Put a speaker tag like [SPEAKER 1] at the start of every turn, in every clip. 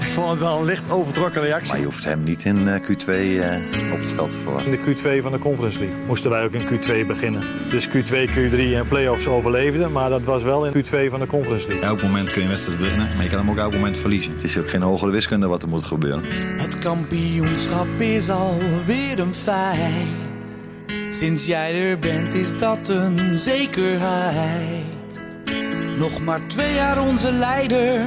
[SPEAKER 1] Ik vond het wel een licht overtrokken reactie.
[SPEAKER 2] Maar je hoeft hem niet in eh, Q2 eh, op het veld te
[SPEAKER 1] In
[SPEAKER 2] verwachten.
[SPEAKER 1] de Q2 van de Conference League moesten wij ook in Q2 beginnen. Dus Q2, Q3 en playoffs overleefden, maar dat was wel in Q2 van de Conference League.
[SPEAKER 3] Elk moment kun je een wedstrijd beginnen, maar je kan hem ook elk moment verliezen.
[SPEAKER 2] Het is ook geen hogere wiskunde wat er moet gebeuren.
[SPEAKER 4] Het kampioenschap is alweer een feit. Sinds jij er bent is dat een zekerheid. Nog maar twee jaar onze leider,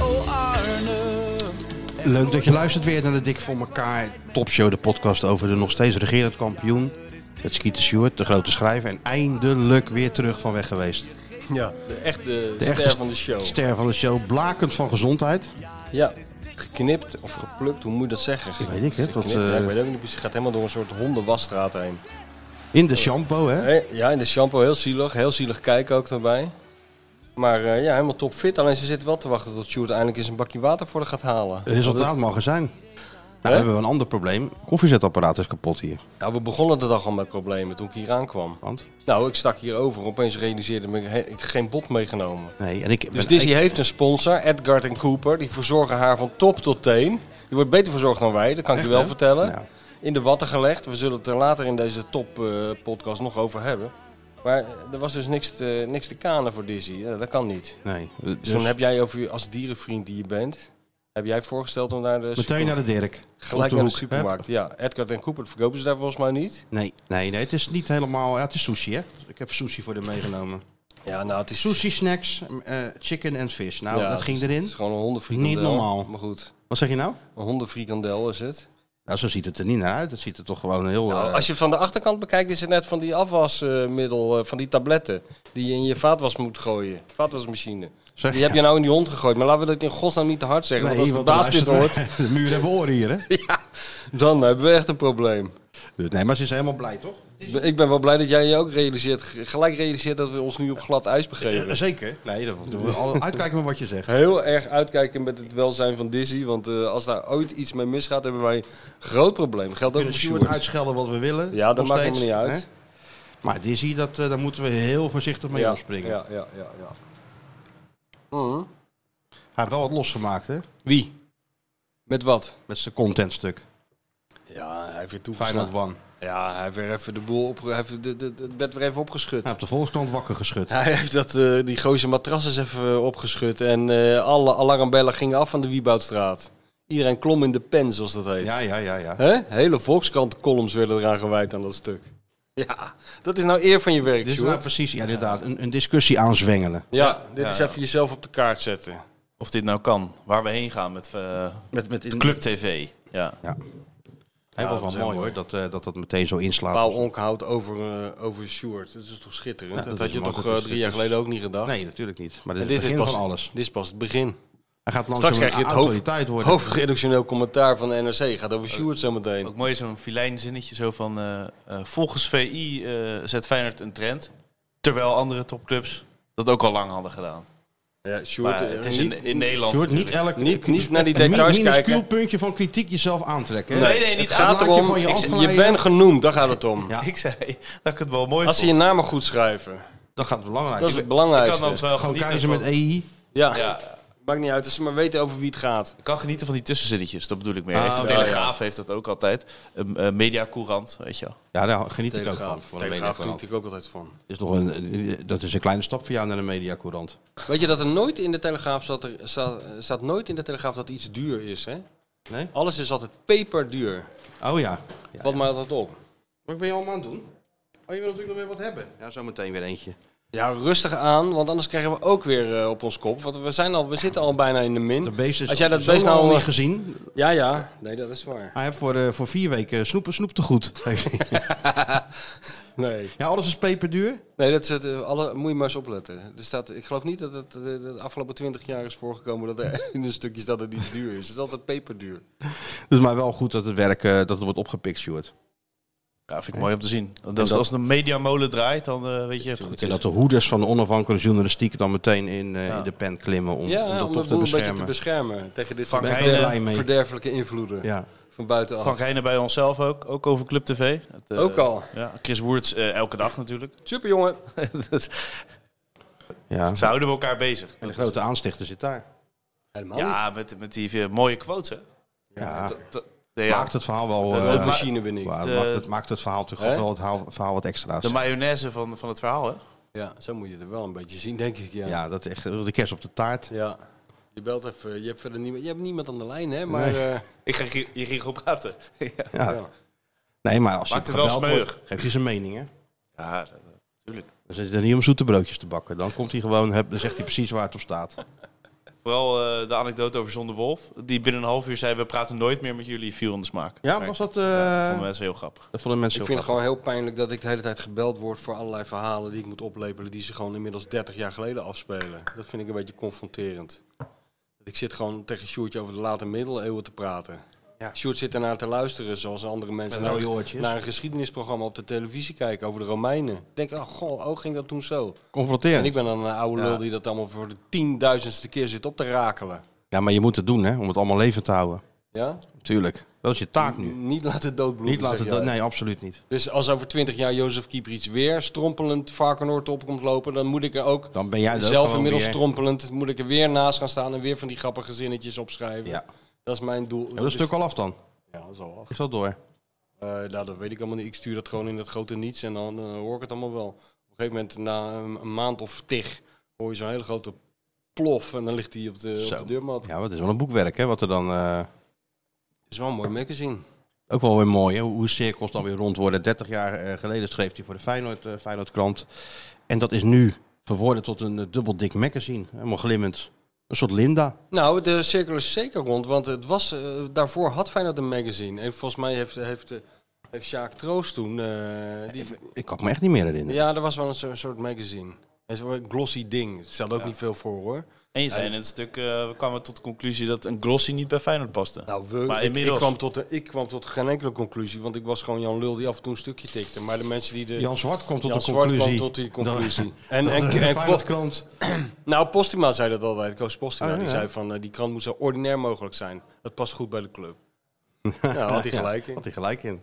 [SPEAKER 4] Oh Arne.
[SPEAKER 5] Leuk dat je luistert weer naar de Dik voor elkaar topshow, de podcast over de nog steeds regerend kampioen. Het Skeeter Stewart, de grote schrijver. En eindelijk weer terug van weg geweest.
[SPEAKER 6] Ja, de echte
[SPEAKER 5] De
[SPEAKER 6] ster
[SPEAKER 5] echte
[SPEAKER 6] van de show.
[SPEAKER 5] Ster van de show, blakend van gezondheid.
[SPEAKER 6] Ja, geknipt of geplukt, hoe moet je dat zeggen? Ge-
[SPEAKER 5] weet ik, hè, dat,
[SPEAKER 6] geknipt,
[SPEAKER 5] eh,
[SPEAKER 6] ja, ik weet ook niet precies. Het gaat helemaal door een soort hondenwasstraat heen.
[SPEAKER 5] In de shampoo, hè?
[SPEAKER 6] Hé, Ja, in de shampoo heel zielig. Heel zielig kijken ook daarbij. Maar eh, ja, helemaal topfit. Alleen ze zitten wel te wachten tot Sjoerd eindelijk eens een bakje water voor haar gaat halen.
[SPEAKER 5] Resultaat mogen zijn. Nou, we
[SPEAKER 6] Hè?
[SPEAKER 5] hebben we een ander probleem. Koffiezetapparaat is kapot hier.
[SPEAKER 6] Nou, we begonnen de dag al met problemen toen ik hier aankwam.
[SPEAKER 5] Want?
[SPEAKER 6] Nou, ik stak hierover. Opeens realiseerde ik me, he- ik heb geen bot meegenomen.
[SPEAKER 5] Nee, en ik ben
[SPEAKER 6] Dus Disney
[SPEAKER 5] ik-
[SPEAKER 6] heeft een sponsor, Edgard en Cooper. Die verzorgen haar van top tot teen. Die wordt beter verzorgd dan wij, dat kan ik
[SPEAKER 5] Echt,
[SPEAKER 6] je wel
[SPEAKER 5] hè?
[SPEAKER 6] vertellen.
[SPEAKER 5] Nou.
[SPEAKER 6] In de watten gelegd. We zullen het er later in deze top-podcast nog over hebben. Maar eh, er was dus niks te, niks te kanen voor Dizzy. Ja, dat kan niet.
[SPEAKER 5] Nee,
[SPEAKER 6] Dus,
[SPEAKER 5] dus
[SPEAKER 6] toen heb jij over, je- als dierenvriend die je bent, heb jij voorgesteld om naar de,
[SPEAKER 5] meteen
[SPEAKER 6] super-
[SPEAKER 5] naar de Dirk. Op
[SPEAKER 6] gelijk naar de
[SPEAKER 5] hoek, hè?
[SPEAKER 6] supermarkt. Ja, Edgard en Cooper dat verkopen ze daar volgens mij niet.
[SPEAKER 5] Nee, nee, nee, het is niet helemaal... Ja, het is sushi, hè? Ik heb sushi voor hem meegenomen.
[SPEAKER 6] Ja, nou, het is
[SPEAKER 5] Sushi, snacks, eh, chicken en vis. Nou,
[SPEAKER 6] ja,
[SPEAKER 5] dat
[SPEAKER 6] het
[SPEAKER 5] ging
[SPEAKER 6] is-
[SPEAKER 5] erin.
[SPEAKER 6] Het is gewoon een hondenfrikandel.
[SPEAKER 5] Niet normaal.
[SPEAKER 6] Maar goed,
[SPEAKER 5] Wat zeg je nou?
[SPEAKER 6] een hondenfrikandel is het.
[SPEAKER 5] Nou, zo ziet het er niet naar uit. Het ziet er toch gewoon heel...
[SPEAKER 6] Nou,
[SPEAKER 5] eh,
[SPEAKER 6] als je het van de achterkant bekijkt, is het net van die afwasmiddel, eh, van die tabletten. Die je in je vaatwas moet gooien. Vaatwasmachine.
[SPEAKER 5] Zeg-
[SPEAKER 6] die heb je nou in die hond gegooid. Maar laten we dat in godsnaam niet te hard
[SPEAKER 5] nee,
[SPEAKER 6] zeggen. want als de
[SPEAKER 5] want
[SPEAKER 6] baas dit hoort,
[SPEAKER 5] luistert- De muur hebben oren hier, hè?
[SPEAKER 6] dan hebben we echt een probleem.
[SPEAKER 5] Dus Nee, maar ze is helemaal blij, toch?
[SPEAKER 6] Ik ben wel blij dat jij je ook realiseert, gelijk realiseert dat we ons nu op glad ijs
[SPEAKER 5] Ja,
[SPEAKER 6] begeven.
[SPEAKER 5] zeker. Nee, dat doen we al uitkijken met wat je zegt.
[SPEAKER 6] Heel erg uitkijken met het welzijn van Dizzy. Want eh, als daar ooit iets mee misgaat, hebben wij een groot probleem. Geldt ook
[SPEAKER 5] kunnen
[SPEAKER 6] voor
[SPEAKER 5] Stuart
[SPEAKER 6] Sjoerd.
[SPEAKER 5] uitschelden wat we willen.
[SPEAKER 6] Ja, dat
[SPEAKER 5] nog
[SPEAKER 6] maakt
[SPEAKER 5] steeds,
[SPEAKER 6] helemaal niet
[SPEAKER 5] hè?
[SPEAKER 6] uit.
[SPEAKER 5] Maar Dizzy, dat, eh, daar moeten we heel voorzichtig mee
[SPEAKER 6] ja,
[SPEAKER 5] omspringen.
[SPEAKER 6] Ja, ja, ja, ja. Mhm.
[SPEAKER 5] Hij heeft wel wat losgemaakt, hè?
[SPEAKER 6] Wie? Met wat?
[SPEAKER 5] Met zijn contentstuk.
[SPEAKER 6] Ja, hij heeft weer
[SPEAKER 5] Feyenoord
[SPEAKER 6] toegeslagen.
[SPEAKER 5] One.
[SPEAKER 6] Ja, hij heeft weer even de boel op, hij heeft de, de, de- het bed weer even opgeschud.
[SPEAKER 5] Hij heeft de Volkskrant wakker geschud.
[SPEAKER 6] Hij heeft dat, eh, die gozer matrassen even eh, opgeschud en eh, alle alarmbellen gingen af van de Wieboudstraat. Iedereen klom in de pen, zoals dat heet.
[SPEAKER 5] Ja, ja, ja, ja.
[SPEAKER 6] Hè? Hele Volkskrant-columns werden eraan gewijd aan dat stuk. Ja, dat is nou eer van je werk,
[SPEAKER 5] Dit is nou
[SPEAKER 6] Sjoerd.
[SPEAKER 5] precies, ja, inderdaad, een, een discussie aanzwengelen.
[SPEAKER 6] Ja, dit
[SPEAKER 3] Ja,
[SPEAKER 6] is
[SPEAKER 3] ja.
[SPEAKER 6] even jezelf op de kaart zetten.
[SPEAKER 3] Of dit nou kan, waar we heen gaan met eh,
[SPEAKER 5] Met, met in,
[SPEAKER 3] Club TV. Ja.
[SPEAKER 5] Hij
[SPEAKER 3] Ja,
[SPEAKER 5] was
[SPEAKER 3] dat is
[SPEAKER 5] wel
[SPEAKER 3] heel
[SPEAKER 5] mooi, hoor, dat, eh, dat dat meteen zo inslaat.
[SPEAKER 6] Paul Onkhout over, eh, over Sjoerd. Dat is toch schitterend?
[SPEAKER 5] Ja,
[SPEAKER 6] dat
[SPEAKER 5] dat
[SPEAKER 6] had
[SPEAKER 5] is
[SPEAKER 6] je
[SPEAKER 5] mooi,
[SPEAKER 6] toch
[SPEAKER 5] dat
[SPEAKER 6] eh,
[SPEAKER 5] is-
[SPEAKER 6] drie
[SPEAKER 5] dat
[SPEAKER 6] jaar
[SPEAKER 5] is-
[SPEAKER 6] geleden ook niet gedacht?
[SPEAKER 5] Nee, natuurlijk niet. Maar dit
[SPEAKER 6] En
[SPEAKER 5] is het begin van alles.
[SPEAKER 6] Dit is pas het begin.
[SPEAKER 5] Hij gaat langzaam
[SPEAKER 6] Straks krijg je
[SPEAKER 5] een
[SPEAKER 6] het
[SPEAKER 5] autoriteit
[SPEAKER 6] hoofd,
[SPEAKER 5] worden.
[SPEAKER 6] hoofdredactioneel commentaar van de NRC. Gaat over Sjoerd zometeen.
[SPEAKER 3] Ook mooi zo'n fileinzinnetje zo van eh, eh, volgens VI eh, zet Feyenoord een trend, terwijl andere topclubs dat ook al lang hadden gedaan.
[SPEAKER 6] Ja, Sjoerd,
[SPEAKER 3] Maar
[SPEAKER 6] eh,
[SPEAKER 3] het is
[SPEAKER 6] niet-
[SPEAKER 3] in, in Nederland.
[SPEAKER 5] Je hoort niet
[SPEAKER 3] natuurlijk.
[SPEAKER 5] elk
[SPEAKER 6] Niet- niet naar die details
[SPEAKER 5] Een minuscuul
[SPEAKER 6] kijken.
[SPEAKER 5] puntje van kritiek jezelf aantrekken. hè?
[SPEAKER 3] Nee, nee, niet
[SPEAKER 6] het
[SPEAKER 3] aan.
[SPEAKER 6] gaat
[SPEAKER 5] laat je
[SPEAKER 6] erom,
[SPEAKER 5] van je
[SPEAKER 6] ik- je
[SPEAKER 5] afglijden.
[SPEAKER 6] bent genoemd, daar gaat het om.
[SPEAKER 5] Ja.
[SPEAKER 3] Ik zei dat ik het wel mooi
[SPEAKER 6] Als ze
[SPEAKER 3] vond.
[SPEAKER 6] je namen goed schrijven,
[SPEAKER 5] Dat gaat belangrijk.
[SPEAKER 6] dat is het
[SPEAKER 3] Ik kan
[SPEAKER 6] belangrijkste.
[SPEAKER 3] dan wel
[SPEAKER 5] eh, Gewoon
[SPEAKER 3] genieten
[SPEAKER 5] keizer
[SPEAKER 3] van,
[SPEAKER 5] met E EI.
[SPEAKER 6] ja.
[SPEAKER 3] ja,
[SPEAKER 6] maakt niet uit, als ze maar weten over wie het gaat.
[SPEAKER 3] ik kan genieten van die tussenzinnetjes, dat bedoel ik meer.
[SPEAKER 5] Ah,
[SPEAKER 3] heeft de
[SPEAKER 6] oké.
[SPEAKER 3] Telegraaf heeft dat ook altijd. Een eh, mediacourant, weet je wel.
[SPEAKER 5] Ja, daar geniet ik ook van.
[SPEAKER 6] Telegraaf,
[SPEAKER 5] van de
[SPEAKER 6] Telegraaf
[SPEAKER 5] mediacourant.
[SPEAKER 6] geniet ik ook altijd van.
[SPEAKER 5] is nog een, eh, dat is een kleine stap voor jou naar de mediacourant.
[SPEAKER 6] Weet je dat er nooit in de Telegraaf staat, er, staat, staat nooit in de Telegraaf dat iets duur is, hè?
[SPEAKER 5] Nee?
[SPEAKER 6] Alles is altijd peperduur.
[SPEAKER 5] Oh ja.
[SPEAKER 6] Valt mij altijd op.
[SPEAKER 5] Wat ben je allemaal aan het doen? Oh, je wil natuurlijk nog weer wat hebben. Ja, zo meteen weer eentje.
[SPEAKER 6] Ja, rustig aan, want anders krijgen we ook weer eh, op ons kop. Want we, zijn al, we zitten al bijna in de min.
[SPEAKER 5] De beest is
[SPEAKER 6] Als jij dat
[SPEAKER 5] zo
[SPEAKER 6] beest
[SPEAKER 5] lang
[SPEAKER 6] nou...
[SPEAKER 5] niet gezien.
[SPEAKER 6] Ja, ja. Nee, dat is waar.
[SPEAKER 5] Hij heeft voor, eh, voor vier weken snoep, snoep te goed.
[SPEAKER 6] Nee.
[SPEAKER 5] ja, alles is peperduur.
[SPEAKER 6] Nee, dat zit, eh, alle, moet je maar eens opletten. Er staat, ik geloof niet dat het eh, de afgelopen twintig jaar is voorgekomen dat er in een stukje staat dat iets duur is. Het is altijd peperduur.
[SPEAKER 5] Dus maar wel goed dat het werk eh, dat het wordt opgepikt, Stuart.
[SPEAKER 3] Ja, vind ik mooi om te zien. Want
[SPEAKER 5] En
[SPEAKER 3] als,
[SPEAKER 5] dat-
[SPEAKER 3] als de mediamolen draait, dan eh, weet je het
[SPEAKER 5] En
[SPEAKER 3] goed. is.
[SPEAKER 5] dat de hoeders van de onafhankelijke journalistiek dan meteen in, eh, in de pen klimmen om, om
[SPEAKER 6] Ja,
[SPEAKER 5] dat
[SPEAKER 6] om
[SPEAKER 5] toch
[SPEAKER 6] de
[SPEAKER 5] te
[SPEAKER 6] boel een beetje te
[SPEAKER 5] beschermen.
[SPEAKER 6] beschermen tegen dit
[SPEAKER 3] Frank
[SPEAKER 6] soort
[SPEAKER 5] ben
[SPEAKER 3] Heijnen-
[SPEAKER 5] er blij mee.
[SPEAKER 6] verderfelijke invloeden
[SPEAKER 5] ja.
[SPEAKER 6] van buitenaf.
[SPEAKER 3] Frank Heijnen bij onszelf ook, ook over Club TV. Het, eh,
[SPEAKER 6] Ook al.
[SPEAKER 3] Ja, Chris Woerts eh, elke dag natuurlijk.
[SPEAKER 6] Super jongen.
[SPEAKER 3] Dat-
[SPEAKER 5] ja.
[SPEAKER 3] Ze houden we elkaar bezig.
[SPEAKER 5] En de grote aanstichter zit daar.
[SPEAKER 6] Helemaal niet.
[SPEAKER 3] Ja, met, met die eh, mooie quotes, hè?
[SPEAKER 5] Ja.
[SPEAKER 3] Dat- dat- nee, ja.
[SPEAKER 5] Maakt het verhaal wel...
[SPEAKER 6] Een
[SPEAKER 5] eh,
[SPEAKER 6] loopmachine ben ik.
[SPEAKER 5] wa-
[SPEAKER 3] de-
[SPEAKER 5] maakt, het, maakt het verhaal toch
[SPEAKER 6] Hè?
[SPEAKER 5] wel het haal- verhaal wat extra's.
[SPEAKER 3] De mayonaise van, van het verhaal, hè?
[SPEAKER 6] Ja, zo moet je het er wel een beetje zien, denk ik. Ja.
[SPEAKER 5] Ja, dat is echt eh, de kerst op de taart.
[SPEAKER 6] Ja. Je belt even. Je hebt verder niemand, je hebt niemand aan de lijn, hè? Maar
[SPEAKER 5] Nee. Ah,
[SPEAKER 6] eh,
[SPEAKER 3] Ik ga hier, hier ging gewoon praten.
[SPEAKER 5] Ja.
[SPEAKER 6] ja.
[SPEAKER 5] Nee, maar als je
[SPEAKER 3] Maakt
[SPEAKER 5] het
[SPEAKER 3] het wel
[SPEAKER 5] gebeld
[SPEAKER 3] smeuig.
[SPEAKER 5] wordt, geeft hij zijn mening, hè?
[SPEAKER 3] Ja, dat- natuurlijk.
[SPEAKER 5] Dan zit hij er niet om zoete broodjes te bakken. Dan komt hij gewoon, heb- dan zegt hij precies waar het op staat.
[SPEAKER 3] Vooral eh, de anekdote over Zonder Wolf. Die binnen een half uur zei, we praten nooit meer met jullie, viel in de smaak.
[SPEAKER 5] Ja,
[SPEAKER 3] Maar
[SPEAKER 5] was dat...
[SPEAKER 3] Dat vonden
[SPEAKER 5] eh
[SPEAKER 3] mensen heel grappig.
[SPEAKER 5] dat vonden mensen
[SPEAKER 6] Ik
[SPEAKER 5] heel
[SPEAKER 6] vind het gewoon heel pijnlijk dat ik de hele tijd gebeld word voor allerlei verhalen die ik moet oplepelen, die ze gewoon inmiddels 30 jaar geleden afspelen. Dat vind ik een beetje confronterend. Ik zit gewoon tegen Sjoerdje over de late middeleeuwen te praten.
[SPEAKER 5] Ja.
[SPEAKER 6] Sjoerd zit ernaar te luisteren, zoals andere mensen
[SPEAKER 5] Met
[SPEAKER 6] naar,
[SPEAKER 5] rode oortjes.
[SPEAKER 6] naar een geschiedenisprogramma op de televisie kijken over de Romeinen. Ik denk, oh goh, oh ging dat toen zo. En
[SPEAKER 5] confronterend.
[SPEAKER 6] ik ben dan een oude lul die dat allemaal voor de tienduizendste keer zit op te rakelen.
[SPEAKER 5] Ja, maar je moet het doen, hè? Om het allemaal levend te houden.
[SPEAKER 6] Ja?
[SPEAKER 5] Tuurlijk. Dat is je taak nu.
[SPEAKER 6] Niet laten doodbloeden.
[SPEAKER 5] Niet laten...
[SPEAKER 6] Mm, zeg jij.
[SPEAKER 5] dat- Nee, absoluut niet.
[SPEAKER 6] Dus als over 20 jaar Jozef Kieprits weer strompelend Varkenoord op komt lopen, dan moet ik er ook
[SPEAKER 5] Dan ben jij er ook
[SPEAKER 6] zelf
[SPEAKER 5] gewoon
[SPEAKER 6] inmiddels
[SPEAKER 5] weer.
[SPEAKER 6] strompelend, moet ik er weer naast gaan staan en weer van die grappige zinnetjes opschrijven.
[SPEAKER 5] Ja.
[SPEAKER 6] Dat is mijn doel. Dus-
[SPEAKER 5] Ja, dat is stuk al af dan.
[SPEAKER 6] Ja, dat is al af.
[SPEAKER 5] Is dat door?
[SPEAKER 6] Eh, nou, dat weet ik allemaal niet. Ik stuur dat gewoon in het grote niets en dan eh, hoor ik het allemaal wel. Op een gegeven moment, na een, een maand of tig, hoor je zo'n hele grote plof en dan ligt hij op de, op
[SPEAKER 5] Zo.
[SPEAKER 6] de deurmat.
[SPEAKER 5] Ja, dat is wel een boekwerk, hè? Wat er dan... eh,
[SPEAKER 6] Het is wel een mooi magazine.
[SPEAKER 5] Ook wel weer mooi, hè? hoe cirkels dan weer rond worden. 30 jaar eh, geleden schreef hij voor de Feyenoord, eh, Feyenoordkrant. En dat is nu verworden tot een eh, dubbel dik magazine. Helemaal glimmend. Een soort Linda.
[SPEAKER 6] Nou, de cirkel is zeker rond, want het was, eh, daarvoor had Feyenoord een magazine. En volgens mij heeft, heeft, eh, heeft Sjaak Troost toen... eh, die,
[SPEAKER 5] Ik kan het me echt niet meer herinneren.
[SPEAKER 6] ja, er was wel een zo- soort magazine. Het is wel een glossy ding. Het stelde ook niet veel voor, hoor.
[SPEAKER 3] En je zei in het stuk, eh, we kwamen tot de conclusie dat een glossy niet bij Feyenoord paste.
[SPEAKER 6] Nou,
[SPEAKER 3] Maar
[SPEAKER 6] ik,
[SPEAKER 3] inmiddels-
[SPEAKER 6] ik, kwam tot, de- ik kwam tot geen enkele conclusie, want ik was gewoon Jan Lul die af en toe een stukje tikte. Maar de mensen die de...
[SPEAKER 5] Jan Zwart komt tot
[SPEAKER 6] Jan
[SPEAKER 5] de
[SPEAKER 6] Zwart
[SPEAKER 5] conclusie.
[SPEAKER 6] kwam tot die conclusie.
[SPEAKER 5] En,
[SPEAKER 6] En- en- en-
[SPEAKER 5] de Feyenoordkrant.
[SPEAKER 6] Nou, Postuma zei dat altijd. Koos Postuma,
[SPEAKER 5] Oh, ja,
[SPEAKER 6] die
[SPEAKER 5] ja.
[SPEAKER 6] zei van, eh, die krant moet zo ordinair mogelijk zijn. Dat past goed bij de club. nou, had hij gelijk in.
[SPEAKER 5] Had hij gelijk in.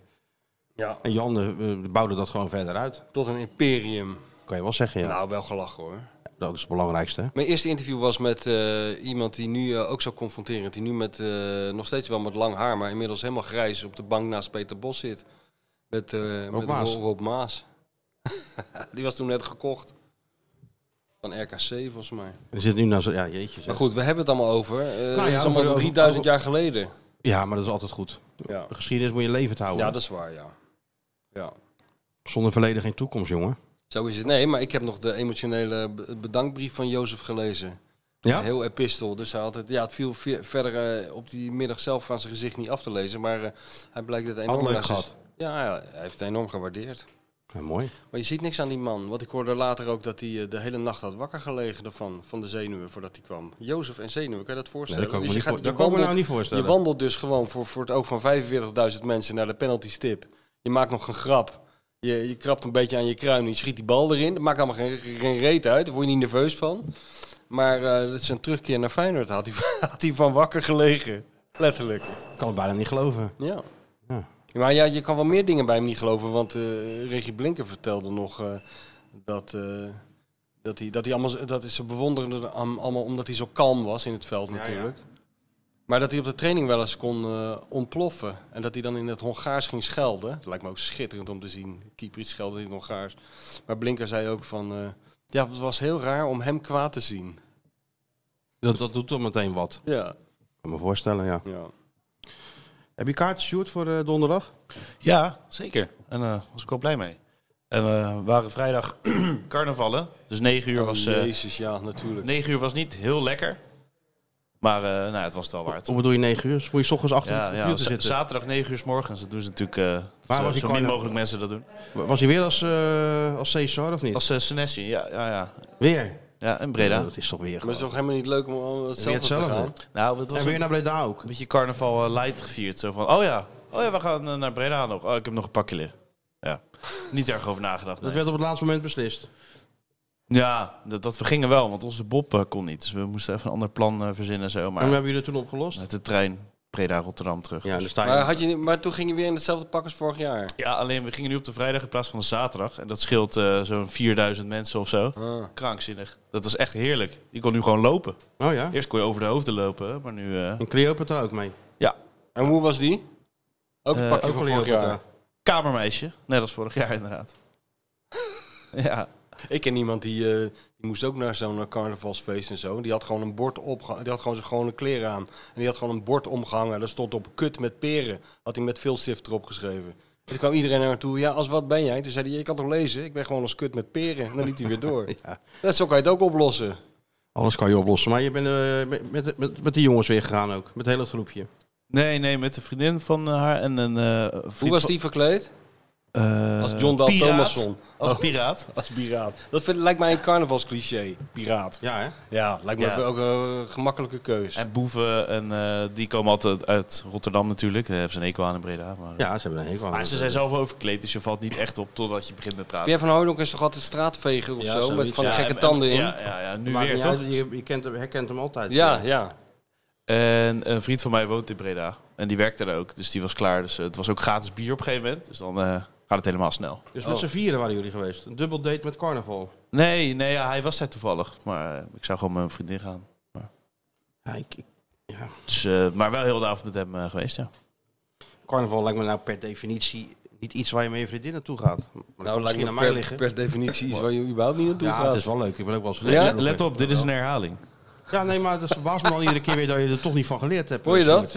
[SPEAKER 6] Ja.
[SPEAKER 5] En Jan eh, eh, bouwde dat gewoon verder uit.
[SPEAKER 6] Tot een imperium.
[SPEAKER 5] Kan je wel zeggen, ja.
[SPEAKER 6] Nou, wel gelachen hoor.
[SPEAKER 5] Dat is het belangrijkste. hè?
[SPEAKER 6] Mijn eerste interview was met eh, iemand die nu eh, ook zo confronterend, die nu met, eh, nog steeds wel met lang haar, maar inmiddels helemaal grijs op de bank naast Peter Bos zit. Met, eh, met
[SPEAKER 5] Maas.
[SPEAKER 6] Ro- Rob Maas. die was toen net gekocht. Van RKC volgens mij.
[SPEAKER 5] Er zit nu nou zo... Ja, jeetje.
[SPEAKER 6] Maar
[SPEAKER 5] zeg.
[SPEAKER 6] goed, we hebben het allemaal over. eh
[SPEAKER 5] Nou ja,
[SPEAKER 6] het is
[SPEAKER 5] over-
[SPEAKER 6] allemaal
[SPEAKER 5] over-
[SPEAKER 6] 3000
[SPEAKER 5] over-
[SPEAKER 6] jaar geleden.
[SPEAKER 5] Ja, maar dat is altijd goed.
[SPEAKER 6] Ja.
[SPEAKER 5] De geschiedenis moet je levend houden.
[SPEAKER 6] ja, dat is waar, ja. ja.
[SPEAKER 5] Zonder verleden geen toekomst, jongen.
[SPEAKER 6] Zo is het. Nee, maar ik heb nog de emotionele be- bedankbrief van Jozef gelezen.
[SPEAKER 5] Ja?
[SPEAKER 6] Heel epistel. Dus hij had het, ja, het viel ve- verder eh, op die middag zelf van zijn gezicht niet af te lezen. Maar eh, hij blijkt het enorm...
[SPEAKER 5] leuk
[SPEAKER 6] naar zijn-
[SPEAKER 5] gehad.
[SPEAKER 6] Ja, ja, hij heeft het enorm gewaardeerd.
[SPEAKER 5] Ja, mooi.
[SPEAKER 6] Maar je ziet niks aan die man. Want ik hoorde later ook dat hij eh, de hele nacht had wakker gelegen ervan. Van de zenuwen voordat hij kwam. Jozef en zenuwen, kan je
[SPEAKER 5] Nee,
[SPEAKER 6] dat voorstellen?
[SPEAKER 5] dat kan ik me,
[SPEAKER 6] Dus je
[SPEAKER 5] niet voor-
[SPEAKER 6] gaat-
[SPEAKER 5] dat
[SPEAKER 6] je
[SPEAKER 5] kan ik me nou
[SPEAKER 6] wandelt-
[SPEAKER 5] niet voorstellen.
[SPEAKER 6] je wandelt dus gewoon voor, voor het oog van 45.000 mensen naar de penalty stip. Je maakt nog een grap. Je, je krabt een beetje aan je kruin en je schiet die bal erin. Dat maakt allemaal geen, geen reet uit. Daar word je niet nerveus van. Maar eh dat is een terugkeer naar Feyenoord. Had hij, had hij van wakker gelegen. Letterlijk.
[SPEAKER 5] Ik kan het bijna niet geloven.
[SPEAKER 6] Ja.
[SPEAKER 5] Ja.
[SPEAKER 6] Maar ja, je kan wel meer dingen bij hem niet geloven. Want eh Regie Blinker vertelde nog eh, dat, eh, dat, hij, dat hij allemaal... Dat is, ze bewonderden hem allemaal omdat hij zo kalm was in het veld natuurlijk. Maar dat hij op de training wel eens kon eh, ontploffen. En dat hij dan in het Hongaars ging schelden. Dat lijkt me ook schitterend om te zien. Kieprits schelde in het Hongaars. Maar Blinker zei ook van... eh, ja, het was heel raar om hem kwaad te zien.
[SPEAKER 5] Dat, dat doet dan meteen wat. Ik
[SPEAKER 6] Ja.
[SPEAKER 5] kan me voorstellen, ja.
[SPEAKER 6] ja.
[SPEAKER 5] Heb je kaarten, Sjoerd, voor eh, donderdag?
[SPEAKER 3] Ja, zeker. En daar was ik wel blij mee. En eh, we waren vrijdag carnavallen. Dus 9 uur,
[SPEAKER 6] Oh,
[SPEAKER 3] was, eh
[SPEAKER 6] Jezus, ja, natuurlijk.
[SPEAKER 3] 9 uur was niet heel lekker. Maar eh, nou, het was het wel waard.
[SPEAKER 5] Hoe bedoel je 9 uur? Moet je 's ochtends achter
[SPEAKER 3] Ja,
[SPEAKER 5] de
[SPEAKER 3] ja,
[SPEAKER 5] computer
[SPEAKER 3] z-
[SPEAKER 5] zitten?
[SPEAKER 3] zaterdag 9 uur s morgens. Dat doen ze natuurlijk eh,
[SPEAKER 5] Waar
[SPEAKER 3] zo,
[SPEAKER 5] was die
[SPEAKER 3] zo min
[SPEAKER 5] carnaval?
[SPEAKER 3] mogelijk mensen dat doen.
[SPEAKER 5] Was hij weer als, eh als Cesar of niet?
[SPEAKER 3] Als uh, Senesi, ja, ja, ja.
[SPEAKER 5] Weer?
[SPEAKER 3] ja. En
[SPEAKER 5] Oh,
[SPEAKER 3] Breda.
[SPEAKER 5] dat is toch weer
[SPEAKER 6] Maar het is
[SPEAKER 5] gewoon.
[SPEAKER 6] toch helemaal niet leuk om allemaal hetzelfde,
[SPEAKER 5] hetzelfde.
[SPEAKER 6] te gaan?
[SPEAKER 3] Nou, het was
[SPEAKER 5] En
[SPEAKER 3] een
[SPEAKER 5] weer naar Breda ook.
[SPEAKER 3] beetje carnaval eh, light gevierd. Zo van, oh ja, oh ja we gaan eh, naar Breda nog. Oh, ik heb nog een pakje liggen. Ja. Niet erg over nagedacht.
[SPEAKER 5] Dat
[SPEAKER 3] nee.
[SPEAKER 5] werd op het laatste moment beslist.
[SPEAKER 3] Ja, dat, dat we gingen wel, want onze Bob eh, kon niet. Dus we moesten even een ander plan eh, verzinnen. Zo,
[SPEAKER 5] en hoe
[SPEAKER 3] maar
[SPEAKER 5] hebben jullie dat toen opgelost?
[SPEAKER 3] met de trein Preda-Rotterdam terug.
[SPEAKER 5] Ja,
[SPEAKER 3] Dus-
[SPEAKER 5] dan sta je.
[SPEAKER 6] Maar, had je, niet- maar toen ging je weer in hetzelfde pak als vorig jaar.
[SPEAKER 3] ja, alleen we gingen nu op de vrijdag in plaats van de zaterdag. En dat scheelt eh, zo'n 4000 mensen of zo.
[SPEAKER 6] Ah.
[SPEAKER 3] Krankzinnig. Dat was echt heerlijk. Je kon nu gewoon lopen.
[SPEAKER 5] Oh ja.
[SPEAKER 3] Eerst kon je over de hoofden lopen, hè, maar nu... eh,
[SPEAKER 5] En Cleopatra ook mee.
[SPEAKER 6] En hoe was die? Ook een
[SPEAKER 3] Eh,
[SPEAKER 6] pakje
[SPEAKER 5] Ook
[SPEAKER 6] van vorig jaar.
[SPEAKER 5] Cleopatra.
[SPEAKER 3] kamermeisje, net als vorig jaar inderdaad. ja,
[SPEAKER 6] Ik ken iemand die, eh, die moest ook naar zo'n eh, carnavalsfeest en zo. Die had gewoon een bord opgehangen. Die had gewoon zijn gewone kleren aan. En die had gewoon een bord omgehangen. Daar stond op kut met peren. Had hij met veel stift erop geschreven. En toen kwam iedereen naar hem toe. Ja, als wat ben jij? Toen zei hij, ik kan toch lezen? Ik ben gewoon als kut met peren. En dan liep hij weer door.
[SPEAKER 5] Ja.
[SPEAKER 6] Dat zo kan je het ook oplossen.
[SPEAKER 5] Alles kan je oplossen. Maar je bent eh, met, met, met, met die jongens weer gegaan ook. Met het hele groepje.
[SPEAKER 3] nee, nee, met de vriendin van eh, haar en een eh, vriend
[SPEAKER 6] Hoe was
[SPEAKER 3] van-
[SPEAKER 6] die verkleed?
[SPEAKER 3] eh,
[SPEAKER 6] Als John Dal
[SPEAKER 3] piraat.
[SPEAKER 6] Thomasson.
[SPEAKER 3] Als piraat.
[SPEAKER 6] Als piraat. Dat vind, lijkt mij een carnavalscliché. Piraat.
[SPEAKER 5] Ja, hè?
[SPEAKER 6] Ja, lijkt me
[SPEAKER 3] Ja.
[SPEAKER 6] ook een gemakkelijke keus.
[SPEAKER 3] En boeven, en, eh, die komen altijd uit Rotterdam natuurlijk. Daar hebben ze een eco aan in Breda. Maar,
[SPEAKER 5] Ja, ze hebben een hekel aan.
[SPEAKER 3] maar ze zijn zelf overkleed, dus je valt niet echt op totdat je begint met praten.
[SPEAKER 6] Pierre van Hooydonk is toch altijd straatveger of
[SPEAKER 5] Ja,
[SPEAKER 6] zo? Met
[SPEAKER 5] zoiets,
[SPEAKER 6] van de
[SPEAKER 3] Ja,
[SPEAKER 6] gekke
[SPEAKER 3] en-
[SPEAKER 6] tanden in.
[SPEAKER 3] Ja, ja, ja nu
[SPEAKER 5] Maakt
[SPEAKER 3] weer
[SPEAKER 5] niet
[SPEAKER 3] toch?
[SPEAKER 5] uit, Je, je kent hem, herkent hem altijd.
[SPEAKER 6] Ja, ja.
[SPEAKER 3] En een vriend van mij woont in Breda. En die werkte daar ook, dus die was klaar. Dus eh, het was ook gratis bier op een gegeven moment. Dus dan eh, gaat het helemaal snel.
[SPEAKER 5] Dus met z'n vieren waren jullie geweest. Een dubbel date met carnaval.
[SPEAKER 3] Nee, nee ja, hij was daar toevallig. Maar eh, ik zou gewoon met mijn vriendin gaan.
[SPEAKER 5] Ja, ik, ik- ja.
[SPEAKER 3] Dus, eh, maar wel heel de avond met hem eh, geweest, ja.
[SPEAKER 5] Carnaval lijkt me nou per definitie niet iets waar je met je vriendin naartoe gaat. Maar dat
[SPEAKER 6] Nou,
[SPEAKER 5] kan
[SPEAKER 6] lijkt
[SPEAKER 5] misschien
[SPEAKER 6] me
[SPEAKER 5] aan mij
[SPEAKER 6] per,
[SPEAKER 5] liggen.
[SPEAKER 6] per definitie iets waar je überhaupt niet naartoe
[SPEAKER 5] ja,
[SPEAKER 6] gaat.
[SPEAKER 5] het is wel leuk. Ik wil ook wel eens
[SPEAKER 6] Ja?
[SPEAKER 5] geweest.
[SPEAKER 3] Let op, dit is een herhaling.
[SPEAKER 5] Ja, nee, maar dat verbaast me dan iedere keer weer dat je er toch niet van geleerd hebt.
[SPEAKER 6] Hoor je dat?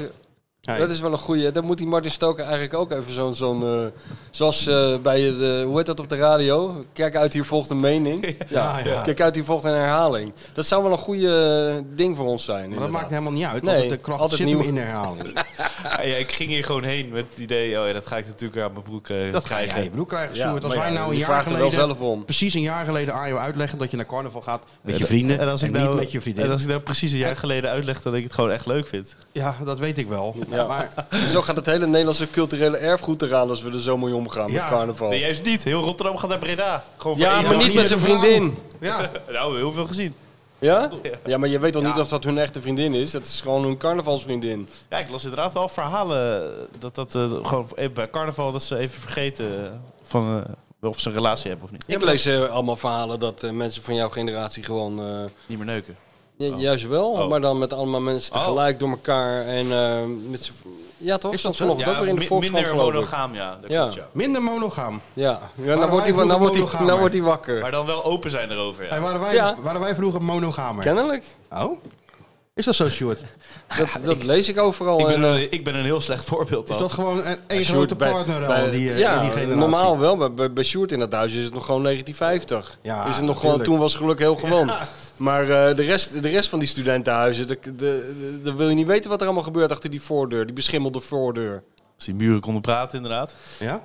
[SPEAKER 5] Ja,
[SPEAKER 6] Dat is wel een goeie. Dan moet die Martin Stoker eigenlijk ook even zo'n... zo'n eh, zoals eh, bij de... Hoe heet dat op de radio? Kijk uit, hier volgt een mening. Ja,
[SPEAKER 5] Ja, ja.
[SPEAKER 6] Kijk uit, hier volgt een herhaling. Dat zou wel een goeie eh, ding voor ons zijn.
[SPEAKER 5] Maar dat maakt
[SPEAKER 6] inderdaad.
[SPEAKER 5] helemaal niet uit.
[SPEAKER 6] Nee,
[SPEAKER 5] want de kracht
[SPEAKER 6] altijd
[SPEAKER 5] zit hem
[SPEAKER 6] nieuw.
[SPEAKER 5] in herhaling.
[SPEAKER 3] Ah, Ja, ja, ik ging hier gewoon heen met het idee, oh ja, dat ga ik natuurlijk aan mijn broek eh,
[SPEAKER 5] Dat ga je
[SPEAKER 3] krijgen.
[SPEAKER 5] aan je broek krijgen, Stuart. Als
[SPEAKER 6] maar
[SPEAKER 5] wij
[SPEAKER 6] ja,
[SPEAKER 5] nou een
[SPEAKER 6] die
[SPEAKER 5] jaar
[SPEAKER 6] vraagt er wel
[SPEAKER 5] geleden...
[SPEAKER 6] zelf om.
[SPEAKER 5] Precies een jaar geleden aan jou uitleggen dat je naar carnaval gaat met je vrienden en,
[SPEAKER 3] als ik
[SPEAKER 5] niet
[SPEAKER 3] nou-
[SPEAKER 5] met je vriendin.
[SPEAKER 3] En als ik nou precies een jaar geleden uitleg dat ik het gewoon echt leuk vind.
[SPEAKER 5] Ja, dat weet ik wel.
[SPEAKER 6] Ja.
[SPEAKER 5] Maar
[SPEAKER 6] Zo gaat het hele Nederlandse culturele erfgoed eraan als we er zo mee omgaan
[SPEAKER 5] Ja.
[SPEAKER 6] met carnaval.
[SPEAKER 3] Nee, juist niet. Heel Rotterdam gaat naar Breda. Gewoon voor
[SPEAKER 6] ja,
[SPEAKER 3] één
[SPEAKER 6] maar
[SPEAKER 3] dag.
[SPEAKER 6] niet met zijn vriendin.
[SPEAKER 5] ja,
[SPEAKER 3] Nou, heel veel gezien.
[SPEAKER 6] Ja? Ja, maar je weet toch niet of dat hun echte vriendin is? Dat is gewoon hun carnavalsvriendin.
[SPEAKER 3] Ja, ik las inderdaad wel verhalen eh, dat dat eh, gewoon even bij carnaval dat ze even vergeten eh, van eh, of ze een relatie hebben of niet.
[SPEAKER 6] Ik lees eh, allemaal verhalen dat eh, mensen van jouw generatie gewoon... eh,
[SPEAKER 3] Niet meer neuken.
[SPEAKER 6] ju- Juist wel,
[SPEAKER 3] Oh.
[SPEAKER 6] maar dan met allemaal mensen
[SPEAKER 3] Oh.
[SPEAKER 6] tegelijk door elkaar. En, eh, met z'n- ja toch?
[SPEAKER 5] Is
[SPEAKER 6] Stond
[SPEAKER 5] dat zo?
[SPEAKER 6] vanochtend ook weer in de
[SPEAKER 3] mi-
[SPEAKER 6] Volkskrant
[SPEAKER 3] minder
[SPEAKER 6] geloof ik.
[SPEAKER 3] monogaam, ja. Dat
[SPEAKER 6] Ja.
[SPEAKER 3] Klopt, ja.
[SPEAKER 5] minder monogaam.
[SPEAKER 6] Ja, ja
[SPEAKER 5] wij
[SPEAKER 6] dan, wordt hij,
[SPEAKER 5] vroeger
[SPEAKER 6] dan, wordt hij,
[SPEAKER 5] monogamer?
[SPEAKER 6] dan wordt hij wakker.
[SPEAKER 3] Maar dan wel open zijn erover.
[SPEAKER 5] Hey,
[SPEAKER 3] Ja.
[SPEAKER 5] waren, wij,
[SPEAKER 6] Ja.
[SPEAKER 5] waren wij vroeger monogamer?
[SPEAKER 6] Kennelijk.
[SPEAKER 5] Oh? Is dat zo, Stuart?
[SPEAKER 6] Dat, dat lees ik overal.
[SPEAKER 3] Ik ben, eh,
[SPEAKER 6] en, eh,
[SPEAKER 3] een, ik ben een heel slecht voorbeeld
[SPEAKER 5] Is
[SPEAKER 3] dan.
[SPEAKER 5] dat gewoon een, één
[SPEAKER 6] Sjoerd,
[SPEAKER 5] grote
[SPEAKER 6] bij-
[SPEAKER 5] partner
[SPEAKER 6] bij-
[SPEAKER 5] al, die, eh,
[SPEAKER 6] ja,
[SPEAKER 5] in die generatie?
[SPEAKER 6] normaal wel. Bij, bij, bij Sjoerd in dat huis is het nog gewoon 1950.
[SPEAKER 5] Ja,
[SPEAKER 6] is het nog gewoon,
[SPEAKER 5] tuurlijk.
[SPEAKER 6] toen was geluk heel gewoon. Maar eh, de, rest, de rest van die studentenhuizen, de- de- de- dan wil je niet weten wat er allemaal gebeurt achter die voordeur. Die beschimmelde voordeur.
[SPEAKER 3] Als die muren konden praten inderdaad.
[SPEAKER 5] Ja?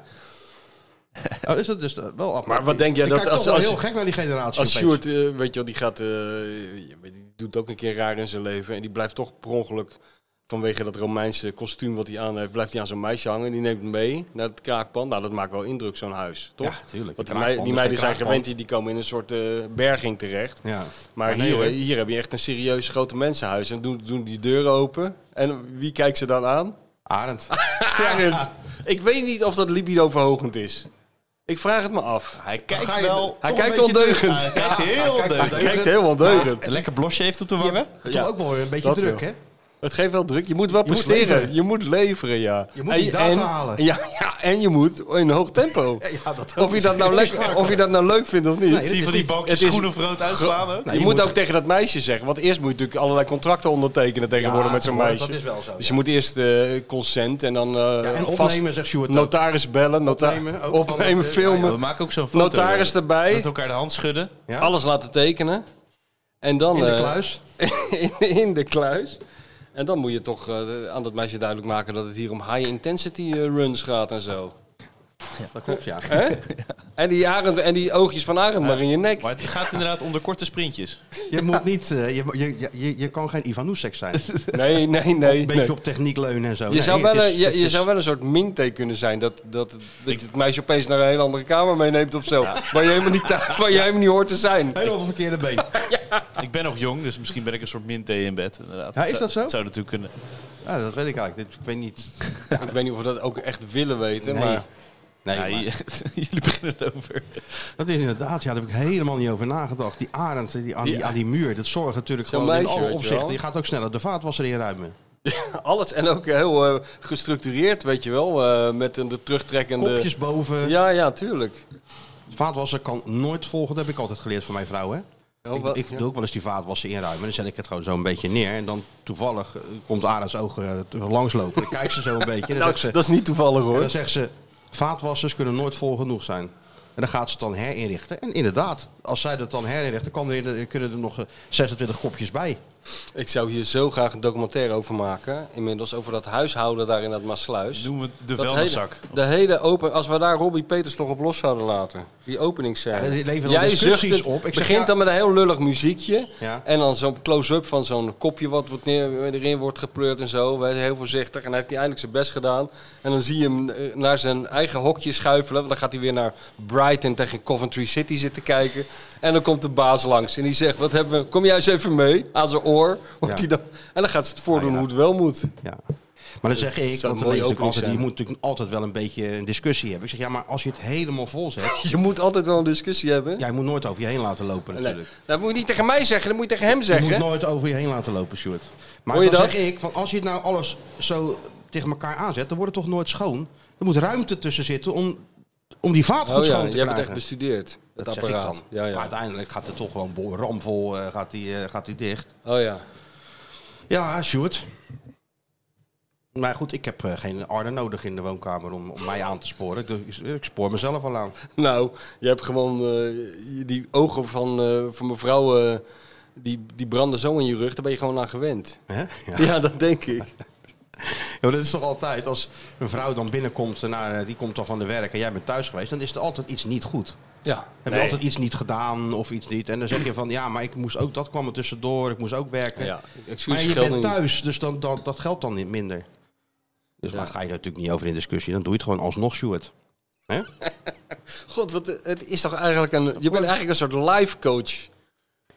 [SPEAKER 5] Oh, is dat dus eh, wel apart.
[SPEAKER 6] Maar wat denk jij
[SPEAKER 5] Ik
[SPEAKER 6] dat
[SPEAKER 5] kijk toch
[SPEAKER 6] als-
[SPEAKER 5] wel
[SPEAKER 6] als-
[SPEAKER 5] heel gek naar die generatie opeens.
[SPEAKER 6] Als Sjoerd, eh, weet je wel, die gaat, eh, je weet, die doet ook een keer raar in zijn leven. En die blijft toch per ongeluk, vanwege dat Romeinse kostuum wat hij aan heeft, blijft hij aan zo'n meisje hangen. Die neemt hem mee naar het kraakpand. Nou, dat maakt wel indruk, zo'n huis, toch?
[SPEAKER 5] Ja, tuurlijk.
[SPEAKER 6] Want die,
[SPEAKER 5] Kraakpand
[SPEAKER 6] mei- die
[SPEAKER 5] is
[SPEAKER 6] meiden
[SPEAKER 5] geen
[SPEAKER 6] zijn
[SPEAKER 5] kraakpand.
[SPEAKER 6] gewend, die die komen in een soort eh, berging terecht.
[SPEAKER 5] Ja.
[SPEAKER 6] Maar
[SPEAKER 5] Ah, nee,
[SPEAKER 6] hier, eh,
[SPEAKER 5] hoor.
[SPEAKER 6] hier heb je echt een serieus grote mensenhuis. En doen, doen die deuren open. En wie kijkt ze dan aan?
[SPEAKER 5] Arend.
[SPEAKER 6] Arend. Ik weet niet of dat libido verhogend is. Ik vraag het me af.
[SPEAKER 3] Hij kijkt
[SPEAKER 5] Ga je-
[SPEAKER 3] wel...
[SPEAKER 6] Hij
[SPEAKER 5] Toch
[SPEAKER 6] kijkt
[SPEAKER 5] een beetje
[SPEAKER 6] ondeugend.
[SPEAKER 3] Hij kijkt heel
[SPEAKER 5] kijk,
[SPEAKER 3] deugd.
[SPEAKER 5] maar-
[SPEAKER 6] Hij kijkt heel ondeugend.
[SPEAKER 3] Een lekker blosje heeft op de wangen.
[SPEAKER 5] Toch
[SPEAKER 6] Ja.
[SPEAKER 5] ook wel een beetje
[SPEAKER 6] Dat
[SPEAKER 5] druk,
[SPEAKER 6] wel.
[SPEAKER 5] hè?
[SPEAKER 6] Het geeft wel druk. Je moet wel
[SPEAKER 5] Je moet
[SPEAKER 6] presteren.
[SPEAKER 5] leveren.
[SPEAKER 6] je moet leveren, ja.
[SPEAKER 5] Je moet die data
[SPEAKER 6] en,
[SPEAKER 5] halen.
[SPEAKER 6] Ja, ja, en je moet in een hoog tempo.
[SPEAKER 5] Ja, dat
[SPEAKER 6] Of je, dat nou leuk, of je dat nou leuk vindt of niet.
[SPEAKER 5] Nee,
[SPEAKER 3] Zie je van die balkjes
[SPEAKER 6] het is-
[SPEAKER 3] schoenen rood uitslaan ook?
[SPEAKER 6] je,
[SPEAKER 5] je
[SPEAKER 6] moet
[SPEAKER 5] moet-
[SPEAKER 6] ook tegen dat meisje zeggen. Want eerst moet je natuurlijk allerlei contracten ondertekenen tegenwoordig
[SPEAKER 5] Ja,
[SPEAKER 6] met zo'n meisje.
[SPEAKER 5] tegenwoordig, dat is wel zo,
[SPEAKER 6] Dus je
[SPEAKER 5] ja.
[SPEAKER 6] moet eerst eh, consent en dan eh
[SPEAKER 5] en
[SPEAKER 6] vast
[SPEAKER 5] opnemen, zegt Sjoerd ook.
[SPEAKER 6] notaris bellen, nota
[SPEAKER 5] Opnemen, ook
[SPEAKER 6] opnemen,
[SPEAKER 5] van dat, eh,
[SPEAKER 6] filmen,
[SPEAKER 3] We maken ook zo'n foto.
[SPEAKER 6] notaris
[SPEAKER 3] eh,
[SPEAKER 6] erbij,
[SPEAKER 3] Met elkaar de hand schudden.
[SPEAKER 5] Ja?
[SPEAKER 6] alles laten tekenen. En dan
[SPEAKER 5] in de
[SPEAKER 6] eh,
[SPEAKER 5] kluis.
[SPEAKER 6] in, in de kluis. En dan moet je toch eh, aan dat meisje duidelijk maken dat het hier om high intensity eh, runs gaat en zo.
[SPEAKER 5] Dat klopt, ja.
[SPEAKER 6] Hè? En, die Arend, en die oogjes van Arend maar in je nek.
[SPEAKER 3] Maar het gaat inderdaad onder korte sprintjes.
[SPEAKER 5] Je moet niet, eh, je, mo- je, je- je, je kan geen Ivan Oesek zijn. Een
[SPEAKER 6] Nee, nee, nee.
[SPEAKER 5] beetje
[SPEAKER 6] nee.
[SPEAKER 5] op techniek leunen en zo.
[SPEAKER 6] Je, zou wel, een- je, je zou
[SPEAKER 5] wel.
[SPEAKER 6] wel een soort minte kunnen zijn. Dat, dat, dat het meisje opeens naar een hele andere kamer meeneemt of zo. Waar, je helemaal niet, thu- waar je helemaal niet hoort te zijn.
[SPEAKER 5] Helemaal op het verkeerde been.
[SPEAKER 3] Ik ben nog jong, dus misschien ben ik een soort min thee in bed. Inderdaad.
[SPEAKER 5] Ja, is dat zo?
[SPEAKER 3] zou natuurlijk kunnen.
[SPEAKER 5] Ja, dat weet ik eigenlijk. Dit, ik weet niet.
[SPEAKER 6] Ik weet niet of we dat ook echt willen weten.
[SPEAKER 5] Nee.
[SPEAKER 6] Maar
[SPEAKER 5] Nee,
[SPEAKER 3] Ja,
[SPEAKER 5] maar-
[SPEAKER 3] je- jullie beginnen erover.
[SPEAKER 5] Dat is inderdaad, ja, daar heb ik helemaal niet over nagedacht. Die arend die, aan, die, aan die muur, dat zorgt natuurlijk
[SPEAKER 6] Zo'n
[SPEAKER 5] gewoon
[SPEAKER 6] meisje,
[SPEAKER 5] in alle
[SPEAKER 6] weet je wel.
[SPEAKER 5] opzichten. Je gaat ook sneller de vaatwasser inruimen.
[SPEAKER 6] alles en ook heel eh, gestructureerd, weet je wel. eh, met een de terugtrekkende...
[SPEAKER 5] Kopjes boven.
[SPEAKER 6] Ja, ja, tuurlijk.
[SPEAKER 5] Vaatwasser kan nooit volgen, dat heb ik altijd geleerd van mijn vrouw. Hè?
[SPEAKER 6] Heel
[SPEAKER 5] ik
[SPEAKER 6] Oh, wel-
[SPEAKER 5] ik
[SPEAKER 6] ja.
[SPEAKER 5] doe ook wel eens die vaatwasser inruimen. Dan zet ik het gewoon zo een beetje neer. En dan toevallig eh, komt Arends oog eh, te- langslopen. Dan kijkt ze zo een beetje. en Dan,
[SPEAKER 6] Nou,
[SPEAKER 5] zegt ze,
[SPEAKER 6] dat is niet toevallig
[SPEAKER 5] en
[SPEAKER 6] hoor.
[SPEAKER 5] dan zegt ze, vaatwassers kunnen nooit vol genoeg zijn. En dan gaat ze het dan herinrichten. En inderdaad, als zij dat dan herinrichten, kan er in- kunnen er nog eh, 26 kopjes bij.
[SPEAKER 6] Ik zou hier zo graag een documentaire over maken. Inmiddels over dat huishouden daar in dat Maasluis.
[SPEAKER 3] Noem het de
[SPEAKER 6] Dat
[SPEAKER 3] vuilniszak.
[SPEAKER 6] hele- de hele open, als we daar Robbie Peters nog op los zouden laten. Die
[SPEAKER 5] Ja,
[SPEAKER 6] openingsscène.
[SPEAKER 5] die leveren dan
[SPEAKER 6] Jij
[SPEAKER 5] discussies
[SPEAKER 6] zucht het,
[SPEAKER 5] op. Ik zeg,
[SPEAKER 6] begint
[SPEAKER 5] ja-
[SPEAKER 6] dan met een heel lullig muziekje.
[SPEAKER 5] Ja.
[SPEAKER 6] En dan zo'n close-up van zo'n kopje wat, wat neer, erin wordt gepleurd en zo. Wij zijn Heel voorzichtig. En hij heeft hij eindelijk zijn best gedaan. En dan zie je hem eh, naar zijn eigen hokje schuifelen. Want dan gaat hij weer naar Brighton tegen Coventry City zitten kijken. En dan komt de baas langs. En die zegt, wat hebben we, kom jij eens even mee? Aan zijn oor. Wordt
[SPEAKER 5] Ja.
[SPEAKER 6] hij dan, en dan gaat ze het voordoen
[SPEAKER 5] Ah, ja.
[SPEAKER 6] hoe het wel moet.
[SPEAKER 5] Ja. Maar dan zeg ik,
[SPEAKER 6] zou
[SPEAKER 5] want
[SPEAKER 6] een
[SPEAKER 5] er
[SPEAKER 6] mooie
[SPEAKER 5] leeft natuurlijk
[SPEAKER 6] opening
[SPEAKER 5] altijd, je
[SPEAKER 6] zijn.
[SPEAKER 5] moet natuurlijk altijd wel een beetje een discussie hebben. Ik zeg, ja, maar als je het helemaal vol zet,
[SPEAKER 6] Je moet altijd wel een discussie hebben.
[SPEAKER 5] jij moet nooit over je heen laten lopen
[SPEAKER 6] Nee.
[SPEAKER 5] natuurlijk.
[SPEAKER 6] Dat moet je niet tegen mij zeggen, dat moet je tegen hem
[SPEAKER 5] Je moet
[SPEAKER 6] zeggen.
[SPEAKER 5] nooit over je heen laten lopen, Stuart. Maar
[SPEAKER 6] Hoor je
[SPEAKER 5] dan
[SPEAKER 6] dat?
[SPEAKER 5] zeg ik, van als je het nou alles zo tegen elkaar aanzet, dan wordt het toch nooit schoon? Er moet ruimte tussen zitten om, om die vaat goed
[SPEAKER 6] oh ja,
[SPEAKER 5] schoon te
[SPEAKER 6] jij hebt
[SPEAKER 5] krijgen.
[SPEAKER 6] echt bestudeerd, het
[SPEAKER 5] dat zeg ik
[SPEAKER 6] apparaat.
[SPEAKER 5] dan.
[SPEAKER 6] Ja,
[SPEAKER 5] Maar
[SPEAKER 6] ja.
[SPEAKER 5] uiteindelijk gaat het toch gewoon bo- ramvol eh, gaat die, eh, gaat die dicht.
[SPEAKER 6] Oh ja.
[SPEAKER 5] Ja, Sjoerd. Maar goed, ik heb eh, geen Arne nodig in de woonkamer om, om mij aan te sporen. Ik, dus, eh, ik spoor mezelf al aan.
[SPEAKER 6] Nou, je hebt gewoon eh, die ogen van, eh, van mevrouw, eh, die, die branden zo in je rug, daar ben je gewoon aan gewend.
[SPEAKER 5] Hè? Ja.
[SPEAKER 6] Ja, dat denk ik.
[SPEAKER 5] Ja, maar dat is toch altijd, als een vrouw dan binnenkomt, en haar, eh, die komt dan van de werk en jij bent thuis geweest, dan is er altijd iets niet goed.
[SPEAKER 6] Ja.
[SPEAKER 5] Heb je altijd iets niet gedaan of iets niet. En dan zeg je van, ja, maar ik moest ook, dat kwam er tussendoor, ik moest ook werken.
[SPEAKER 6] ja.
[SPEAKER 5] maar
[SPEAKER 6] Excuses
[SPEAKER 5] je
[SPEAKER 6] gelden
[SPEAKER 5] bent
[SPEAKER 6] niet.
[SPEAKER 5] thuis, dus dan, dan, dat geldt dan niet minder. Dus
[SPEAKER 6] Ja.
[SPEAKER 5] maar ga je daar natuurlijk niet over in discussie, dan doe je het gewoon alsnog, Sjoerd.
[SPEAKER 6] God, wat, eh, het is toch eigenlijk een... Je bent eigenlijk een soort life coach.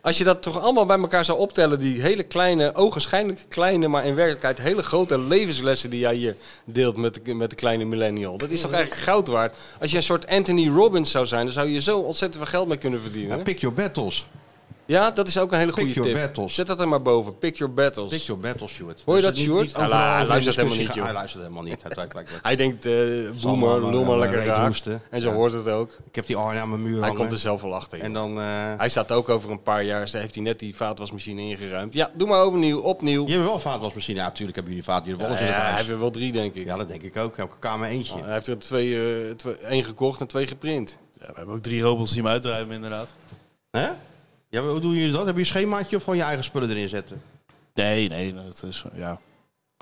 [SPEAKER 6] Als je dat toch allemaal bij elkaar zou optellen, die hele kleine, ogenschijnlijk kleine, maar in werkelijkheid hele grote levenslessen die jij hier deelt met de, met de kleine millennial. Dat is toch eigenlijk goud waard? Als je een soort Anthony Robbins zou zijn, dan zou je zo ontzettend veel geld mee kunnen verdienen.
[SPEAKER 5] Ja, pick your battles.
[SPEAKER 6] Ja, dat is ook een hele
[SPEAKER 5] Pick
[SPEAKER 6] goede
[SPEAKER 5] your
[SPEAKER 6] tip.
[SPEAKER 5] battles.
[SPEAKER 6] Zet dat er maar boven. Pick your battles.
[SPEAKER 5] Pick your battles, Sjoerd.
[SPEAKER 6] Hoor je
[SPEAKER 5] Dus
[SPEAKER 6] dat,
[SPEAKER 5] niet-
[SPEAKER 6] Sjoerd?
[SPEAKER 5] niet overal
[SPEAKER 6] Ah, hij
[SPEAKER 5] over
[SPEAKER 6] luistert
[SPEAKER 5] in discussie
[SPEAKER 6] helemaal niet,
[SPEAKER 5] gaan.
[SPEAKER 6] joh.
[SPEAKER 5] Hij luistert helemaal niet. Hij lijkt- lijkt- lijkt-
[SPEAKER 6] Hij denkt, eh boemer,
[SPEAKER 5] maar-
[SPEAKER 6] lul maar
[SPEAKER 5] maar
[SPEAKER 6] lekker
[SPEAKER 5] reet
[SPEAKER 6] raak.
[SPEAKER 5] hoesten.
[SPEAKER 6] En zo
[SPEAKER 5] Ja.
[SPEAKER 6] hoort het ook.
[SPEAKER 5] Ik heb die Arne aan mijn muur
[SPEAKER 6] Hij
[SPEAKER 5] hangen.
[SPEAKER 6] komt er zelf wel achter. joh.
[SPEAKER 5] En dan... eh,
[SPEAKER 6] Hij staat ook over een paar jaar, heeft hij net die vaatwasmachine ingeruimd. Ja, doe maar overnieuw, opnieuw.
[SPEAKER 5] Je hebt wel vaatwasmachine. Ja, natuurlijk hebben jullie vaat. Jullie
[SPEAKER 6] Ja,
[SPEAKER 5] hebben alles in het
[SPEAKER 6] hij Oh,
[SPEAKER 5] huis.
[SPEAKER 6] heeft er wel drie, denk ik.
[SPEAKER 5] Ja, dat denk ik ook. Elke kamer eentje.
[SPEAKER 6] Hij heeft er twee, eh, twee- één gekocht en twee geprint.
[SPEAKER 3] Ja, we hebben ook drie robots die hem uitruimen, inderdaad.
[SPEAKER 5] Hè? Ja, maar hoe doen jullie dat? Hebben je een schemaatje of gewoon je eigen spullen erin zetten?
[SPEAKER 3] Nee, nee, dat is ja.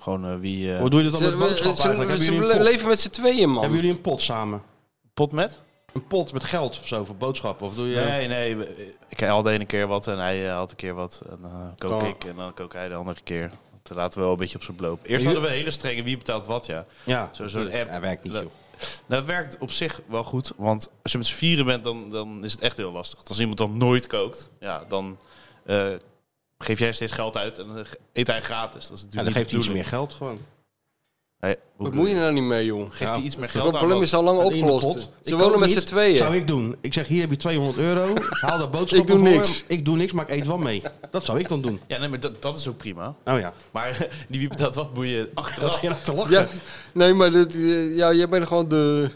[SPEAKER 3] Gewoon eh, wie. eh,
[SPEAKER 5] Hoe doe je dat dan
[SPEAKER 6] Ze-
[SPEAKER 5] met
[SPEAKER 6] we-
[SPEAKER 5] boodschappen
[SPEAKER 6] ze-
[SPEAKER 5] eigenlijk? Hebben
[SPEAKER 6] ze
[SPEAKER 5] jullie, een pot?
[SPEAKER 6] leven met z'n tweeën, man.
[SPEAKER 5] Hebben jullie een pot samen?
[SPEAKER 3] pot met?
[SPEAKER 5] Een pot met geld of zo voor boodschappen? Of doe je...
[SPEAKER 3] Nee, nee. we- Ik had de ene keer wat en hij eh, had een keer wat. En dan kook
[SPEAKER 6] Oh.
[SPEAKER 3] ik en dan kook hij de andere keer. Want dan laten we wel een beetje op zijn bloop. Eerst
[SPEAKER 5] Wie-
[SPEAKER 3] hadden we een hele strenge wie betaalt wat, ja.
[SPEAKER 5] Ja,
[SPEAKER 3] Zo- zo'n app.
[SPEAKER 5] Hij werkt niet,
[SPEAKER 3] Le-
[SPEAKER 5] joh.
[SPEAKER 3] Dat werkt op zich wel goed, want als je met z'n vieren bent, dan, dan is het echt heel lastig. Als iemand dan nooit kookt, ja, dan eh, geef jij steeds geld uit en dan ge- eet hij gratis. Dat is natuurlijk
[SPEAKER 5] Ja, dan
[SPEAKER 3] niet
[SPEAKER 5] geeft
[SPEAKER 3] de
[SPEAKER 5] hij iets meer
[SPEAKER 3] bedoeling.
[SPEAKER 5] geld gewoon.
[SPEAKER 3] Hey, hoe
[SPEAKER 6] Wat moet je nou niet mee, joh?
[SPEAKER 3] Geeft hij iets meer
[SPEAKER 6] Het
[SPEAKER 3] geld aan?
[SPEAKER 6] probleem
[SPEAKER 3] wat-
[SPEAKER 6] is al lang
[SPEAKER 5] In de pot.
[SPEAKER 6] opgelost.
[SPEAKER 5] Ik
[SPEAKER 6] Ze
[SPEAKER 5] kook
[SPEAKER 6] wonen met
[SPEAKER 5] niet.
[SPEAKER 6] z'n tweeën.
[SPEAKER 5] Zou ik doen. Ik zeg, hier heb je 200 euro. Haal daar boodschappen
[SPEAKER 6] Ik doe
[SPEAKER 5] voor.
[SPEAKER 6] niks.
[SPEAKER 5] Ik doe niks, maar ik eet wel mee. Dat zou ik dan doen.
[SPEAKER 3] Ja, nee, maar dat, dat is ook prima.
[SPEAKER 5] Nou ja.
[SPEAKER 3] Maar die wie betaalt wat moet je
[SPEAKER 5] Dat is
[SPEAKER 3] achteraf.
[SPEAKER 5] geen aan te lachen.
[SPEAKER 6] Ja, nee, maar dit, eh, ja, jij bent gewoon de...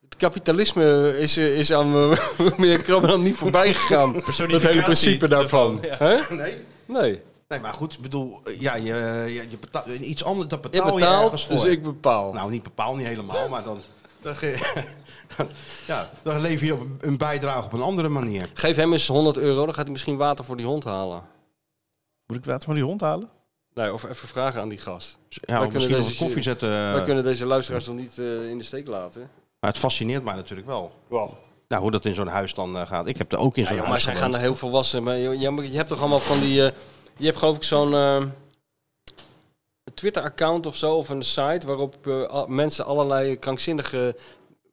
[SPEAKER 6] Het kapitalisme is, eh, is aan eh, meneer Krabbenam niet voorbij gegaan. Dat hele
[SPEAKER 3] Personificatie
[SPEAKER 6] principe daarvan.
[SPEAKER 3] daarvan,
[SPEAKER 6] Hè?
[SPEAKER 5] Nee.
[SPEAKER 6] Nee.
[SPEAKER 5] Nee, maar goed, ik bedoel, ja, je, je, je betaalt iets anders, dat
[SPEAKER 6] Ik
[SPEAKER 5] betaal je
[SPEAKER 6] betaal,
[SPEAKER 5] ergens voor.
[SPEAKER 6] dus ik bepaal.
[SPEAKER 5] Nou, niet bepaal, niet helemaal, maar dan, dan, ge- dan- ja, dan lever je op een- een bijdrage op een andere manier.
[SPEAKER 6] Geef hem eens 100 euro, dan gaat hij misschien water voor die hond halen.
[SPEAKER 3] Moet ik water van die hond
[SPEAKER 6] Oh,
[SPEAKER 3] halen?
[SPEAKER 6] Nee, of even vragen aan die gast.
[SPEAKER 5] Ja,
[SPEAKER 6] Wij
[SPEAKER 5] of
[SPEAKER 6] kunnen
[SPEAKER 5] misschien nog
[SPEAKER 6] deze-
[SPEAKER 5] wat koffie zetten. eh,
[SPEAKER 6] Wij kunnen deze luisteraars nog niet eh, in de steek laten.
[SPEAKER 5] Maar het fascineert mij natuurlijk wel.
[SPEAKER 6] Wow.
[SPEAKER 5] Nou, hoe dat in zo'n huis dan eh, gaat. Ik heb er ook in zo'n
[SPEAKER 6] Ja, maar
[SPEAKER 5] huis
[SPEAKER 6] zij gaan
[SPEAKER 5] gewoond.
[SPEAKER 6] er heel volwassen. Maar je, je- maar je hebt toch allemaal van die. eh, je hebt geloof ik zo'n eh, Twitter-account of zo, of een site waarop eh, a- mensen allerlei krankzinnige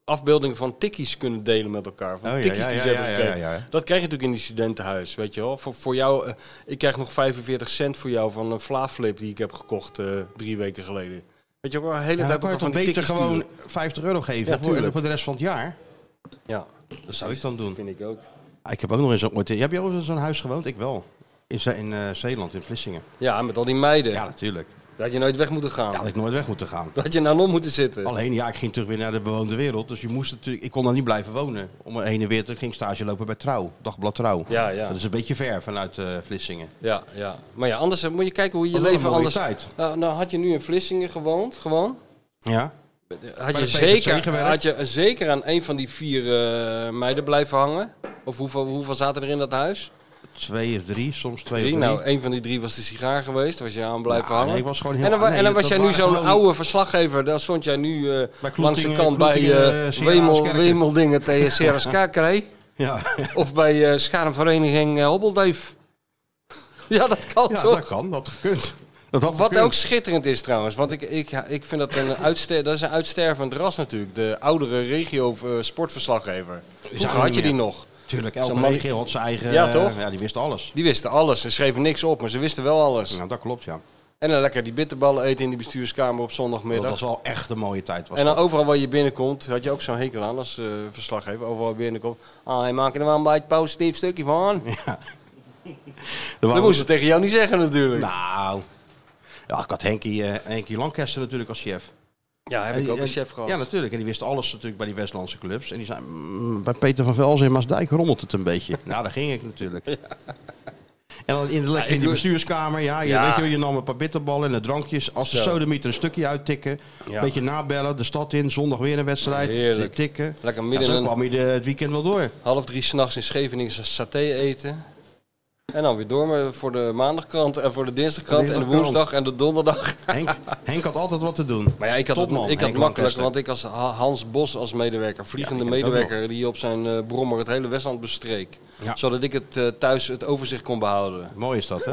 [SPEAKER 6] afbeeldingen van tikkies kunnen delen met elkaar. Van
[SPEAKER 5] Oh, ja,
[SPEAKER 6] tikkies
[SPEAKER 5] ja,
[SPEAKER 6] die
[SPEAKER 5] ja,
[SPEAKER 6] ze
[SPEAKER 5] ja,
[SPEAKER 6] hebben
[SPEAKER 5] ja,
[SPEAKER 6] gekregen.
[SPEAKER 5] ja, ja.
[SPEAKER 6] Dat krijg je natuurlijk in die studentenhuis, weet je wel. Voor, voor jou, eh, ik krijg nog 45 cent voor jou van een Vlaaflip die ik heb gekocht eh, drie weken geleden. Weet je wel, de hele
[SPEAKER 5] Ja, dan
[SPEAKER 6] tijd
[SPEAKER 5] kan
[SPEAKER 6] ook
[SPEAKER 5] je toch
[SPEAKER 6] al van die
[SPEAKER 5] beter
[SPEAKER 6] tikkies
[SPEAKER 5] gewoon
[SPEAKER 6] sturen.
[SPEAKER 5] 50 euro geven
[SPEAKER 6] Ja,
[SPEAKER 5] voor,
[SPEAKER 6] tuurlijk.
[SPEAKER 5] voor de rest van het jaar.
[SPEAKER 6] Ja,
[SPEAKER 5] Dat zou ik dan
[SPEAKER 6] dat
[SPEAKER 5] doen.
[SPEAKER 6] vind ik ook.
[SPEAKER 5] Ah, ik heb ook nog eens ooit... Heb jij ook in zo'n huis gewoond? Ik wel. In, Ze- in eh, Zeeland, in Vlissingen.
[SPEAKER 6] Ja, met al die meiden.
[SPEAKER 5] Ja, natuurlijk.
[SPEAKER 6] Daar had je nooit weg moeten gaan.
[SPEAKER 5] Ja, Oh, had ik nooit weg moeten gaan.
[SPEAKER 6] Dat had je nou nog moeten zitten.
[SPEAKER 5] Alleen, ja, ik ging terug weer naar de bewoonde wereld. Dus je moest natuurlijk... Ik kon daar niet blijven wonen. Om er heen en weer te... Ik ging stage lopen bij Trouw. Dagblad Trouw.
[SPEAKER 6] Ja, ja.
[SPEAKER 5] Dat is een beetje ver vanuit eh, Vlissingen.
[SPEAKER 6] Ja, ja. Maar ja, anders eh, moet je kijken hoe je
[SPEAKER 5] Wat een
[SPEAKER 6] leven
[SPEAKER 5] mooie
[SPEAKER 6] anders...
[SPEAKER 5] tijd.
[SPEAKER 6] Nou, nou, had je nu in Vlissingen gewoond, gewoon...
[SPEAKER 5] Ja?
[SPEAKER 6] Had
[SPEAKER 5] de
[SPEAKER 6] je,
[SPEAKER 5] VZC
[SPEAKER 6] zeker,
[SPEAKER 5] gewerkt?
[SPEAKER 6] had je zeker aan een van die vier eh, meiden blijven hangen? Of hoeveel, hoeveel zaten er in dat huis?
[SPEAKER 5] Twee of drie, soms twee
[SPEAKER 6] Drie?
[SPEAKER 5] of drie.
[SPEAKER 6] Nou, een van die drie was de sigaar geweest. Daar was je aan blijven
[SPEAKER 5] Nou,
[SPEAKER 6] hangen.
[SPEAKER 5] nee, ik was gewoon heel-
[SPEAKER 6] en dan, wa-
[SPEAKER 5] nee,
[SPEAKER 6] en dan
[SPEAKER 5] dat
[SPEAKER 6] was jij nu
[SPEAKER 5] waren
[SPEAKER 6] zo'n
[SPEAKER 5] gewoon-
[SPEAKER 6] oude verslaggever. Daar stond jij nu eh,
[SPEAKER 5] Kloetingen-
[SPEAKER 6] langs de kant bij
[SPEAKER 5] Kloetingen,
[SPEAKER 6] eh,
[SPEAKER 5] eh, Sierra
[SPEAKER 6] Wemel,
[SPEAKER 5] Skerken.
[SPEAKER 6] Wemeldingen tegen Sierra Skerkerij.
[SPEAKER 5] Ja,
[SPEAKER 6] Of bij eh Schermvereniging eh, Hobbelduif. ja, dat kan
[SPEAKER 5] ja
[SPEAKER 6] toch?
[SPEAKER 5] dat kan. Dat gekund. Dat had
[SPEAKER 6] Wat
[SPEAKER 5] gekund.
[SPEAKER 6] ook schitterend is trouwens, want ik, ik, ik vind dat een, uitster, dat is een uitstervend ras natuurlijk. De oudere regio eh, sportverslaggever. Vroeger
[SPEAKER 5] er
[SPEAKER 6] had
[SPEAKER 5] niet
[SPEAKER 6] je die
[SPEAKER 5] meer.
[SPEAKER 6] nog.
[SPEAKER 5] Tuurlijk,
[SPEAKER 6] Zo'n
[SPEAKER 5] elke
[SPEAKER 6] man-
[SPEAKER 5] regio had zijn eigen...
[SPEAKER 6] Ja,
[SPEAKER 5] eh,
[SPEAKER 6] toch?
[SPEAKER 5] Ja, die wist alles.
[SPEAKER 6] Die wisten alles. Ze schreven niks op, maar ze wisten wel alles.
[SPEAKER 5] Nou, dat klopt, ja.
[SPEAKER 6] En dan lekker die bitterballen eten in die bestuurskamer op
[SPEAKER 5] Dat
[SPEAKER 6] zondagmiddag.
[SPEAKER 5] was wel echt een mooie tijd. Was
[SPEAKER 6] En dan
[SPEAKER 5] dat.
[SPEAKER 6] overal waar je binnenkomt, had je ook zo'n hekel aan als eh, verslaggever. Overal waar je binnenkomt. Ah, hij maakt er wel een beetje positief stukje van.
[SPEAKER 5] Er
[SPEAKER 6] Dat
[SPEAKER 5] waren-
[SPEAKER 6] moesten ze tegen jou niet zeggen natuurlijk.
[SPEAKER 5] Nou... Ja, ik had Henkie, eh, Henkie Lancaster natuurlijk als chef.
[SPEAKER 6] ja, heb
[SPEAKER 5] En
[SPEAKER 6] ik
[SPEAKER 5] die-
[SPEAKER 6] ook een
[SPEAKER 5] en-
[SPEAKER 6] chef gehad.
[SPEAKER 5] Ja, natuurlijk. En die wist alles natuurlijk bij die Westlandse clubs. En die zei, "Mm, bij Peter van Velzen in Maasdijk rommelt het een beetje. nou, daar ging ik natuurlijk. En dan in, de, lekker in die
[SPEAKER 6] doe-
[SPEAKER 5] bestuurskamer, ja, je,
[SPEAKER 6] Ja.
[SPEAKER 5] Weet je, je nam een paar bitterballen en de drankjes. Als de
[SPEAKER 6] Zo.
[SPEAKER 5] sodemieter een stukje uittikken,
[SPEAKER 6] Ja.
[SPEAKER 5] een beetje nabellen, de stad in, zondag weer een wedstrijd, eh,
[SPEAKER 6] Heerlijk.
[SPEAKER 5] tikken.
[SPEAKER 6] Lekker
[SPEAKER 5] Ja,
[SPEAKER 6] midden
[SPEAKER 5] zo
[SPEAKER 6] in een
[SPEAKER 5] kwam je de- het weekend wel door.
[SPEAKER 6] half drie s'nachts in Scheveningen saté eten. En dan weer door maar voor de maandagkrant en voor de dinsdagkrant en de
[SPEAKER 5] Dinsdagkrant.
[SPEAKER 6] woensdag en de donderdag.
[SPEAKER 5] Henk, Henk had altijd wat te doen.
[SPEAKER 6] Maar ja, ik had,
[SPEAKER 5] Topman,
[SPEAKER 6] het, ik had
[SPEAKER 5] Henk
[SPEAKER 6] makkelijk,
[SPEAKER 5] Lancaster.
[SPEAKER 6] want ik als Ha- Hans Bos als medewerker, vliegende
[SPEAKER 5] Ja, ik heb het ook
[SPEAKER 6] medewerker die op zijn eh, brommer het hele Westland bestreek.
[SPEAKER 5] Ja.
[SPEAKER 6] Zodat ik het eh, thuis het overzicht kon behouden.
[SPEAKER 5] Mooi is dat, hè?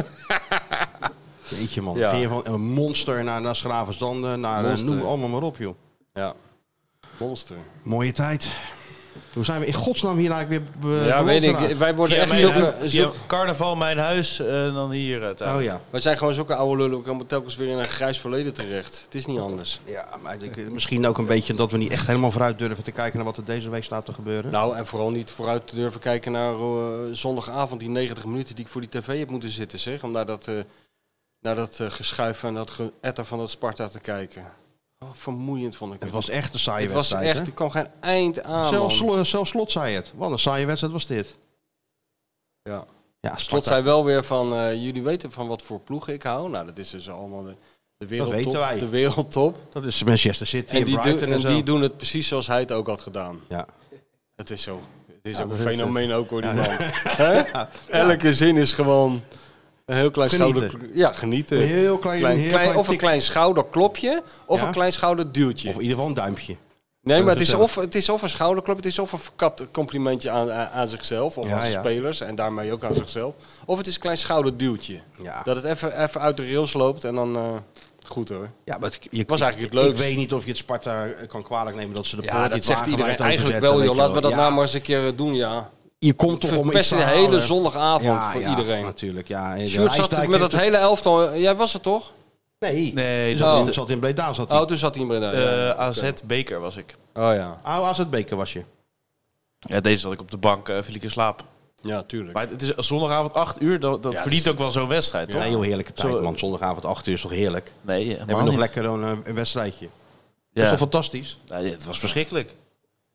[SPEAKER 5] Jeetje man,
[SPEAKER 6] Ja.
[SPEAKER 5] ging je van een monster naar, naar Schravenzanden, naar eh,
[SPEAKER 6] Monster.
[SPEAKER 5] noem allemaal maar op joh.
[SPEAKER 6] Ja. Monster.
[SPEAKER 5] Mooie tijd. Hoe zijn we in godsnaam hier eigenlijk weer be-
[SPEAKER 6] ja,
[SPEAKER 5] beland
[SPEAKER 6] weet ik.
[SPEAKER 5] geraakt?
[SPEAKER 6] Wij worden
[SPEAKER 3] Via
[SPEAKER 6] echt
[SPEAKER 3] mijn
[SPEAKER 6] zulke...
[SPEAKER 3] hui-
[SPEAKER 6] zulke-
[SPEAKER 3] via carnaval, mijn huis, en dan hier eh, thuis.
[SPEAKER 5] Oh ja.
[SPEAKER 6] wij zijn gewoon zulke oude lullen. We komen telkens weer in een grijs verleden terecht. Het is niet anders.
[SPEAKER 5] Ja, maar ik denk, misschien ook een beetje dat we niet echt helemaal vooruit durven te kijken naar wat er deze week staat te gebeuren.
[SPEAKER 6] Nou, en vooral niet vooruit te durven kijken naar eh, zondagavond, die 90 minuten die ik voor die tv heb moeten zitten, zeg. Om naar dat, eh naar dat eh, geschuif en dat geëtter van dat Sparta te kijken. Oh, vermoeiend vond ik
[SPEAKER 5] het was echt een saaie
[SPEAKER 6] het was
[SPEAKER 5] wedstrijd.
[SPEAKER 6] echt,
[SPEAKER 5] hè?
[SPEAKER 6] er kwam geen eind aan,
[SPEAKER 5] Zelfs,
[SPEAKER 6] man.
[SPEAKER 5] Slo- zelfs Slot zei het. Wat een saaie wedstrijd was dit.
[SPEAKER 6] Ja.
[SPEAKER 5] Ja,
[SPEAKER 6] Slot
[SPEAKER 5] Slot
[SPEAKER 6] zei wel weer van, eh, jullie weten van wat voor ploeg ik hou. Nou, dat is dus allemaal de, de wereldtop.
[SPEAKER 5] weten wij.
[SPEAKER 6] De wereldtop.
[SPEAKER 5] Dat is Manchester City
[SPEAKER 6] En,
[SPEAKER 5] en
[SPEAKER 6] die, doen-
[SPEAKER 5] Brighton en
[SPEAKER 6] en
[SPEAKER 5] zo.
[SPEAKER 6] die doen het precies zoals hij het ook had gedaan.
[SPEAKER 5] Ja.
[SPEAKER 6] Het is zo. Het is ook een
[SPEAKER 5] dat is het.
[SPEAKER 6] fenomeen ook hoor, die man. Hè? Elke zin is gewoon een heel klein
[SPEAKER 5] Genieten.
[SPEAKER 6] schouder... Ja, genieten.
[SPEAKER 5] Een heel klein- een heel klein
[SPEAKER 6] of een
[SPEAKER 5] tik.
[SPEAKER 6] klein schouderklopje, of
[SPEAKER 5] Ja.
[SPEAKER 6] een klein schouderduwtje.
[SPEAKER 5] Of in ieder geval een duimpje.
[SPEAKER 6] nee, maar het is,
[SPEAKER 5] zichzelf.
[SPEAKER 6] of, het is of een schouderklop, het is of een verkapt complimentje aan, aan aan zichzelf, of
[SPEAKER 5] Ja,
[SPEAKER 6] aan zijn
[SPEAKER 5] ja.
[SPEAKER 6] spelers, en daarmee ook aan zichzelf. Of het is een klein schouderduwtje.
[SPEAKER 5] Ja.
[SPEAKER 6] Dat het even, even uit de rails loopt en dan... eh, goed hoor.
[SPEAKER 5] Ja, maar het, je,
[SPEAKER 6] Was eigenlijk het
[SPEAKER 5] ik-
[SPEAKER 6] leukst.
[SPEAKER 5] Ik weet niet of je het Sparta eh, kan kwalijk nemen dat ze de poort
[SPEAKER 6] Ja,
[SPEAKER 5] niet
[SPEAKER 6] dat zegt
[SPEAKER 5] wagenwijd
[SPEAKER 6] iedereen
[SPEAKER 5] openzetten,
[SPEAKER 6] eigenlijk
[SPEAKER 5] weet
[SPEAKER 6] wel,
[SPEAKER 5] je
[SPEAKER 6] joh. Laten we dat
[SPEAKER 5] Ja,
[SPEAKER 6] nou maar eens een keer eh, doen, ja.
[SPEAKER 5] Je komt toch om iets
[SPEAKER 6] Verpest
[SPEAKER 5] te
[SPEAKER 6] een hele
[SPEAKER 5] halen.
[SPEAKER 6] zondagavond voor iedereen.
[SPEAKER 5] natuurlijk. Ja. En
[SPEAKER 6] Sjoerd
[SPEAKER 5] Rijsdijk
[SPEAKER 6] zat met
[SPEAKER 5] heeft
[SPEAKER 6] dat hele elftal. eh, Jij was het toch?
[SPEAKER 5] Nee,
[SPEAKER 3] Nee,
[SPEAKER 5] dat
[SPEAKER 3] dat
[SPEAKER 6] Oh.
[SPEAKER 3] is
[SPEAKER 5] zat in Breda. Zat hij.
[SPEAKER 6] Oh, toen zat hij in Breda.
[SPEAKER 3] de
[SPEAKER 6] ja.
[SPEAKER 3] eh, AZ Beker was ik.
[SPEAKER 6] Oh ja.
[SPEAKER 5] Oh, AZ Beker was je.
[SPEAKER 3] Ja, deze zat ik op de bank, eh viel ik in slaap.
[SPEAKER 6] Ja, tuurlijk.
[SPEAKER 3] Maar het is zondagavond 8 uur, dat, dat
[SPEAKER 6] Ja,
[SPEAKER 3] verdient
[SPEAKER 6] dat
[SPEAKER 3] ook wel zo'n wedstrijd,
[SPEAKER 5] dus- Ja,
[SPEAKER 3] toch?
[SPEAKER 5] heel heerlijke tijd,
[SPEAKER 3] Zo-
[SPEAKER 5] man. Zondagavond 8 uur is toch heerlijk.
[SPEAKER 3] Nee,
[SPEAKER 5] Hebben
[SPEAKER 3] helemaal
[SPEAKER 5] we nog
[SPEAKER 3] niet.
[SPEAKER 5] lekker een, eh, een wedstrijdje.
[SPEAKER 3] Ja.
[SPEAKER 5] Dat is toch fantastisch?
[SPEAKER 3] Ja, het was verschrikkelijk.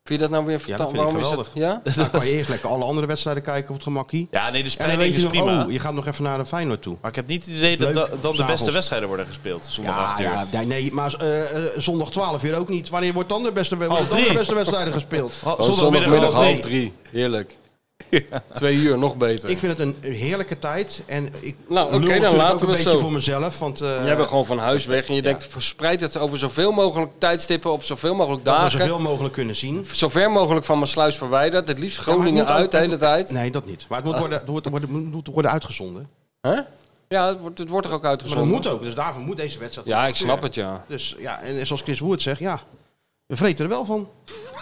[SPEAKER 6] Vind je dat nou weer
[SPEAKER 5] Ja, dat
[SPEAKER 6] vertand?
[SPEAKER 5] vind
[SPEAKER 6] Waarom
[SPEAKER 5] ik
[SPEAKER 6] is dat?
[SPEAKER 5] geweldig.
[SPEAKER 6] Ja?
[SPEAKER 5] Dan kan je eerst lekker alle andere wedstrijden kijken op het gemakkie.
[SPEAKER 3] Ja, nee, de
[SPEAKER 5] En dan
[SPEAKER 3] spreiding
[SPEAKER 5] weet je
[SPEAKER 3] is
[SPEAKER 5] nog,
[SPEAKER 3] prima.
[SPEAKER 5] oh, je gaat nog even naar de Feyenoord toe.
[SPEAKER 3] Maar ik heb niet het idee
[SPEAKER 5] Leuk,
[SPEAKER 3] dat da- dan de beste
[SPEAKER 5] s'avonds.
[SPEAKER 3] wedstrijden worden gespeeld. Zondag
[SPEAKER 5] Ja,
[SPEAKER 3] 8 uur.
[SPEAKER 5] ja, nee, nee, maar eh, eh, zondag 12 uur ook niet. Wanneer wordt dan de beste, worden
[SPEAKER 3] Half
[SPEAKER 5] dan de
[SPEAKER 3] drie.
[SPEAKER 5] beste wedstrijden gespeeld?
[SPEAKER 3] Ha-
[SPEAKER 6] Gewoon
[SPEAKER 3] Zondagmiddag half Oh, drie.
[SPEAKER 6] Heerlijk. Twee uur, nog beter.
[SPEAKER 5] Ik vind het een, een heerlijke tijd. En ik
[SPEAKER 6] Nou, oké,
[SPEAKER 5] lul
[SPEAKER 6] dan
[SPEAKER 5] natuurlijk
[SPEAKER 6] laten
[SPEAKER 5] ook
[SPEAKER 6] we
[SPEAKER 5] een
[SPEAKER 6] het
[SPEAKER 5] beetje
[SPEAKER 6] zo.
[SPEAKER 5] voor mezelf. Want eh,
[SPEAKER 6] Jij bent gewoon van huis weg en je denkt, verspreid het over zoveel mogelijk tijdstippen, op zoveel mogelijk
[SPEAKER 5] dat we
[SPEAKER 6] dagen.
[SPEAKER 5] zoveel mogelijk kunnen zien.
[SPEAKER 6] Zover mogelijk van mijn sluis verwijderd. Het liefst
[SPEAKER 5] Ja,
[SPEAKER 6] Groningen
[SPEAKER 5] maar het moet
[SPEAKER 6] uit Ah.
[SPEAKER 5] ook-
[SPEAKER 6] de hele tijd.
[SPEAKER 5] Nee, dat niet. Maar het moet worden, het wordt- het wordt- het moet worden uitgezonden.
[SPEAKER 6] Hè? Ja, het wordt, het wordt er ook
[SPEAKER 5] Maar dat
[SPEAKER 6] uitgezonden.
[SPEAKER 5] moet ook. Dus daarvoor moet deze wedstrijd.
[SPEAKER 6] Ja, ik snap
[SPEAKER 5] gebeuren.
[SPEAKER 6] het, ja.
[SPEAKER 5] Dus ja, en zoals Chris Woert zegt, ja, we vreten er wel van.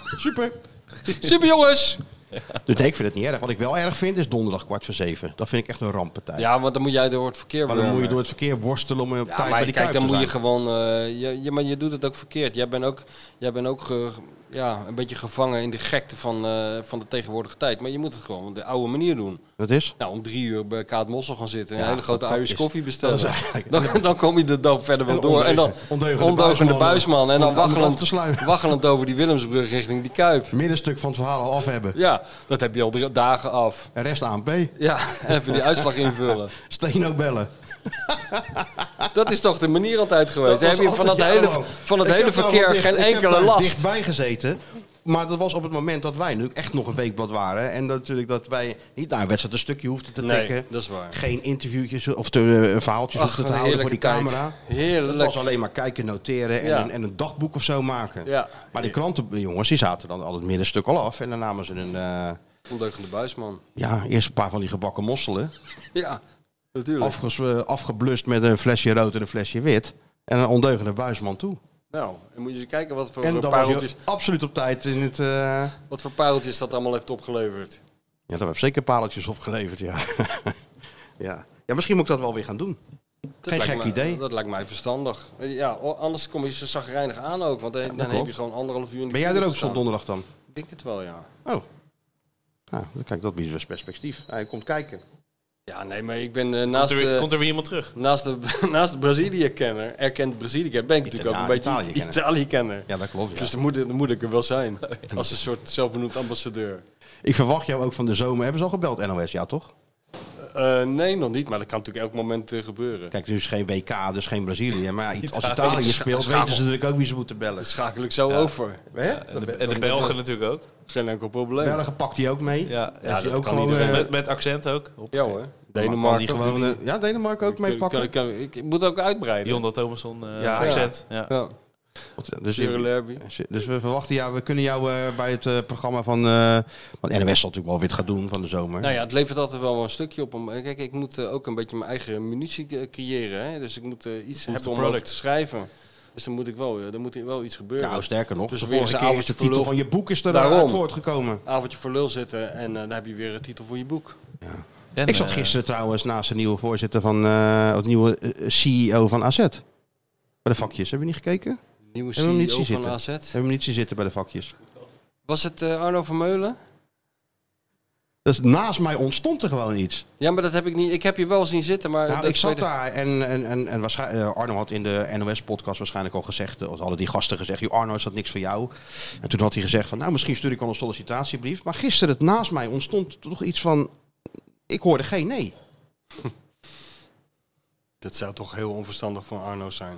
[SPEAKER 5] Super.
[SPEAKER 6] Super jongens!
[SPEAKER 5] Dus nee, ik vind het niet erg. Wat ik wel erg vind, is donderdag kwart voor zeven. Dat vind ik echt een ramppartij.
[SPEAKER 6] Ja, want dan moet jij door het verkeer
[SPEAKER 5] Maar dan
[SPEAKER 6] worden.
[SPEAKER 5] moet je door het verkeer worstelen om op
[SPEAKER 6] Ja,
[SPEAKER 5] tijd
[SPEAKER 6] maar
[SPEAKER 5] bij die
[SPEAKER 6] kijk,
[SPEAKER 5] Kuip te
[SPEAKER 6] dan moet je
[SPEAKER 5] zijn.
[SPEAKER 6] gewoon... eh, je, je- maar je doet het ook verkeerd. Jij bent ook, jij bent ook ge- ja, een beetje gevangen in de gekte van, eh, van de tegenwoordige tijd. Maar je moet het gewoon op de oude manier doen.
[SPEAKER 5] Dat is?
[SPEAKER 6] Nou, om drie uur bij Kaat Mossel gaan zitten en
[SPEAKER 5] Ja,
[SPEAKER 6] een hele grote
[SPEAKER 5] dat- dat
[SPEAKER 6] Irish
[SPEAKER 5] is-
[SPEAKER 6] koffie bestellen.
[SPEAKER 5] dat is eigenlijk-
[SPEAKER 6] dan, dan kom je de doop verder wel
[SPEAKER 5] En
[SPEAKER 6] door. En dan
[SPEAKER 5] ondeugende- ondeugende
[SPEAKER 6] ondeugende
[SPEAKER 5] buisman.
[SPEAKER 6] buisman. En
[SPEAKER 5] Om-
[SPEAKER 6] dan
[SPEAKER 5] om het af
[SPEAKER 6] waggelend,
[SPEAKER 5] te sluiten.
[SPEAKER 6] waggelend over die Willemsbrug richting die Kuip.
[SPEAKER 5] Middenstuk van het verhaal al af hebben.
[SPEAKER 6] Ja, dat heb je al drie dagen af.
[SPEAKER 5] En rest ANP.
[SPEAKER 6] Ja, even die uitslag invullen.
[SPEAKER 5] Steen ook bellen.
[SPEAKER 6] Dat is toch de manier altijd geweest.
[SPEAKER 5] was
[SPEAKER 6] Heb je van
[SPEAKER 5] altijd
[SPEAKER 6] dat hele,
[SPEAKER 5] jarenlang.
[SPEAKER 6] van dat
[SPEAKER 5] Ik
[SPEAKER 6] hele
[SPEAKER 5] heb daar wel
[SPEAKER 6] verkeer
[SPEAKER 5] dicht-
[SPEAKER 6] geen
[SPEAKER 5] Ik
[SPEAKER 6] enkele
[SPEAKER 5] heb daar
[SPEAKER 6] last?
[SPEAKER 5] dichtbij gezeten. Maar dat was op het moment dat wij nu echt nog een weekblad waren. En dat, natuurlijk dat wij niet naar een wedstrijd een stukje hoefden te
[SPEAKER 6] Nee,
[SPEAKER 5] tikken.
[SPEAKER 6] dat is waar.
[SPEAKER 5] Geen interviewtjes of te, eh, verhaaltjes
[SPEAKER 6] Ach,
[SPEAKER 5] hoefden te
[SPEAKER 6] wat een
[SPEAKER 5] houden voor die
[SPEAKER 6] heerlijke tijd.
[SPEAKER 5] camera. Het
[SPEAKER 6] Heerlijk.
[SPEAKER 5] was alleen maar kijken, noteren en,
[SPEAKER 6] Ja.
[SPEAKER 5] een, en een dagboek of zo maken.
[SPEAKER 6] Ja.
[SPEAKER 5] Maar die kranten, eh, jongens, die zaten dan al het middenstuk al af. En dan namen ze een, eh,
[SPEAKER 6] Ondeugende buisman.
[SPEAKER 5] ja, eerst een paar van die gebakken mosselen.
[SPEAKER 6] Ja, natuurlijk.
[SPEAKER 5] Afges, eh, afgeblust met een flesje rood en een flesje wit. En een ondeugende buisman toe.
[SPEAKER 6] Nou, dan moet je eens kijken wat voor,
[SPEAKER 5] En dan was
[SPEAKER 6] pareltjes,
[SPEAKER 5] je absoluut op tijd in het... eh,
[SPEAKER 6] wat voor pareltjes dat allemaal heeft opgeleverd.
[SPEAKER 5] Ja, dat heeft zeker pareltjes opgeleverd, ja. ja. Ja, misschien moet ik dat wel weer gaan doen.
[SPEAKER 6] Dat
[SPEAKER 5] Geen
[SPEAKER 6] lijkt
[SPEAKER 5] gek
[SPEAKER 6] me-
[SPEAKER 5] idee.
[SPEAKER 6] Dat lijkt mij verstandig. Eh, Ja, o- anders kom je ze zagrijnig aan ook. Want dan, dan heb
[SPEAKER 5] klopt.
[SPEAKER 6] je gewoon anderhalf uur in de
[SPEAKER 5] Ben jij
[SPEAKER 6] file
[SPEAKER 5] er ook
[SPEAKER 6] gestaan.
[SPEAKER 5] zo donderdag dan?
[SPEAKER 6] Ik denk het wel, ja.
[SPEAKER 5] Oh. Nou, dan kijk, dat biedt dus perspectief. Hij komt kijken.
[SPEAKER 6] Ja, nee, maar ik ben eh,
[SPEAKER 3] Komt
[SPEAKER 6] naast...
[SPEAKER 3] er, weer,
[SPEAKER 6] eh,
[SPEAKER 3] komt er weer iemand terug?
[SPEAKER 6] Naast de, naast de Brazilië-kenner, erkend Brazilië-kenner, ben ik natuurlijk ook een beetje
[SPEAKER 5] Italië-kenner.
[SPEAKER 6] Italië-kenner.
[SPEAKER 5] Ja, dat klopt.
[SPEAKER 6] Dus dan moet, dan moet ik er wel zijn. Als een soort zelfbenoemd ambassadeur.
[SPEAKER 5] Ik verwacht jou ook van de zomer. Hebben ze al gebeld, NOS? Ja, toch?
[SPEAKER 6] Eh, nee, nog niet, maar dat kan natuurlijk elk moment eh, gebeuren.
[SPEAKER 5] Kijk, dus geen WK, dus geen Brazilië. Maar ja, iets- als
[SPEAKER 3] Italië.
[SPEAKER 5] Italië speelt,
[SPEAKER 6] Scha-
[SPEAKER 5] weten ze natuurlijk ook wie ze moeten bellen.
[SPEAKER 6] Dat schakel ik zo over.
[SPEAKER 5] Hè?
[SPEAKER 3] En de,
[SPEAKER 5] Dat-
[SPEAKER 3] en de
[SPEAKER 5] dat-
[SPEAKER 3] Belgen
[SPEAKER 5] dat-
[SPEAKER 3] natuurlijk ook.
[SPEAKER 6] Geen enkel probleem. Ja,
[SPEAKER 5] Belgen pakt hij ook mee.
[SPEAKER 3] Ja,
[SPEAKER 5] Heeft hij
[SPEAKER 6] dat
[SPEAKER 5] ook
[SPEAKER 6] kan
[SPEAKER 5] gewoon,
[SPEAKER 6] iedereen.
[SPEAKER 5] eh,
[SPEAKER 3] Met, met accent ook. Op
[SPEAKER 6] hoor.
[SPEAKER 5] kan
[SPEAKER 6] Denemarken.
[SPEAKER 5] die gewoon, eh, ja, Denemarken ook mee
[SPEAKER 6] Kan- kan-
[SPEAKER 5] pakken.
[SPEAKER 6] kan- ik, ik moet ook uitbreiden.
[SPEAKER 3] Jonda Thomasson eh,
[SPEAKER 5] Ja.
[SPEAKER 3] accent. Ja.
[SPEAKER 6] Ja.
[SPEAKER 5] Dus
[SPEAKER 6] Cyril
[SPEAKER 5] je-
[SPEAKER 6] Lerby.
[SPEAKER 5] Dus we verwachten jou, we kunnen jou eh, bij het eh, programma van. eh want NOS zal natuurlijk wel weer het gaan doen van de zomer.
[SPEAKER 6] Nou ja, het levert altijd wel een stukje op. Om, eh, kijk, ik moet eh, ook een beetje mijn eigen munitie eh, creëren. Hè? Dus ik moet eh, iets hebben om over
[SPEAKER 3] product.
[SPEAKER 6] te schrijven. Dus dan moet ik wel, eh, dan moet er wel iets gebeuren.
[SPEAKER 5] Nou, sterker nog,
[SPEAKER 6] Dus
[SPEAKER 5] de
[SPEAKER 6] weer eens
[SPEAKER 5] vorige
[SPEAKER 6] een
[SPEAKER 5] keer is
[SPEAKER 6] avondje
[SPEAKER 5] de titel
[SPEAKER 6] verloren.
[SPEAKER 5] van je boek is eruit
[SPEAKER 6] Daarom.
[SPEAKER 5] voortgekomen.
[SPEAKER 6] avondje voor lul zitten en eh, dan heb je weer een titel voor je boek.
[SPEAKER 3] En,
[SPEAKER 5] Ik zat
[SPEAKER 3] eh,
[SPEAKER 5] gisteren trouwens naast de nieuwe voorzitter van. eh het nieuwe eh, CEO van AZ. Bij de vakjes, hebben we niet gekeken?
[SPEAKER 6] Nieuwe
[SPEAKER 5] Hebben we hem
[SPEAKER 6] CEO
[SPEAKER 5] niet zien
[SPEAKER 6] van AZ.
[SPEAKER 5] Hebben we niet zien zitten bij de vakjes?
[SPEAKER 6] Was het eh, Arno Vermeulen?
[SPEAKER 5] Dus naast mij ontstond er gewoon iets.
[SPEAKER 6] Ja, maar dat heb ik niet. Ik heb je wel zien zitten, maar...
[SPEAKER 5] Nou,
[SPEAKER 6] dat
[SPEAKER 5] ik zat
[SPEAKER 6] tweede-
[SPEAKER 5] daar en, en, en, en waarschijnlijk, Arno had in de NOS-podcast waarschijnlijk al gezegd, eh, of hadden die gasten gezegd, "Joh, Arno is dat niks voor jou. En toen had hij gezegd van, nou misschien stuur ik al een sollicitatiebrief. Maar gisteren het naast mij ontstond toch iets van, ik hoorde geen nee.
[SPEAKER 6] Dat zou toch heel onverstandig van Arno zijn.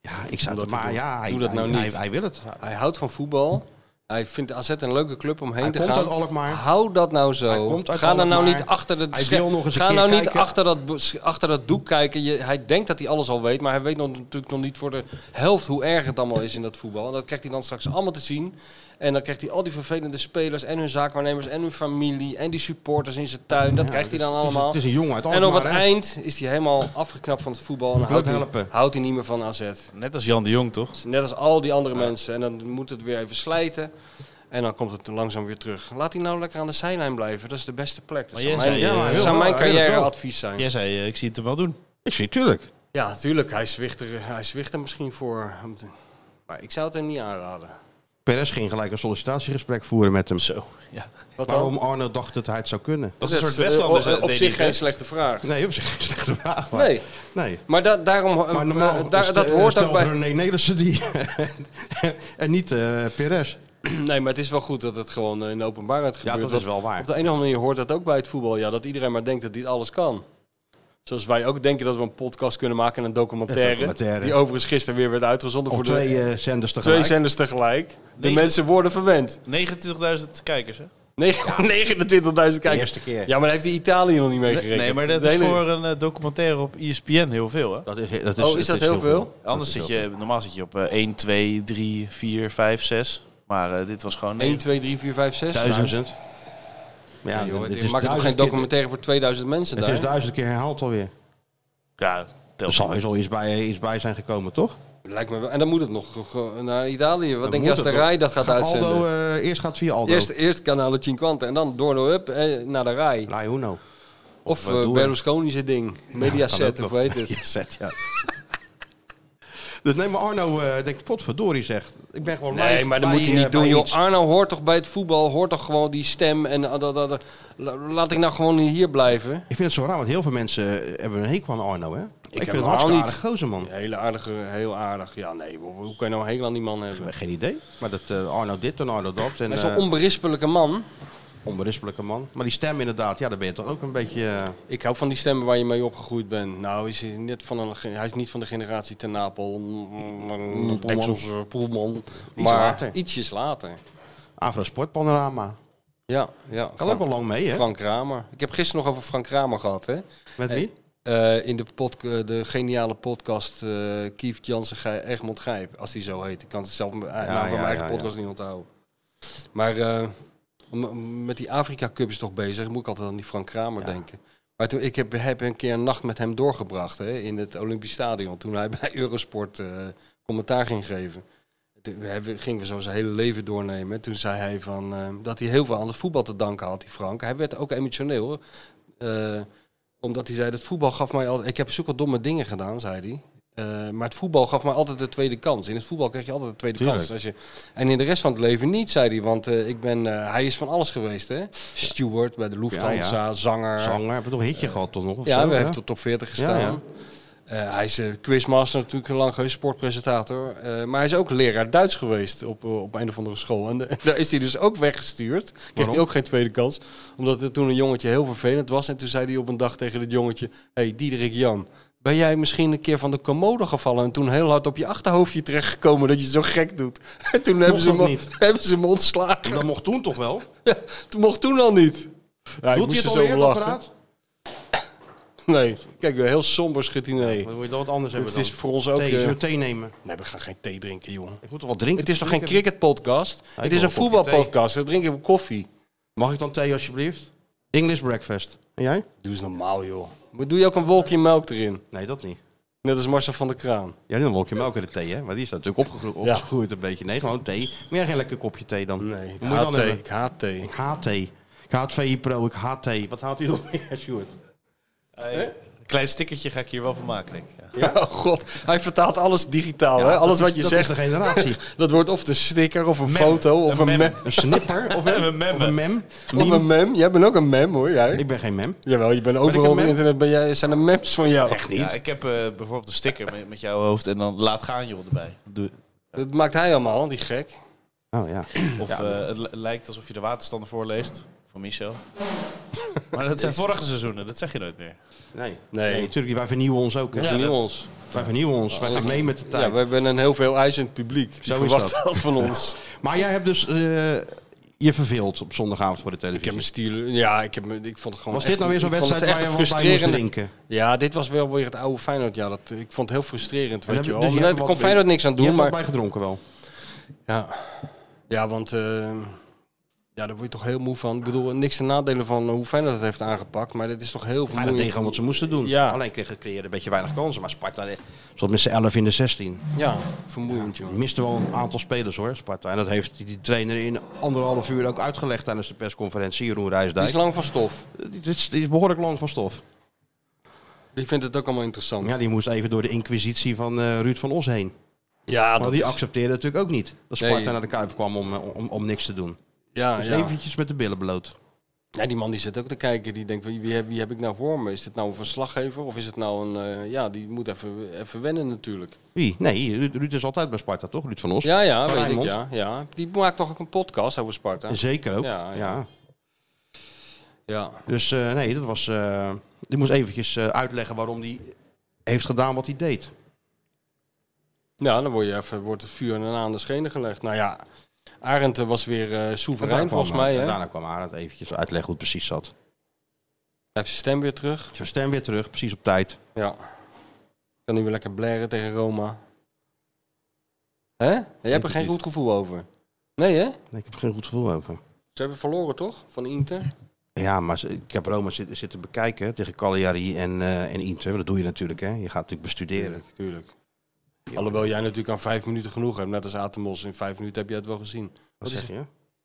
[SPEAKER 5] Ja, ik zou
[SPEAKER 6] Om dat
[SPEAKER 5] het,
[SPEAKER 6] te
[SPEAKER 5] maar
[SPEAKER 6] doen.
[SPEAKER 5] ja, hij,
[SPEAKER 6] Doe dat nou
[SPEAKER 5] hij,
[SPEAKER 6] niet.
[SPEAKER 5] hij, hij wil het.
[SPEAKER 6] Hij houdt van voetbal. Hij vindt AZ een leuke club om heen
[SPEAKER 5] Hij
[SPEAKER 6] te
[SPEAKER 5] komt
[SPEAKER 6] gaan.
[SPEAKER 5] uit Alkmaar.
[SPEAKER 6] Hou dat nou
[SPEAKER 5] Hij
[SPEAKER 6] zo.
[SPEAKER 5] komt uit
[SPEAKER 6] Ga dan nou
[SPEAKER 5] Alkmaar.
[SPEAKER 6] niet achter de
[SPEAKER 5] Hij
[SPEAKER 6] scherm-
[SPEAKER 5] wil nog eens een
[SPEAKER 6] Ga
[SPEAKER 5] keer
[SPEAKER 6] nou niet
[SPEAKER 5] kijken.
[SPEAKER 6] achter dat, bo- s- achter dat doek kijken. Je, hij denkt dat hij alles al weet, maar hij weet nog, natuurlijk nog niet voor de helft hoe erg het allemaal is in dat voetbal. En dat krijgt hij dan straks allemaal te zien. En dan krijgt hij al die vervelende spelers en hun zaakwaarnemers en hun familie en die supporters in zijn tuin. Dat krijgt hij dan allemaal.
[SPEAKER 5] Het is een jongen uit Alkmaar.
[SPEAKER 6] En op het
[SPEAKER 5] hè?
[SPEAKER 6] eind is hij helemaal afgeknapt van het voetbal en
[SPEAKER 5] wil
[SPEAKER 6] houdt
[SPEAKER 5] het
[SPEAKER 6] hij,
[SPEAKER 5] helpen.
[SPEAKER 6] houdt hij niet meer van AZ.
[SPEAKER 3] Net als Jan de Jong, toch?
[SPEAKER 6] Net als al die andere mensen. En dan moet het weer even slijten. En dan komt het langzaam weer terug. Laat hij nou lekker aan de zijlijn blijven. Dat is de beste plek. Dat
[SPEAKER 3] Maar
[SPEAKER 6] zou
[SPEAKER 3] jij
[SPEAKER 6] mijn,
[SPEAKER 3] zei, Ja, maar
[SPEAKER 6] dat
[SPEAKER 5] heel
[SPEAKER 6] zou
[SPEAKER 5] wel,
[SPEAKER 6] mijn
[SPEAKER 5] heel wel.
[SPEAKER 6] carrièreadvies zijn.
[SPEAKER 3] Jij zei, eh, ik zie het hem wel doen.
[SPEAKER 5] Ik zie, tuurlijk.
[SPEAKER 6] Ja, natuurlijk. Hij zwicht, er, hij zwicht er misschien voor. Maar ik zou het hem niet aanraden.
[SPEAKER 5] Perez ging gelijk een sollicitatiegesprek voeren met hem.
[SPEAKER 3] Zo, ja.
[SPEAKER 6] Wat
[SPEAKER 5] Waarom Arno dacht dat hij het zou kunnen.
[SPEAKER 3] Dat is een soort
[SPEAKER 6] eh,
[SPEAKER 3] Westlanders.
[SPEAKER 6] op-
[SPEAKER 3] eh,
[SPEAKER 6] Op
[SPEAKER 3] deed
[SPEAKER 6] zich
[SPEAKER 3] hij,
[SPEAKER 6] geen
[SPEAKER 3] hè?
[SPEAKER 6] slechte vraag.
[SPEAKER 5] Nee, op zich een slechte vraag. maar-
[SPEAKER 6] Nee,
[SPEAKER 5] Nee.
[SPEAKER 6] maar da- daarom... eh,
[SPEAKER 5] Maar normaal
[SPEAKER 6] eh, daar-
[SPEAKER 5] stel-
[SPEAKER 6] dat hoort ook
[SPEAKER 5] stelt
[SPEAKER 6] bij...
[SPEAKER 5] René Nelissen die. en niet eh Perez.
[SPEAKER 6] Nee, maar het is wel goed dat het gewoon eh, in de openbaarheid gebeurt. Want
[SPEAKER 5] wel waar.
[SPEAKER 6] Op de een of andere manier hoort dat ook bij het voetbal. Ja, dat iedereen maar denkt dat dit alles kan. Zoals wij ook denken dat we een podcast kunnen maken en een documentaire.
[SPEAKER 5] Een documentaire.
[SPEAKER 6] Die overigens gisteren weer werd uitgezonden
[SPEAKER 5] Op
[SPEAKER 6] voor
[SPEAKER 5] twee
[SPEAKER 6] de,
[SPEAKER 5] eh, zenders tegelijk.
[SPEAKER 6] twee zenders tegelijk. De
[SPEAKER 3] Negen-
[SPEAKER 6] mensen worden verwend.
[SPEAKER 3] 29.000 kijkers, hè?
[SPEAKER 6] 29.000
[SPEAKER 5] De
[SPEAKER 6] kijkers.
[SPEAKER 5] eerste keer.
[SPEAKER 6] Ja, maar daar heeft hij Italië nog niet mee gerekend.
[SPEAKER 3] Nee, maar dat
[SPEAKER 6] De
[SPEAKER 3] is
[SPEAKER 6] hele-
[SPEAKER 3] voor een eh, documentaire op ESPN heel veel, hè?
[SPEAKER 5] Dat is, dat
[SPEAKER 6] Oh, is dat heel veel?
[SPEAKER 3] Anders zit
[SPEAKER 5] is
[SPEAKER 3] je, normaal zit je op eh, 1, 2, 3, 4, 5, 6. Maar eh, dit was gewoon...
[SPEAKER 6] 1, 2, 3, 4, 5, 6.
[SPEAKER 3] Duizend.
[SPEAKER 5] Duizend. Maar
[SPEAKER 6] Ja,
[SPEAKER 5] Ja,
[SPEAKER 6] joh,
[SPEAKER 5] dit
[SPEAKER 6] ik
[SPEAKER 5] is
[SPEAKER 6] maak er toch
[SPEAKER 5] duizend
[SPEAKER 6] geen
[SPEAKER 5] keer-
[SPEAKER 6] documentaire voor 2000 mensen
[SPEAKER 5] Het
[SPEAKER 6] daar?
[SPEAKER 5] is duizend keer herhaald alweer.
[SPEAKER 3] Ja, telt
[SPEAKER 5] Er zal,
[SPEAKER 3] niet.
[SPEAKER 5] er zal iets, bij, eh, iets bij zijn gekomen, toch?
[SPEAKER 6] Lijkt me wel. En dan moet het nog ge- ge- naar Italië. Wat
[SPEAKER 5] Dan
[SPEAKER 6] denk
[SPEAKER 5] moet
[SPEAKER 6] je als de
[SPEAKER 5] het nog.
[SPEAKER 6] Rai dat gaat uitzenden?
[SPEAKER 5] Aldo, eh, eerst gaat via Aldo.
[SPEAKER 6] eerst, eerst Canale 50 en dan door de Up eh, naar de Rai.
[SPEAKER 5] La Uno.
[SPEAKER 6] Of
[SPEAKER 5] wat doen
[SPEAKER 6] eh
[SPEAKER 5] we?
[SPEAKER 6] Berlusconi zijn ding. Mediaset
[SPEAKER 5] kan
[SPEAKER 6] of
[SPEAKER 5] ook
[SPEAKER 6] weet het.
[SPEAKER 5] Zet, ja. dus nee, maar Arno eh denkt, potverdorie zegt. Ik ben gewoon live
[SPEAKER 6] Nee, maar dat
[SPEAKER 5] bij,
[SPEAKER 6] moet hij
[SPEAKER 5] eh,
[SPEAKER 6] niet doen,
[SPEAKER 5] bij
[SPEAKER 6] joh.
[SPEAKER 5] iets.
[SPEAKER 6] Arno hoort toch bij het voetbal, hoort toch gewoon die stem en ah, dat, dat, dat. La- laat ik nou gewoon hier blijven.
[SPEAKER 5] Ik vind het zo raar, want heel veel mensen eh, hebben een hekel aan Arno, hè? Ik,
[SPEAKER 6] hem
[SPEAKER 5] vind het
[SPEAKER 6] al
[SPEAKER 5] hartstikke
[SPEAKER 6] niet.
[SPEAKER 5] aardig gozer, man.
[SPEAKER 6] Hele aardige, heel aardig. Ja, nee, hoe hoe kan je nou een hekel aan die man
[SPEAKER 5] Ik
[SPEAKER 6] hebben?
[SPEAKER 5] heb Geen idee. Maar dat eh, Arno dit en Arno dat. En,
[SPEAKER 6] Hij is zo'n
[SPEAKER 5] eh,
[SPEAKER 6] onberispelijke man.
[SPEAKER 5] onberispelijke man. Maar die stem inderdaad, ja, daar ben je toch ook een beetje... eh,
[SPEAKER 6] Ik hou van die stemmen waar je mee opgegroeid bent. Nou, is hij, net van een, ge- hij is niet van de generatie ten Napel,
[SPEAKER 5] Poelman.
[SPEAKER 6] Texels, eh, Poelman.
[SPEAKER 5] Iets
[SPEAKER 6] maar
[SPEAKER 5] later.
[SPEAKER 6] ietsjes later.
[SPEAKER 5] Afro Sportpanorama.
[SPEAKER 6] Ja, ja.
[SPEAKER 5] Kan ook wel lang mee, hè?
[SPEAKER 6] Frank Kramer. Ik heb gisteren nog over Frank Kramer gehad, hè?
[SPEAKER 5] Met wie?
[SPEAKER 6] Eh, in de, podca- de geniale podcast eh Kieft Jansen Gij- Egmond Gijp, als die zo heet. Ik kan het zelf mijn naam van
[SPEAKER 5] ja,
[SPEAKER 6] mijn eigen
[SPEAKER 5] ja,
[SPEAKER 6] podcast niet onthouden. Maar eh, om- met die Afrika Cup is toch bezig, moet ik altijd aan die Frank Kramer denken. Maar toen, ik heb, heb een keer een nacht met hem doorgebracht hè, in het Olympisch Stadion, toen hij bij Eurosport eh, commentaar ging geven. Toen hebben- gingen we zo zijn hele leven doornemen. Toen zei hij van, eh, dat hij heel veel aan het voetbal te danken had, die Frank. Hij werd ook emotioneel. eh, omdat hij zei, dat voetbal gaf mij altijd... Ik heb zulke domme dingen gedaan, zei hij. Eh, maar het voetbal gaf mij altijd de tweede kans. In het voetbal kreeg je altijd de tweede
[SPEAKER 5] Tuurlijk.
[SPEAKER 6] kans. Als je, en in de rest van het leven niet, zei hij. Want eh, ik ben, eh, hij is van alles geweest, hè? Steward bij de Lufthansa,
[SPEAKER 5] Ja,
[SPEAKER 6] zanger.
[SPEAKER 5] Zanger, hebben we toch een hitje gehad toch nog? of
[SPEAKER 6] ja,
[SPEAKER 5] zo,
[SPEAKER 6] hij
[SPEAKER 5] hè?
[SPEAKER 6] heeft op top 40 gestaan.
[SPEAKER 5] Ja, ja.
[SPEAKER 6] Eh, hij is eh, quizmaster natuurlijk een lang geweest, sportpresentator. Eh, maar hij is ook leraar Duits geweest op, eh, op een of andere school. En eh, daar is hij dus ook weggestuurd. Kreeg hij ook geen tweede kans. Omdat er toen een jongetje heel vervelend was. En toen zei hij op een dag tegen dat jongetje... hey, Diederik Jan, ben jij misschien een keer van de commode gevallen... en toen heel hard op je achterhoofdje terechtgekomen dat je zo gek doet? En toen hebben ze,
[SPEAKER 5] dat
[SPEAKER 6] hem,
[SPEAKER 5] niet.
[SPEAKER 6] hebben ze hem ontslagen.
[SPEAKER 5] Dat mocht toen toch wel?
[SPEAKER 6] Toen mocht toen al niet. Ja,
[SPEAKER 5] Doet hij
[SPEAKER 6] ik moest
[SPEAKER 5] het
[SPEAKER 6] er zo
[SPEAKER 5] alweer,
[SPEAKER 6] om
[SPEAKER 5] dat
[SPEAKER 6] lachen.
[SPEAKER 5] apparaat?
[SPEAKER 6] Nee, kijk, heel somber schiet hij nee.
[SPEAKER 5] Dan moet je dan wat anders hebben
[SPEAKER 6] Het
[SPEAKER 5] dan.
[SPEAKER 6] is voor ons ook...
[SPEAKER 5] thee,
[SPEAKER 6] eh,
[SPEAKER 5] zullen we thee nemen?
[SPEAKER 6] Nee, we gaan geen thee drinken, jongen.
[SPEAKER 5] Ik moet toch wat drinken?
[SPEAKER 6] Het is toch geen cricketpodcast? het is
[SPEAKER 5] wil
[SPEAKER 6] een
[SPEAKER 5] een kopje
[SPEAKER 6] voetbalpodcast. Dan drinken we koffie.
[SPEAKER 5] Mag ik dan thee alsjeblieft? English breakfast. En jij?
[SPEAKER 6] Doe eens normaal, joh. Maar doe je ook een wolkje melk erin?
[SPEAKER 5] Nee, dat niet.
[SPEAKER 6] Net als Marcel van der Kraan.
[SPEAKER 5] Ja, dan wolk je melk in de thee, hè? Maar die is natuurlijk opgegroeid,
[SPEAKER 6] Ja.
[SPEAKER 5] opgegroeid een beetje. Nee, gewoon thee. Meer geen lekker kopje thee dan.
[SPEAKER 6] Nee, ik
[SPEAKER 5] Wat moet je
[SPEAKER 6] haat
[SPEAKER 5] dan
[SPEAKER 6] thee.
[SPEAKER 5] hebben?
[SPEAKER 6] Ik haat thee.
[SPEAKER 5] Ik haat thee. Ik haat VI Pro, ik haat thee. Wat haat u nog meer, Sjoerd?
[SPEAKER 3] Eh, Een klein stickertje ga ik hier wel van maken, denk ik. Ja.
[SPEAKER 6] Ja, oh god. Hij vertaalt alles digitaal, hè?
[SPEAKER 5] Ja, dat
[SPEAKER 6] Alles wat
[SPEAKER 5] is-
[SPEAKER 6] je
[SPEAKER 5] dat
[SPEAKER 6] zegt.
[SPEAKER 5] is de generatie.
[SPEAKER 6] dat wordt of een sticker, of een foto, of een, mem.
[SPEAKER 3] Een mem.
[SPEAKER 5] Een snipper of een,
[SPEAKER 3] Een memme.
[SPEAKER 5] of een mem?
[SPEAKER 6] Of een mem. Jij bent ook een mem, hoor, jij.
[SPEAKER 5] Ik ben geen mem.
[SPEAKER 6] Jawel, je bent
[SPEAKER 5] ik
[SPEAKER 6] overal
[SPEAKER 5] een
[SPEAKER 6] op
[SPEAKER 5] mem?
[SPEAKER 6] internet. Ben jij, zijn er mems van jou. Echt
[SPEAKER 3] Ja, ik heb eh, bijvoorbeeld een sticker met, met jouw hoofd en dan laat gaan joh erbij. Doe-
[SPEAKER 6] Dat maakt hij allemaal, die gek.
[SPEAKER 5] Oh ja.
[SPEAKER 3] Of eh, het li- lijkt alsof je de waterstanden voorleest van Michel. maar dat zijn vorige seizoenen, dat zeg je nooit meer.
[SPEAKER 5] Nee.
[SPEAKER 6] Nee.
[SPEAKER 5] Nee, natuurlijk. Wij vernieuwen ons ook, hè?
[SPEAKER 6] Ja,
[SPEAKER 3] dat-
[SPEAKER 6] ons.
[SPEAKER 5] Wij vernieuwen ons. Wij gaan mee met de tijd.
[SPEAKER 6] Ja, we hebben een heel veel eisend publiek. Die
[SPEAKER 5] Zo is
[SPEAKER 6] verwacht
[SPEAKER 5] dat.
[SPEAKER 6] dat. van ons.
[SPEAKER 5] Maar jij hebt dus eh, je verveeld op zondagavond voor de
[SPEAKER 6] Ik heb
[SPEAKER 5] televisie.
[SPEAKER 6] mijn stiel. Ja, ik, heb me, ik vond het gewoon.
[SPEAKER 5] Was dit
[SPEAKER 6] echt-
[SPEAKER 5] nou weer zo'n
[SPEAKER 6] ik vond het
[SPEAKER 5] wedstrijd waar je
[SPEAKER 6] echt
[SPEAKER 5] wat bij moest
[SPEAKER 6] frustrerend.
[SPEAKER 5] drinken?
[SPEAKER 6] Ja, dit was wel weer het oude Feyenoord. Ja, dat, ik vond het heel frustrerend. Weet
[SPEAKER 5] heb
[SPEAKER 6] je
[SPEAKER 5] je-
[SPEAKER 6] wel.
[SPEAKER 5] dus je
[SPEAKER 6] Nee,
[SPEAKER 5] hebt
[SPEAKER 6] Daar
[SPEAKER 5] wat-
[SPEAKER 6] kon Feyenoord niks aan
[SPEAKER 5] Je
[SPEAKER 6] doen.
[SPEAKER 5] hebt wat
[SPEAKER 6] Maar,
[SPEAKER 5] bij gedronken wel.
[SPEAKER 6] ja. ja, want eh, ja, daar word je toch heel moe van. Ik bedoel, niks te nadelen van hoe Feyenoord het heeft aangepakt. Maar dit is toch heel
[SPEAKER 5] Maar dat
[SPEAKER 6] vermoeiend.
[SPEAKER 5] tegen wat ze moesten doen.
[SPEAKER 6] Ja.
[SPEAKER 5] Alleen kregen creëerde een beetje weinig kansen. Maar Sparta eh, zat met z'n 11 in de 16.
[SPEAKER 6] Ja, vermoeiend, joh.
[SPEAKER 5] Miste wel een aantal spelers hoor, Sparta. En dat heeft die- die trainer in anderhalf uur ook uitgelegd tijdens de persconferentie. Jeroen
[SPEAKER 6] Die is
[SPEAKER 5] Rijsdijk.
[SPEAKER 6] lang van stof.
[SPEAKER 5] Dit is, die is behoorlijk lang van stof.
[SPEAKER 6] Ik vind het ook allemaal interessant.
[SPEAKER 5] Ja,
[SPEAKER 6] Ja,
[SPEAKER 5] die moest even door de inquisitie van eh, Ruud van Os heen.
[SPEAKER 6] dat
[SPEAKER 5] Want die
[SPEAKER 6] is-
[SPEAKER 5] accepteerde natuurlijk ook niet dat Sparta
[SPEAKER 6] Nee.
[SPEAKER 5] naar de Kuip kwam om, eh, om, om niks te doen.
[SPEAKER 6] ja,
[SPEAKER 5] Dus
[SPEAKER 6] ja.
[SPEAKER 5] eventjes met de billen bloot.
[SPEAKER 6] Ja, die man die zit ook te kijken, die denkt, wie wie heb, wie heb ik nou voor me? Is dit nou een verslaggever of is het nou een... eh, ja, die moet even, even wennen natuurlijk.
[SPEAKER 5] Wie? Nee, Ruud, Ruud is altijd bij Sparta, toch? Ruud van Os.
[SPEAKER 6] Ja, ja, weet ik,
[SPEAKER 5] Rijnmond?
[SPEAKER 6] ja, ja. Die maakt toch ook een podcast over Sparta?
[SPEAKER 5] Zeker ook.
[SPEAKER 6] Ja,
[SPEAKER 5] Ja,
[SPEAKER 6] Ah, ja. Ja,
[SPEAKER 5] Dus eh, nee, dat was. eh, die moest eventjes eh, uitleggen waarom die heeft gedaan wat hij deed.
[SPEAKER 6] ja dan word je even, wordt het vuur en aan de schenen gelegd. Nou ja, Arendt eh, was weer eh,
[SPEAKER 5] En
[SPEAKER 6] soeverein,
[SPEAKER 5] daar kwam,
[SPEAKER 6] volgens mij.
[SPEAKER 5] eh,
[SPEAKER 6] Hè? Hij
[SPEAKER 5] Daarna kwam Arend eventjes uitleggen hoe het precies zat.
[SPEAKER 6] heeft zijn stem weer terug.
[SPEAKER 5] Zijn stem weer terug, precies op tijd.
[SPEAKER 6] Ja. Kan nu weer lekker blaren tegen Roma. Hè? Jij hebt
[SPEAKER 5] ik
[SPEAKER 6] er geen
[SPEAKER 5] niet.
[SPEAKER 6] goed gevoel over. Nee, hè?
[SPEAKER 5] Nee, ik heb er geen goed gevoel over.
[SPEAKER 6] Ze hebben verloren, toch? Van Inter.
[SPEAKER 5] Ja, maar ze- ik heb Roma zitten, zitten bekijken tegen Cagliari en, eh, en Inter. Dat doe je natuurlijk, hè. Je gaat natuurlijk bestuderen.
[SPEAKER 6] tuurlijk. Alhoewel jij natuurlijk aan vijf minuten genoeg hebt. Net als Atemos. In vijf minuten heb je het wel gezien.
[SPEAKER 5] Wat
[SPEAKER 6] Wat
[SPEAKER 5] zeg
[SPEAKER 6] is,
[SPEAKER 5] je?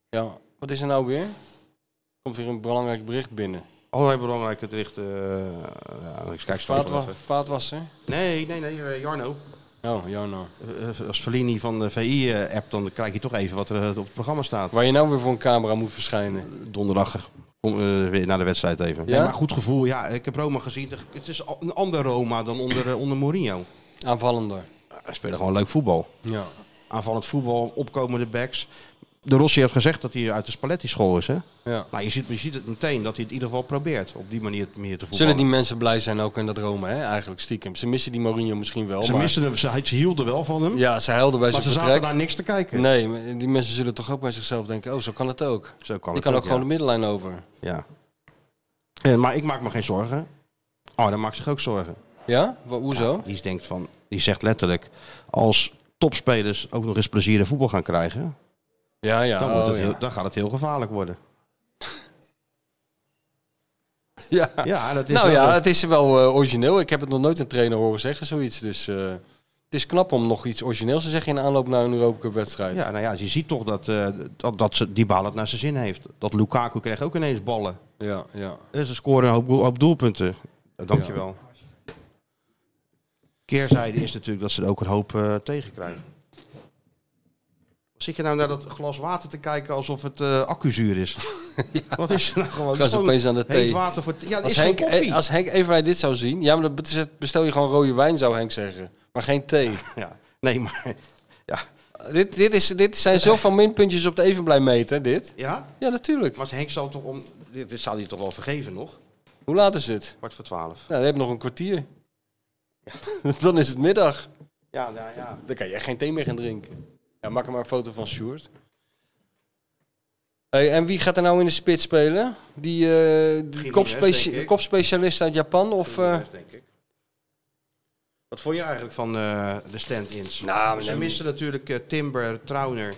[SPEAKER 6] ja, wat is er nou weer? Komt weer een belangrijk bericht binnen.
[SPEAKER 5] Allerlei belangrijke berichten. eh, ja, ik kijk straks wel even.
[SPEAKER 6] Vaatwasser?
[SPEAKER 5] Nee, nee, nee, eh, Jarno.
[SPEAKER 6] Oh, Jarno.
[SPEAKER 5] Eh, eh, als Fellini van de VI-app, dan krijg je toch even wat er eh, op het programma staat.
[SPEAKER 6] Waar je nou weer voor een camera moet verschijnen.
[SPEAKER 5] Donderdag kom, eh, weer naar de wedstrijd even.
[SPEAKER 6] Ja?
[SPEAKER 5] Nee, maar goed gevoel, ja. Ik heb Roma gezien. Het is al- een ander Roma dan onder, eh, onder Mourinho.
[SPEAKER 6] Aanvallender.
[SPEAKER 5] Ze spelen gewoon leuk voetbal.
[SPEAKER 6] Ja.
[SPEAKER 5] Aanvallend voetbal, opkomende backs. De Rossi heeft gezegd dat hij uit de Spalletti-school is, hè?
[SPEAKER 6] ja.
[SPEAKER 5] Nou, je ziet, je ziet het meteen dat hij het in ieder geval probeert op die manier meer te voetballen.
[SPEAKER 6] Zullen die mensen blij zijn ook in dat Rome, hè? Eigenlijk stiekem. Ze missen die Mourinho misschien wel.
[SPEAKER 5] Ze
[SPEAKER 6] maar...
[SPEAKER 5] misten hem, ze, ze hielden wel van hem,
[SPEAKER 6] Ja, ze huilden bij
[SPEAKER 5] maar
[SPEAKER 6] zijn
[SPEAKER 5] ze zaten
[SPEAKER 6] vertrek.
[SPEAKER 5] daar niks te kijken.
[SPEAKER 6] Nee, maar die mensen zullen toch ook bij zichzelf denken, oh, zo kan het ook.
[SPEAKER 5] Zo kan
[SPEAKER 6] Die
[SPEAKER 5] het
[SPEAKER 6] kan ook
[SPEAKER 5] ja.
[SPEAKER 6] gewoon de middenlijn over.
[SPEAKER 5] Ja. Eh, maar ik maak me geen zorgen. Oh, dan maakt zich ook zorgen.
[SPEAKER 6] Ja? Wa- Hoezo?
[SPEAKER 5] Die denkt van, die zegt letterlijk, als topspelers ook nog eens plezier in voetbal gaan krijgen,
[SPEAKER 6] Ja, ja.
[SPEAKER 5] dan, wordt
[SPEAKER 6] oh,
[SPEAKER 5] het heel,
[SPEAKER 6] ja.
[SPEAKER 5] dan gaat het heel gevaarlijk worden.
[SPEAKER 6] Ja.
[SPEAKER 5] Ja, dat is
[SPEAKER 6] Nou
[SPEAKER 5] wel-
[SPEAKER 6] ja, het is wel eh, origineel. Ik heb het nog nooit een trainer horen zeggen, zoiets. Dus eh, het is knap om nog iets origineels te zeggen in de aanloop naar een Europa Cup wedstrijd.
[SPEAKER 5] ja, nou ja, je ziet toch dat, eh dat, dat ze, die bal het naar zijn zin heeft. Dat Lukaku kreeg ook ineens ballen.
[SPEAKER 6] ja. ja.
[SPEAKER 5] Eh, Ze scoren een hoop, doel- hoop doelpunten. Eh, Dankjewel. Keerzijde is natuurlijk dat ze er ook een hoop eh, tegenkrijgen. Zit je nou naar dat glas water te kijken alsof het eh accuzuur is? Wat is er nou gewoon?
[SPEAKER 6] Gaan ze
[SPEAKER 5] Gewoon
[SPEAKER 6] opeens aan de
[SPEAKER 5] heet
[SPEAKER 6] thee.
[SPEAKER 5] water voor thee. Ja, dat
[SPEAKER 6] Als
[SPEAKER 5] is geen
[SPEAKER 6] Henk,
[SPEAKER 5] koffie.
[SPEAKER 6] eh, als Henk Everij dit zou zien, ja, maar dan bet- bestel je gewoon rode wijn, zou Henk zeggen. Maar geen thee.
[SPEAKER 5] Ja, nee, maar... Ja,
[SPEAKER 6] dit, dit, is, dit zijn zoveel minpuntjes op de evenblijmeter, dit.
[SPEAKER 5] ja?
[SPEAKER 6] Ja, natuurlijk.
[SPEAKER 5] maar Henk zal toch om... Dit dit zal hij toch wel vergeven nog?
[SPEAKER 6] Hoe laat is het?
[SPEAKER 5] Kwart voor twaalf.
[SPEAKER 6] Nou, we hebben nog een kwartier. dan is het middag.
[SPEAKER 5] Ja, nou ja.
[SPEAKER 6] Dan kan jij geen thee meer gaan drinken. Ja, maak er maar een foto van Sjoerd. Hey, en wie gaat er nou in de spits spelen? Die, eh, die
[SPEAKER 5] Gimenez,
[SPEAKER 6] kopspecia-
[SPEAKER 5] denk ik.
[SPEAKER 6] kopspecialist uit Japan? Of, eh,
[SPEAKER 5] denk ik. Wat vond je eigenlijk van eh, de stand-ins?
[SPEAKER 6] Nou,
[SPEAKER 5] Ze
[SPEAKER 6] nee.
[SPEAKER 5] misten natuurlijk eh, Timber, Trauner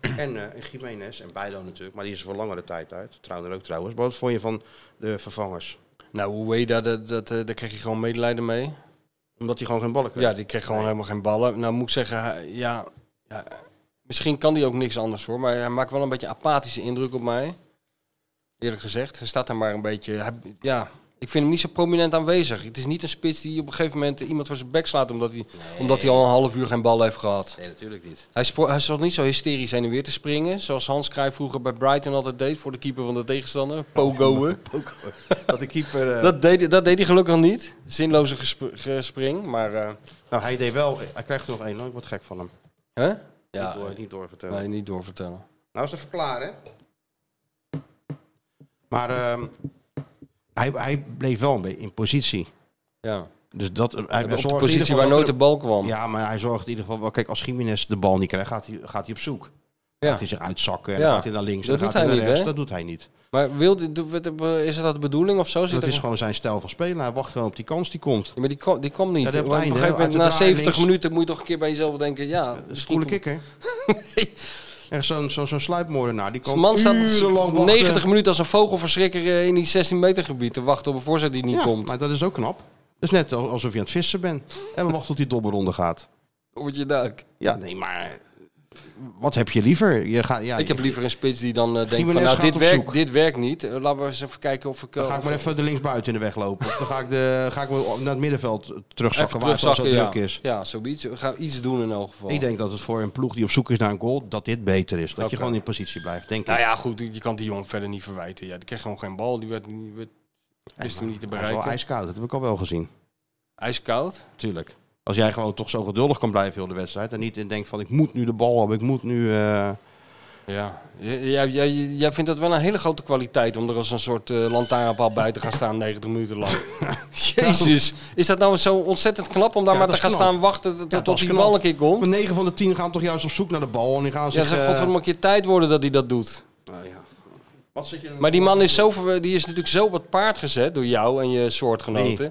[SPEAKER 5] en eh Jiménez. En Bijlo natuurlijk, maar die is er voor langere tijd uit. Trauner ook trouwens. Maar wat vond je van de vervangers?
[SPEAKER 6] Nou, Ueda, dat, dat, eh, daar kreeg je gewoon medelijden mee.
[SPEAKER 5] Omdat die gewoon geen ballen kreeg.
[SPEAKER 6] Ja, die kreeg gewoon helemaal geen ballen. Nou moet ik zeggen, hij- ja, ja, misschien kan die ook niks anders hoor. Maar hij maakt wel een beetje apathische indruk op mij. Eerlijk gezegd, hij staat daar maar een beetje... hij- ja, ik vind hem niet zo prominent aanwezig. Het is niet een spits die op een gegeven moment iemand voor zijn bek slaat... omdat hij, omdat hij al een half uur geen bal heeft gehad.
[SPEAKER 5] Nee, natuurlijk niet.
[SPEAKER 6] Hij, spro- hij zat niet zo hysterisch heen en weer te springen... zoals Hans Cruijff vroeger bij Brighton altijd deed... voor de keeper van de tegenstander, pogoen.
[SPEAKER 5] Dat de keeper... eh,
[SPEAKER 6] Dat deed, dat deed hij gelukkig niet. Zinloze gesp- gespring, maar... eh,
[SPEAKER 5] Nou, hij deed wel... Hij krijgt er nog één. hoor. Ik word gek van hem.
[SPEAKER 6] hè?
[SPEAKER 5] ik wil het niet doorvertellen.
[SPEAKER 6] eh, Nee, niet doorvertellen.
[SPEAKER 5] Nou is dat verklaren. Maar ehm, hij, hij bleef wel een beetje in positie.
[SPEAKER 6] Ja.
[SPEAKER 5] Dus dat, hij zorgde in
[SPEAKER 6] Op de
[SPEAKER 5] ieder
[SPEAKER 6] positie
[SPEAKER 5] geval
[SPEAKER 6] waar
[SPEAKER 5] dat
[SPEAKER 6] nooit
[SPEAKER 5] er-
[SPEAKER 6] de bal kwam.
[SPEAKER 5] Ja, maar hij zorgt in ieder geval wel. Kijk, als Jiménez de bal niet krijgt, gaat hij, gaat hij op zoek.
[SPEAKER 6] Ja.
[SPEAKER 5] Gaat hij zich uitzakken en
[SPEAKER 6] Ja.
[SPEAKER 5] dan gaat hij naar links en
[SPEAKER 6] Dat
[SPEAKER 5] dan
[SPEAKER 6] doet
[SPEAKER 5] gaat hij
[SPEAKER 6] hij
[SPEAKER 5] naar
[SPEAKER 6] niet,
[SPEAKER 5] rechts.
[SPEAKER 6] hè?
[SPEAKER 5] Dat doet hij niet.
[SPEAKER 6] Maar wilde, do- wat- is dat de bedoeling of zo? Zit
[SPEAKER 5] Dat
[SPEAKER 6] er-
[SPEAKER 5] is gewoon zijn stijl van spelen. Hij wacht gewoon op die kans die komt.
[SPEAKER 6] Ja, maar die kwam, die kwam niet.
[SPEAKER 5] Ja, dat
[SPEAKER 6] Want
[SPEAKER 5] op
[SPEAKER 6] op
[SPEAKER 5] het
[SPEAKER 6] een
[SPEAKER 5] einde,
[SPEAKER 6] gegeven
[SPEAKER 5] hè,
[SPEAKER 6] moment,
[SPEAKER 5] uit
[SPEAKER 6] na
[SPEAKER 5] de draai
[SPEAKER 6] 70
[SPEAKER 5] links.
[SPEAKER 6] minuten, moet je toch een keer bij jezelf denken: ja,
[SPEAKER 5] Een
[SPEAKER 6] misschien
[SPEAKER 5] Spoele
[SPEAKER 6] komt-
[SPEAKER 5] kikker. Echt zo'n zo, zo'n sluipmoordenaar. Die
[SPEAKER 6] Als
[SPEAKER 5] kan
[SPEAKER 6] de man staat
[SPEAKER 5] urenlang wachten.
[SPEAKER 6] 90 minuten als een vogelverschrikker eh, in die 16 meter gebied te wachten op een voorzet die niet
[SPEAKER 5] ja,
[SPEAKER 6] komt.
[SPEAKER 5] maar dat is ook knap. Dat is net al- alsof je aan het vissen bent. En we wachten tot die dobberonde gaat.
[SPEAKER 6] Wordt je duik.
[SPEAKER 5] Ja, nee, maar wat heb je liever? Je gaat, ja,
[SPEAKER 6] Ik heb
[SPEAKER 5] je-
[SPEAKER 6] liever een spits die dan eh, denkt: van,
[SPEAKER 5] Gimenez
[SPEAKER 6] nou,
[SPEAKER 5] gaat
[SPEAKER 6] dit
[SPEAKER 5] op zoek.
[SPEAKER 6] werkt, dit werkt niet. Eh, laten we eens even kijken of ik. eh,
[SPEAKER 5] Dan ga ik
[SPEAKER 6] of-
[SPEAKER 5] maar even de linksbuiten in de weg lopen. Of dan ga ik, de, ga ik me naar het middenveld terugzakken
[SPEAKER 6] even
[SPEAKER 5] waar het al zo
[SPEAKER 6] terugzakken,
[SPEAKER 5] druk
[SPEAKER 6] ja.
[SPEAKER 5] is.
[SPEAKER 6] Ja, zoiets. We gaan iets doen in elk geval.
[SPEAKER 5] Ik denk dat het voor een ploeg die op zoek is naar een goal, dat dit beter is. Dat je
[SPEAKER 6] Oké.
[SPEAKER 5] gewoon in positie blijft, denk
[SPEAKER 6] Nou
[SPEAKER 5] ik.
[SPEAKER 6] ja, goed, je kan die jongen verder niet verwijten. Ja, die kreeg gewoon geen bal. Die werd, die werd wist hem niet te
[SPEAKER 5] Hij is wel
[SPEAKER 6] bereiken.
[SPEAKER 5] ijskoud, dat heb ik al wel gezien.
[SPEAKER 6] Ijskoud.
[SPEAKER 5] Tuurlijk. Als jij gewoon toch zo geduldig kan blijven heel de wedstrijd en niet in denkt van ik moet nu de bal hebben, ik moet nu... eh,
[SPEAKER 6] Ja, J- jij, jij, jij vindt dat wel een hele grote kwaliteit om er als een soort eh, lantaarnpaal bij te gaan staan 90 minuten lang. Jezus, is dat nou zo ontzettend knap om daar
[SPEAKER 5] Ja,
[SPEAKER 6] maar te
[SPEAKER 5] dat
[SPEAKER 6] gaan
[SPEAKER 5] is knap.
[SPEAKER 6] staan wachten tot,
[SPEAKER 5] Ja, dat
[SPEAKER 6] tot
[SPEAKER 5] is
[SPEAKER 6] die
[SPEAKER 5] knap.
[SPEAKER 6] bal een keer komt?
[SPEAKER 5] Maar 9 van de 10 gaan toch juist op zoek naar de bal. En die gaan
[SPEAKER 6] Ja,
[SPEAKER 5] zich...
[SPEAKER 6] het zou
[SPEAKER 5] eh,
[SPEAKER 6] godverdomme een keer tijd worden dat hij dat doet.
[SPEAKER 5] nou ja. Wat zit je
[SPEAKER 6] Maar die man is, zo, ver- die is natuurlijk zo op het paard gezet door jou en je soortgenoten. Die-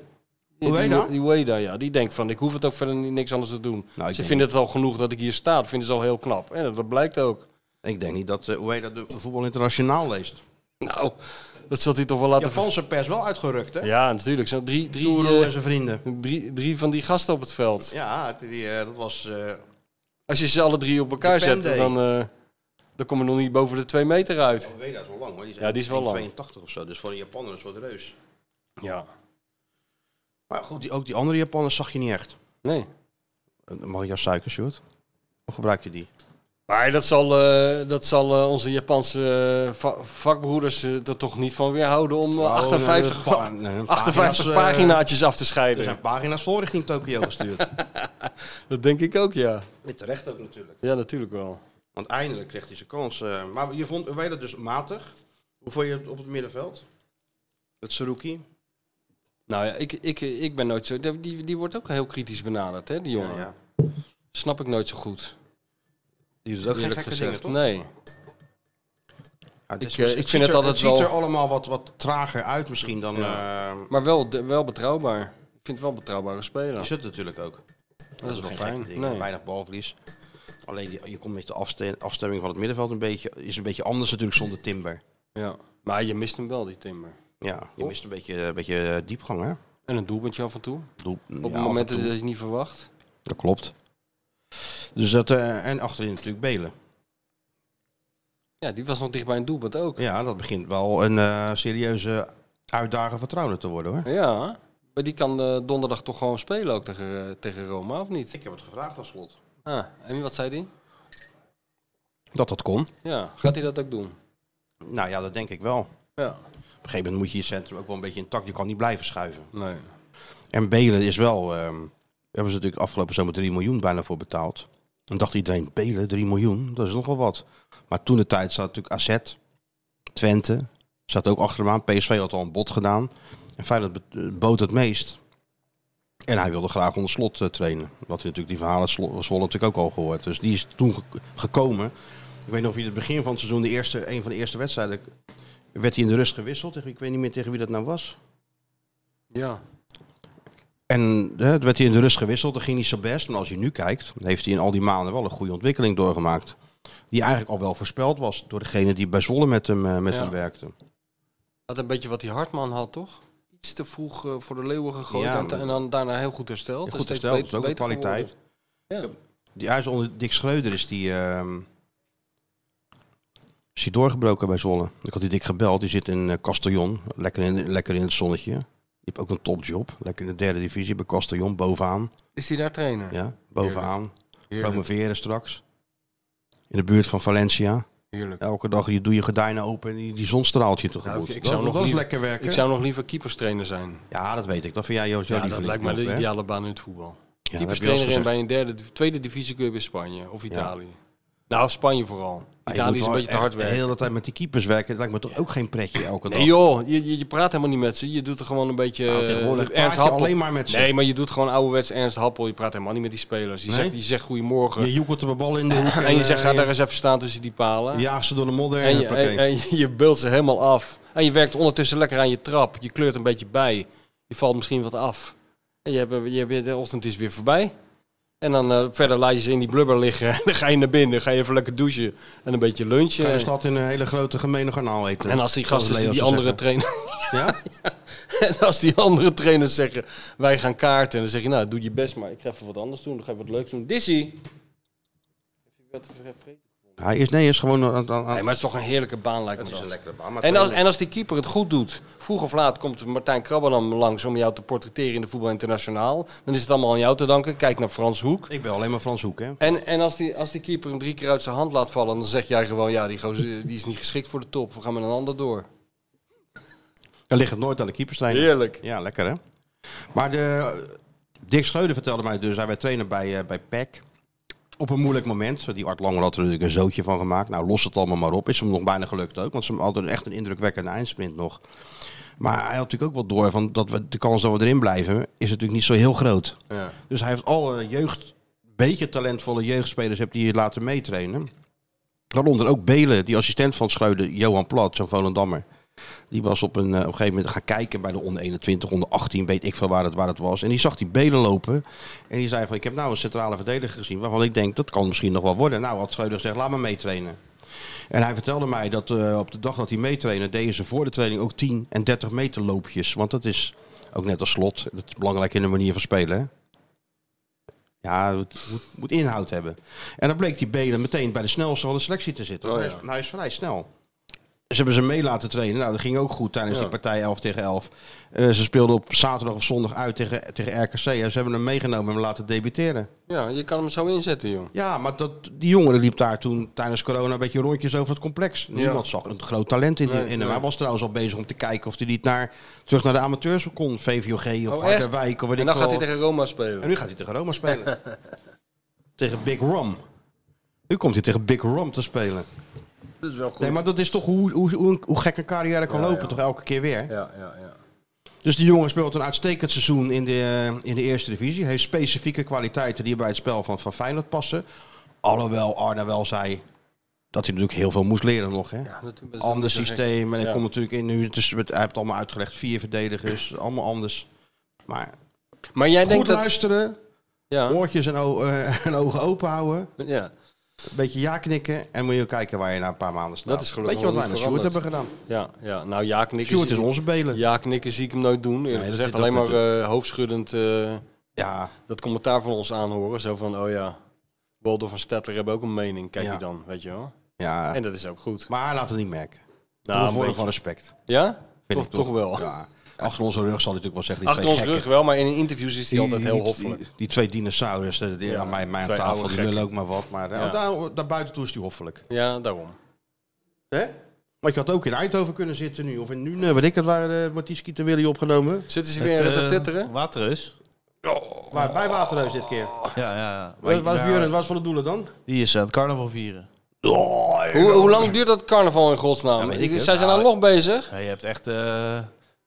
[SPEAKER 6] die-
[SPEAKER 5] Ueda?
[SPEAKER 6] Die Ueda, ja. Die denkt van, ik hoef het ook verder ni- niks anders te doen.
[SPEAKER 5] Nou, ik
[SPEAKER 6] Ze
[SPEAKER 5] denk-
[SPEAKER 6] vinden het al genoeg dat ik hier sta. Dat vinden ze al heel knap. En dat, dat blijkt ook.
[SPEAKER 5] Ik denk niet dat hoe dat de voetbal internationaal leest.
[SPEAKER 6] Nou, dat zult hij toch wel laten...
[SPEAKER 5] Japanse pers wel uitgerukt, hè?
[SPEAKER 6] Ja, natuurlijk. Zo drie, drie,
[SPEAKER 5] Toero
[SPEAKER 6] eh,
[SPEAKER 5] en zijn vrienden.
[SPEAKER 6] drie, drie van die gasten op het veld.
[SPEAKER 5] Ja, het- die, eh, dat was... eh,
[SPEAKER 6] Als je ze alle drie op elkaar
[SPEAKER 5] Depende.
[SPEAKER 6] zet, dan, eh dan kom je nog niet boven de twee meter uit.
[SPEAKER 5] Ueda is wel lang, hoor. Die is,
[SPEAKER 6] Ja, die is wel lang.
[SPEAKER 5] 82 of zo. Dus voor een Japaner is wat reus.
[SPEAKER 6] Ja.
[SPEAKER 5] Maar goed, die, ook die andere Japanners zag je niet echt.
[SPEAKER 6] Nee.
[SPEAKER 5] Eh, Mag ik jouw suiker, Sjoerd? Of gebruik je die?
[SPEAKER 6] Maar dat zal, eh, dat zal eh, onze Japanse eh, va- vakbroeders eh, er toch niet van weerhouden om eh, 58,
[SPEAKER 5] Oh, een- een- een
[SPEAKER 6] 58
[SPEAKER 5] pagina's, eh,
[SPEAKER 6] paginaatjes af te
[SPEAKER 5] Er
[SPEAKER 6] scheiden.
[SPEAKER 5] zijn pagina's voor richting Tokio gestuurd.
[SPEAKER 6] Dat denk ik ook, ja.
[SPEAKER 5] Niet terecht ook natuurlijk.
[SPEAKER 6] Ja, natuurlijk wel.
[SPEAKER 5] Want eindelijk kreeg hij zijn kans. eh, maar je vond Ueda dus matig. Hoe vond je het op het middenveld? Het Saruki?
[SPEAKER 6] Nou ja, ik, ik, ik ben nooit zo... Die, die wordt ook heel kritisch benaderd, hè, die jongen. Snap ik nooit zo goed.
[SPEAKER 5] Die doet ook geen
[SPEAKER 6] eerlijk
[SPEAKER 5] gekke
[SPEAKER 6] gezegd.
[SPEAKER 5] dingen, toch?
[SPEAKER 6] Nee.
[SPEAKER 5] Ja, het
[SPEAKER 6] Ik,
[SPEAKER 5] is-
[SPEAKER 6] eh,
[SPEAKER 5] het
[SPEAKER 6] ik vind
[SPEAKER 5] ziet
[SPEAKER 6] het
[SPEAKER 5] er-
[SPEAKER 6] altijd
[SPEAKER 5] Het ziet
[SPEAKER 6] wel-
[SPEAKER 5] er allemaal wat, wat trager uit misschien dan... eh,
[SPEAKER 6] Maar wel, de- wel betrouwbaar. Ik vind het wel een betrouwbare
[SPEAKER 5] je
[SPEAKER 6] speler.
[SPEAKER 5] zit natuurlijk ook.
[SPEAKER 6] Dat is wel
[SPEAKER 5] Geen
[SPEAKER 6] fijn.
[SPEAKER 5] gekke dingen,
[SPEAKER 6] Nee.
[SPEAKER 5] Weinig balverlies. Alleen die- je komt met de afste- afstemming van het middenveld een beetje... is een beetje anders natuurlijk zonder Timber.
[SPEAKER 6] Ja. Maar je mist hem wel, die Timber.
[SPEAKER 5] Ja, je mist een beetje, een beetje eh, diepgang, hè?
[SPEAKER 6] En een doelpuntje af en toe.
[SPEAKER 5] Doel,
[SPEAKER 6] Op momenten dat je het niet verwacht.
[SPEAKER 5] Dat klopt. Dus dat, eh, en achterin natuurlijk Belen.
[SPEAKER 6] Ja, die was nog dichtbij een doelpunt ook.
[SPEAKER 5] Ja, dat begint wel een eh, serieuze uitdaging voor Trouwner te worden, hoor.
[SPEAKER 6] Ja, maar die kan eh, donderdag toch gewoon spelen ook tegen, eh, tegen Roma, of niet?
[SPEAKER 5] Ik heb het gevraagd als slot.
[SPEAKER 6] Ah, en wat zei die?
[SPEAKER 5] Dat dat kon?
[SPEAKER 6] Ja, gaat hij dat ook doen?
[SPEAKER 5] Nou ja, dat denk ik wel.
[SPEAKER 6] Ja.
[SPEAKER 5] Op een gegeven moment moet je je centrum ook wel een beetje intact. Je kan niet blijven schuiven.
[SPEAKER 6] Nee.
[SPEAKER 5] En Belen is wel... ehm daar hebben ze natuurlijk afgelopen zomer 3 miljoen bijna voor betaald. Dan dacht iedereen, Belen, 3 miljoen, dat is nogal wat. Maar toen de tijd zat natuurlijk AZ, Twente, zat ook achter hem aan. PSV had al een bod gedaan. En Feyenoord be- eh, bood het meest. En hij wilde graag onder slot eh, trainen. Wat hij natuurlijk die verhalen Slo- Zwolle natuurlijk ook al gehoord. Dus die is toen ge- gekomen. Ik weet nog of je het begin van het seizoen, de eerste, een van de eerste wedstrijden, werd hij in de rust gewisseld. Tegen- Ik weet niet meer tegen wie dat nou was.
[SPEAKER 6] Ja.
[SPEAKER 5] En hè, toen werd hij in de rust gewisseld, dat ging niet zo best. Maar als je nu kijkt, heeft hij in al die maanden wel een goede ontwikkeling doorgemaakt. Die eigenlijk al wel voorspeld was door degene die bij Zwolle met hem, eh, met
[SPEAKER 6] Ja.
[SPEAKER 5] hem werkte.
[SPEAKER 6] Had een beetje wat die Hartman had, toch? Iets te vroeg eh, voor de leeuwen gegooid
[SPEAKER 5] Ja,
[SPEAKER 6] en, te- en dan daarna heel goed hersteld.
[SPEAKER 5] Goed
[SPEAKER 6] Steeds
[SPEAKER 5] gesteld, dat is
[SPEAKER 6] beter-
[SPEAKER 5] ook een
[SPEAKER 6] beter
[SPEAKER 5] kwaliteit.
[SPEAKER 6] geworden.
[SPEAKER 5] Die hij is onder Dick Schreuder is die, ehm, is die doorgebroken bij Zwolle. Ik had die Dick gebeld, die zit in eh Castellon, lekker in, lekker in het zonnetje. Die heeft ook een topjob, lekker in de derde divisie bij Castellon, bovenaan.
[SPEAKER 6] Ja. Is hij daar trainer?
[SPEAKER 5] Ja, bovenaan,
[SPEAKER 6] Heerlijk.
[SPEAKER 5] promoveren straks. In de buurt van Valencia.
[SPEAKER 6] heerlijk.
[SPEAKER 5] Elke dag je, doe je gordijnen open en die, die zon straalt je tegemoet.
[SPEAKER 6] Nou, ik- ik
[SPEAKER 5] Dat-
[SPEAKER 6] zou nog
[SPEAKER 5] dat is
[SPEAKER 6] liever-
[SPEAKER 5] lekker werken.
[SPEAKER 6] Ik zou nog liever keeperstrainer zijn.
[SPEAKER 5] Ja, dat weet ik. Dat vind jij jouw
[SPEAKER 6] Ja,
[SPEAKER 5] jouw
[SPEAKER 6] dat
[SPEAKER 5] lieveling.
[SPEAKER 6] lijkt mij de
[SPEAKER 5] Rob, hè?
[SPEAKER 6] ideale baan in het voetbal.
[SPEAKER 5] Ja, dat heb je wel eens
[SPEAKER 6] keeperstrainer en
[SPEAKER 5] gezegd.
[SPEAKER 6] bij een derde, tweede divisieclub in Spanje of Italië. Nou, Spanje vooral.
[SPEAKER 5] Maar Ah, je
[SPEAKER 6] Italië
[SPEAKER 5] moet
[SPEAKER 6] is een
[SPEAKER 5] wel
[SPEAKER 6] beetje te hard
[SPEAKER 5] echt
[SPEAKER 6] werken.
[SPEAKER 5] De hele tijd met die keepers werken, dat lijkt me toch ook geen pretje elke dag.
[SPEAKER 6] Nee joh, je, je, je praat helemaal niet met ze. Je doet er gewoon een beetje
[SPEAKER 5] Nou,
[SPEAKER 6] eh,
[SPEAKER 5] tegenwoordig praat
[SPEAKER 6] Ernst
[SPEAKER 5] je
[SPEAKER 6] Happel.
[SPEAKER 5] alleen maar met ze.
[SPEAKER 6] Nee, maar je doet gewoon ouderwets Ernst Happel. Je praat helemaal niet met die spelers. Je,
[SPEAKER 5] Nee?
[SPEAKER 6] zegt, je zegt goedemorgen.
[SPEAKER 5] Je joekelt er een bal in de hoek
[SPEAKER 6] en je
[SPEAKER 5] eh,
[SPEAKER 6] zegt ga
[SPEAKER 5] je
[SPEAKER 6] daar eens even staan tussen die palen.
[SPEAKER 5] jaagt ze door de modder en,
[SPEAKER 6] En je,
[SPEAKER 5] het pakket.
[SPEAKER 6] en, en je- je beult ze helemaal af. En je werkt ondertussen lekker aan je trap. Je kleurt een beetje bij. Je valt misschien wat af. En je hebt, eh, je hebt, de ochtend is weer voorbij. En dan eh, verder laat je ze in die blubber liggen. dan ga je naar binnen. ga je even lekker douchen. En een beetje lunchen.
[SPEAKER 5] Kan de stad in een hele grote gemene garnaal eten.
[SPEAKER 6] En als die
[SPEAKER 5] Zoals
[SPEAKER 6] gasten
[SPEAKER 5] Leo
[SPEAKER 6] die
[SPEAKER 5] zou
[SPEAKER 6] andere
[SPEAKER 5] zeggen.
[SPEAKER 6] trainen...
[SPEAKER 5] Ja?
[SPEAKER 6] En als die andere trainers zeggen, wij gaan kaarten. En dan zeg je, nou, doe je best, maar ik ga even wat anders doen. Dan ga ik wat leuks doen. Dizzy!
[SPEAKER 5] Hij is, nee, hij is gewoon aan, aan, aan-
[SPEAKER 6] Nee, maar het is toch een heerlijke baan, lijkt me dat.
[SPEAKER 5] baan. maar
[SPEAKER 6] En als,
[SPEAKER 5] trainen-
[SPEAKER 6] en als die keeper het goed doet, vroeg of laat komt Martijn Krabbe dan langs om jou te portretteren in de voetbal internationaal. Dan is het allemaal aan jou te danken. Kijk naar Frans Hoek.
[SPEAKER 5] Ik ben alleen maar Frans Hoek, hè.
[SPEAKER 6] En, en als, die, als die keeper hem drie keer uit zijn hand laat vallen, dan zeg jij gewoon, ja, die, gozer, die is niet geschikt voor de top. We gaan met een ander door.
[SPEAKER 5] Dan ligt het nooit aan de keeperslijn.
[SPEAKER 6] Heerlijk.
[SPEAKER 5] Ja, lekker hè. Maar de, Dick Schreuder vertelde mij dus, hij werd trainer bij, eh bij PEC. op een moeilijk moment. Die Art Langer had er natuurlijk een zootje van gemaakt. Nou, los het allemaal maar op. Is hem nog bijna gelukt ook. Want ze hadden echt een indrukwekkende eindsprint nog. Maar hij had natuurlijk ook wel door van dat we de kans dat we erin blijven is natuurlijk niet zo heel groot.
[SPEAKER 6] Ja.
[SPEAKER 5] Dus hij heeft alle jeugd, beetje talentvolle jeugdspelers hebt die je laten meetrainen. Waaronder ook Belen, die assistent van Schreuder, Johan Plat, zo'n Volendammer. Die was op een, eh, op een gegeven moment gaan kijken bij de onder 21, onder 18, weet ik veel waar het, waar het was. En die zag die Belen lopen. En die zei van, ik heb nou een centrale verdediger gezien waarvan ik denk, dat kan misschien nog wel worden. Nou had Schreuder gezegd, laat me meetrainen. En hij vertelde mij dat eh, op de dag dat hij meetrainde, deden ze voor de training ook 10 en 30 meter loopjes. Want dat is ook net als slot, dat is belangrijk in de manier van spelen. hè. Ja, het moet, moet inhoud hebben. En dan bleek die Belen meteen bij de snelste van de selectie te zitten.
[SPEAKER 6] Oh,
[SPEAKER 5] Want
[SPEAKER 6] ja.
[SPEAKER 5] hij, is, hij is vrij snel. Ze hebben ze mee laten trainen. Nou, dat ging ook goed tijdens
[SPEAKER 6] Ja.
[SPEAKER 5] die partij 11 tegen 11. Eh, ze speelden op zaterdag of zondag uit tegen, tegen RKC. En ze hebben hem meegenomen en hem laten debuteren.
[SPEAKER 6] ja, je kan hem zo inzetten, joh.
[SPEAKER 5] Ja, maar dat, die jongen liep daar toen tijdens corona een beetje rondjes over het complex. Niemand zag een groot talent in,
[SPEAKER 6] Nee,
[SPEAKER 5] in hem.
[SPEAKER 6] nee.
[SPEAKER 5] Hij was trouwens al bezig om te kijken of hij niet naar, terug naar de amateurs kon. VVOG of
[SPEAKER 6] Oh, echt?
[SPEAKER 5] Harderwijk of weet ik
[SPEAKER 6] En dan
[SPEAKER 5] veel
[SPEAKER 6] gaat hij
[SPEAKER 5] wat.
[SPEAKER 6] tegen Roma spelen.
[SPEAKER 5] En nu gaat hij tegen Roma spelen. tegen Big Rom. Nu komt hij tegen Big Rom te spelen.
[SPEAKER 6] Dat is wel goed.
[SPEAKER 5] Nee, maar dat is toch hoe, hoe, hoe, hoe gek een carrière kan
[SPEAKER 6] Ja,
[SPEAKER 5] lopen,
[SPEAKER 6] ja.
[SPEAKER 5] toch elke keer weer.
[SPEAKER 6] Ja, ja, ja.
[SPEAKER 5] Dus die jongen speelt een uitstekend seizoen in de, eh, in de eerste divisie. Heeft specifieke kwaliteiten die bij het spel van, van Feyenoord passen. Alhoewel Arne wel zei dat hij natuurlijk heel veel moest leren nog. Hè?
[SPEAKER 6] Ja, dat- dat-
[SPEAKER 5] Ander
[SPEAKER 6] dat-
[SPEAKER 5] systeem. En hij
[SPEAKER 6] Ja.
[SPEAKER 5] komt natuurlijk in nu. Dus het- hij heeft allemaal uitgelegd. Vier verdedigers. Allemaal anders. Maar
[SPEAKER 6] Maar jij denkt
[SPEAKER 5] goed
[SPEAKER 6] dat...
[SPEAKER 5] luisteren.
[SPEAKER 6] Ja,
[SPEAKER 5] Oortjes en, o- eh, en ogen open houden.
[SPEAKER 6] ja,
[SPEAKER 5] Een beetje ja knikken. En moet je kijken waar je na een paar maanden staat.
[SPEAKER 6] Dat is gelukkig
[SPEAKER 5] Weet je wat
[SPEAKER 6] nog
[SPEAKER 5] wij met
[SPEAKER 6] niet
[SPEAKER 5] Sjoerd hebben
[SPEAKER 6] veranderd.
[SPEAKER 5] gedaan?
[SPEAKER 6] ja, ja. Nou, ja, knikken...
[SPEAKER 5] Sjoerd
[SPEAKER 6] zie-
[SPEAKER 5] is onze belen. Ja.
[SPEAKER 6] Ja, knikken zie ik hem nooit doen. Eerlijk
[SPEAKER 5] Nee, dat-
[SPEAKER 6] gezegd,
[SPEAKER 5] dat-
[SPEAKER 6] alleen
[SPEAKER 5] dat-
[SPEAKER 6] maar eh, hoofdschuddend eh, dat commentaar van ons aanhoren. Zo van, oh ja, Boldo van Stettler hebben ook een mening. Kijk
[SPEAKER 5] Ja.
[SPEAKER 6] die dan, weet je wel.
[SPEAKER 5] ja.
[SPEAKER 6] En dat is ook goed.
[SPEAKER 5] Maar laat het niet merken.
[SPEAKER 6] Nou,
[SPEAKER 5] Nou,
[SPEAKER 6] een
[SPEAKER 5] een vorm
[SPEAKER 6] beetje.
[SPEAKER 5] van respect.
[SPEAKER 6] Ja?
[SPEAKER 5] Vind
[SPEAKER 6] Toch,
[SPEAKER 5] ik toch.
[SPEAKER 6] toch wel.
[SPEAKER 5] Ja. Achter onze rug zal hij natuurlijk wel zeggen. die
[SPEAKER 6] Achter
[SPEAKER 5] twee
[SPEAKER 6] ons
[SPEAKER 5] gekken.
[SPEAKER 6] rug wel, maar in interviews is
[SPEAKER 5] Die-
[SPEAKER 6] hij altijd heel
[SPEAKER 5] die-
[SPEAKER 6] hoffelijk.
[SPEAKER 5] Die, die twee dinosaurussen, die- die
[SPEAKER 6] Ja,
[SPEAKER 5] aan mijn, mijn
[SPEAKER 6] twee
[SPEAKER 5] tafel,
[SPEAKER 6] oude
[SPEAKER 5] die
[SPEAKER 6] gekken.
[SPEAKER 5] willen ook maar wat. Maar eh,
[SPEAKER 6] Ja.
[SPEAKER 5] oh, daar, daar buiten toe is die hoffelijk.
[SPEAKER 6] Ja, daarom.
[SPEAKER 5] Hè? Want je had ook in Eindhoven kunnen zitten nu. Of in Nune, weet ik het, waar uh, Matieski te willen opgenomen.
[SPEAKER 6] Zitten ze weer
[SPEAKER 5] eh,
[SPEAKER 6] te titteren?
[SPEAKER 3] eh, Waterreus.
[SPEAKER 5] Maar bij Waterhuis dit keer.
[SPEAKER 6] Oh,
[SPEAKER 3] Ja, ja, ja.
[SPEAKER 5] Waar, waar is
[SPEAKER 6] nou.
[SPEAKER 3] Maar-
[SPEAKER 5] Björn en waar is Van de Doelen dan?
[SPEAKER 3] Die is aan het carnaval vieren.
[SPEAKER 6] Hoe, hoe lang duurt dat carnaval in godsnaam?
[SPEAKER 5] weet
[SPEAKER 6] Ik-
[SPEAKER 5] ik het.
[SPEAKER 6] Zij zijn nou nog bezig.
[SPEAKER 3] Ja, je hebt echt eh,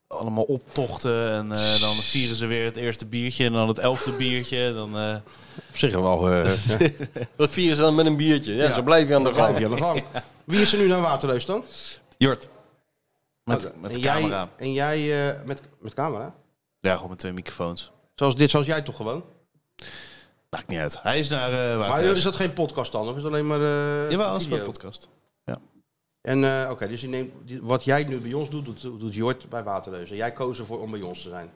[SPEAKER 3] allemaal optochten en eh, dan vieren ze weer het eerste biertje en dan het elfde biertje. Dan, eh,
[SPEAKER 5] Op zich wel. eh
[SPEAKER 6] Dat vieren ze dan met een biertje. Ja, zo blijf je aan de gang.
[SPEAKER 5] blijf je aan de gang. Wie is er nu naar Waterhuis dan?
[SPEAKER 3] Jort. Met, met
[SPEAKER 5] Oh, en
[SPEAKER 3] de
[SPEAKER 5] jij,
[SPEAKER 3] camera.
[SPEAKER 5] En jij eh, met, met camera?
[SPEAKER 3] Ja, gewoon met twee microfoons.
[SPEAKER 5] Zoals dit, zoals jij toch gewoon?
[SPEAKER 3] Maakt niet uit. Hij is naar eh
[SPEAKER 5] Maar
[SPEAKER 3] Waterreus.
[SPEAKER 5] is dat geen podcast dan? Of is het alleen maar. eh
[SPEAKER 3] Jawel, als
[SPEAKER 5] video?
[SPEAKER 3] voor podcast.
[SPEAKER 5] En eh, oké, dus die neemt, die- wat jij nu bij ons doet, doet, doet Jort bij Waterreus. En jij koos ervoor om bij ons te zijn.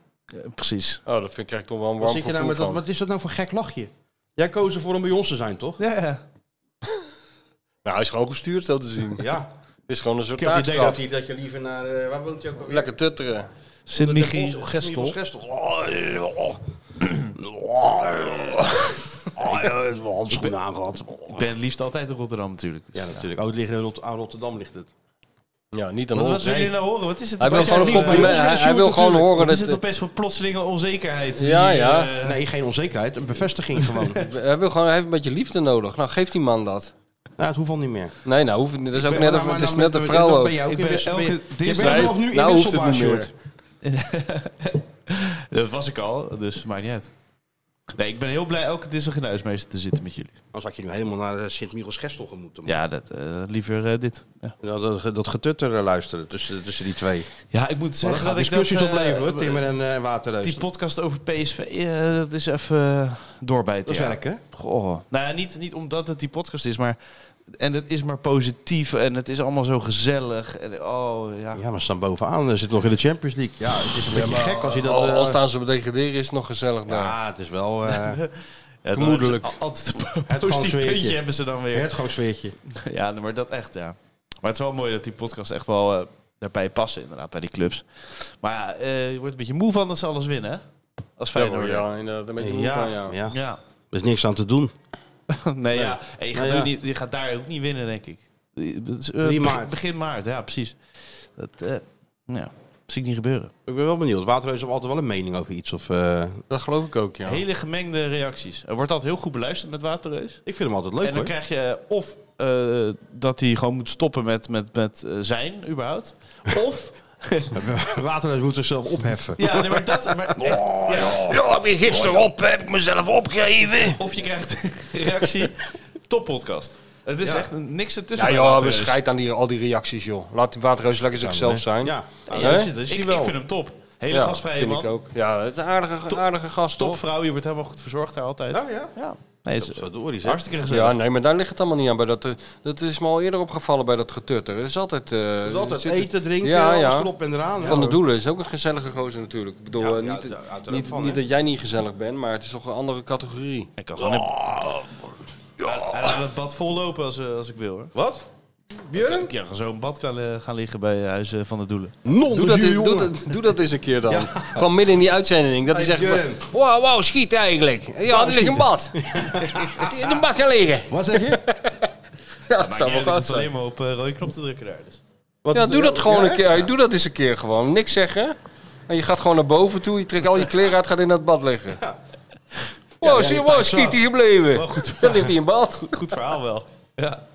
[SPEAKER 3] precies.
[SPEAKER 6] Oh, dat vind ik krijg ik toch wel een
[SPEAKER 5] Wat,
[SPEAKER 6] warm
[SPEAKER 5] zit je
[SPEAKER 6] gevoel
[SPEAKER 5] nou met dat,
[SPEAKER 6] van.
[SPEAKER 5] wat is dat nou voor gek lachje? Jij koos ervoor om bij ons te zijn, toch?
[SPEAKER 3] Ja, ja.
[SPEAKER 6] Nou, hij is gewoon gestuurd, zo te zien. Het
[SPEAKER 5] Ja.
[SPEAKER 6] is gewoon een soort
[SPEAKER 5] Ik heb het idee dat,
[SPEAKER 6] taakstraf.
[SPEAKER 5] hij, dat je liever naar... eh, waar woont hij ook alweer?
[SPEAKER 6] Lekker tutteren.
[SPEAKER 3] Sint
[SPEAKER 5] Den Bosch-
[SPEAKER 3] Michiel
[SPEAKER 5] Michiel
[SPEAKER 3] Gestel.
[SPEAKER 5] Gestel. Oh, eh, oh.
[SPEAKER 3] Ik ben het liefst altijd in Rotterdam natuurlijk. Dus,
[SPEAKER 5] Ja, natuurlijk. Oh, het ligt in Rot- aan Rotterdam ligt het.
[SPEAKER 6] Ja, niet aan
[SPEAKER 3] Wat,
[SPEAKER 6] ons.
[SPEAKER 3] wat willen
[SPEAKER 6] Nee.
[SPEAKER 3] jullie nou horen? Wat is het?
[SPEAKER 6] Hij wil
[SPEAKER 3] opeens
[SPEAKER 6] gewoon een
[SPEAKER 3] voor-
[SPEAKER 6] compliment.
[SPEAKER 3] Wat
[SPEAKER 6] Hij,
[SPEAKER 3] is
[SPEAKER 6] hij wil gewoon horen
[SPEAKER 3] Wat is
[SPEAKER 6] dat...
[SPEAKER 3] het opeens voor plotselinge onzekerheid?
[SPEAKER 6] Ja,
[SPEAKER 3] die,
[SPEAKER 6] ja.
[SPEAKER 3] eh,
[SPEAKER 5] Nee, geen onzekerheid. Een bevestiging gewoon. nou,
[SPEAKER 6] Hij wil gewoon hij heeft een beetje liefde nodig. Nou, geef die man dat.
[SPEAKER 5] het hoeft al niet meer.
[SPEAKER 6] Nee, nou, hoeft, het niet. dat is ook
[SPEAKER 5] Ben-
[SPEAKER 6] net
[SPEAKER 5] nou,
[SPEAKER 6] of,
[SPEAKER 5] maar
[SPEAKER 6] het is
[SPEAKER 5] dan
[SPEAKER 6] net
[SPEAKER 5] ben-
[SPEAKER 6] een
[SPEAKER 5] dan
[SPEAKER 6] vrouw ook.
[SPEAKER 5] Ben je ook
[SPEAKER 3] Ik
[SPEAKER 5] in
[SPEAKER 3] ben
[SPEAKER 5] wissel- ben je-
[SPEAKER 3] elke
[SPEAKER 5] je bent
[SPEAKER 3] dinsdag-
[SPEAKER 5] vanaf nu in
[SPEAKER 6] Nou hoeft het
[SPEAKER 5] wisselbaar,
[SPEAKER 6] niet meer.
[SPEAKER 5] Sjoerd.
[SPEAKER 3] Dat was ik al, dus maakt niet uit. Nee, ik ben heel blij elke dinsdag in de huismeester te zitten met jullie.
[SPEAKER 5] Anders had je nu helemaal naar eh, Sint-Michels Gestel gemoeten.
[SPEAKER 3] Ja, dat, eh, liever eh, dit. Ja.
[SPEAKER 5] Dat, dat, dat getutter eh, luisteren tussen, tussen die twee.
[SPEAKER 3] ik moet
[SPEAKER 5] Maar dat
[SPEAKER 3] zeggen
[SPEAKER 5] gaat
[SPEAKER 3] dat ik
[SPEAKER 5] discussies
[SPEAKER 3] dat, eh,
[SPEAKER 5] opleveren, hoor, Timmer en eh Waterreus.
[SPEAKER 3] Die podcast over PSV, eh, dat is even eh, doorbijten.
[SPEAKER 5] dat is
[SPEAKER 3] ja.
[SPEAKER 5] werk, hè?
[SPEAKER 3] Goh. Nou ja, niet, niet omdat het die podcast is, maar... En het is maar positief en het is allemaal zo gezellig. En, oh, ja.
[SPEAKER 5] Ja, maar ze staan bovenaan. Ze zitten nog in de Champions League. Ja, het is een beetje gek als je dat...
[SPEAKER 6] Al,
[SPEAKER 5] eh,
[SPEAKER 6] al staan ze op degraderen is het nog gezellig daar.
[SPEAKER 5] ja, het is wel eh
[SPEAKER 3] Ja, dan
[SPEAKER 6] vermoedelijk.
[SPEAKER 3] hebben ze al- Altijd een
[SPEAKER 5] Het
[SPEAKER 3] positief
[SPEAKER 5] gansweertje.
[SPEAKER 3] puntje hebben ze dan weer.
[SPEAKER 5] het gewoon sfeertje.
[SPEAKER 3] Ja, maar dat echt, ja. Maar het is wel mooi dat die podcast echt wel eh, daarbij passen, inderdaad, bij die clubs. Maar ja, eh, je wordt een beetje moe van dat ze alles winnen, hè? Als
[SPEAKER 6] Ja, hoor,
[SPEAKER 3] Feyenoord.
[SPEAKER 6] ja, inderdaad, daar ben je moe
[SPEAKER 5] Ja,
[SPEAKER 6] van,
[SPEAKER 5] ja.
[SPEAKER 6] ja.
[SPEAKER 5] Er
[SPEAKER 3] Ja.
[SPEAKER 5] is niks aan te doen.
[SPEAKER 3] nee, ja. En je, gaat
[SPEAKER 5] Nou ja.
[SPEAKER 3] nu niet, je gaat daar ook niet winnen, denk ik. Eh, eh,
[SPEAKER 5] Drie
[SPEAKER 3] beg-
[SPEAKER 5] maart.
[SPEAKER 3] Begin maart, ja, precies. Dat, eh, ja. zie ik niet gebeuren.
[SPEAKER 5] Ik ben wel benieuwd. Waterreus hebben altijd wel een mening over iets. Of, eh,
[SPEAKER 6] Dat geloof ik ook, ja.
[SPEAKER 3] Hele gemengde reacties. Er wordt altijd heel goed beluisterd met Waterreus.
[SPEAKER 5] ik vind hem altijd leuk
[SPEAKER 3] en dan
[SPEAKER 5] hoor.
[SPEAKER 3] krijg je of eh, dat hij gewoon moet stoppen met, met, met eh, zijn, überhaupt. Of,
[SPEAKER 5] Waterreus moet zichzelf opheffen.
[SPEAKER 3] ja, nee, maar dat, maar, ja.
[SPEAKER 7] heb je gisteren op, heb ik mezelf opgegeven.
[SPEAKER 3] of je krijgt reactie, toppodcast. Het is echt niks ertussen.
[SPEAKER 6] Ja
[SPEAKER 3] bij
[SPEAKER 6] joh, we
[SPEAKER 3] Waterreus.
[SPEAKER 6] scheid aan die, al die reacties joh. Laat die Waterreus lekker zichzelf zijn.
[SPEAKER 5] Ja,
[SPEAKER 3] Ja,
[SPEAKER 6] Hè?
[SPEAKER 3] dat is- dat is
[SPEAKER 5] Ik-
[SPEAKER 3] ik,
[SPEAKER 5] wel.
[SPEAKER 3] ik vind hem top. Hele
[SPEAKER 6] Ja,
[SPEAKER 3] gastvrije
[SPEAKER 6] vind
[SPEAKER 3] man.
[SPEAKER 6] ik ook. Ja, het is een aardige, aardige gast
[SPEAKER 3] Top
[SPEAKER 6] toch?
[SPEAKER 3] vrouw, je wordt helemaal goed verzorgd daar altijd.
[SPEAKER 5] Nou ja.
[SPEAKER 3] ja. Nee, het is
[SPEAKER 5] Verdorie, zeg.
[SPEAKER 3] hartstikke gezellig.
[SPEAKER 6] Ja, nee, maar daar ligt het allemaal niet aan. Bij dat, eh, dat is me al eerder opgevallen bij dat getutter. Er is altijd... eh,
[SPEAKER 5] Dus altijd
[SPEAKER 6] zit het-
[SPEAKER 5] eten, drinken,
[SPEAKER 6] Ja, ja.
[SPEAKER 5] alles erop en eraan.
[SPEAKER 6] Van de
[SPEAKER 5] doel.
[SPEAKER 6] Doelen is ook een gezellige gozer natuurlijk. Ik bedoel,
[SPEAKER 5] Ja,
[SPEAKER 6] eh,
[SPEAKER 5] ja,
[SPEAKER 6] niet,
[SPEAKER 5] daar- uiteraard
[SPEAKER 6] niet,
[SPEAKER 5] van,
[SPEAKER 6] niet
[SPEAKER 5] hè.
[SPEAKER 6] dat jij niet gezellig bent, maar het is toch een andere categorie.
[SPEAKER 3] Ik kan gewoon Hij laat het bad vol lopen als, eh, als ik wil hoor.
[SPEAKER 5] Wat? Björn?
[SPEAKER 3] Ja, gewoon zo'n bad kan eh, gaan liggen bij Huizen van de Doelen.
[SPEAKER 5] Non,
[SPEAKER 6] Doe dat, eens, doe, dat, doe dat eens een keer dan. Van midden in die uitzending. Dat hij
[SPEAKER 5] Hey,
[SPEAKER 6] zegt,
[SPEAKER 5] Björn.
[SPEAKER 7] Wauw, wauw, schiet eigenlijk.
[SPEAKER 6] ja, er ligt een bad.
[SPEAKER 7] In de bak gaan liggen.
[SPEAKER 5] Wat zeg je?
[SPEAKER 6] Ja, dat zou wel
[SPEAKER 3] ik
[SPEAKER 6] goed
[SPEAKER 3] hoef
[SPEAKER 6] zijn.
[SPEAKER 3] alleen maar op eh, rode knop te drukken daar. Dus.
[SPEAKER 5] Wat-
[SPEAKER 6] Ja, doe dat gewoon
[SPEAKER 5] Ja,
[SPEAKER 6] een keer. Hey, Doe dat eens een keer gewoon. Niks zeggen. En je gaat gewoon naar boven toe. Je trekt al je kleren uit, gaat in dat bad liggen. Wow, zie je, wow, schiet hij gebleven. Dan ligt hij in bad.
[SPEAKER 3] Goed verhaal wel. Ja.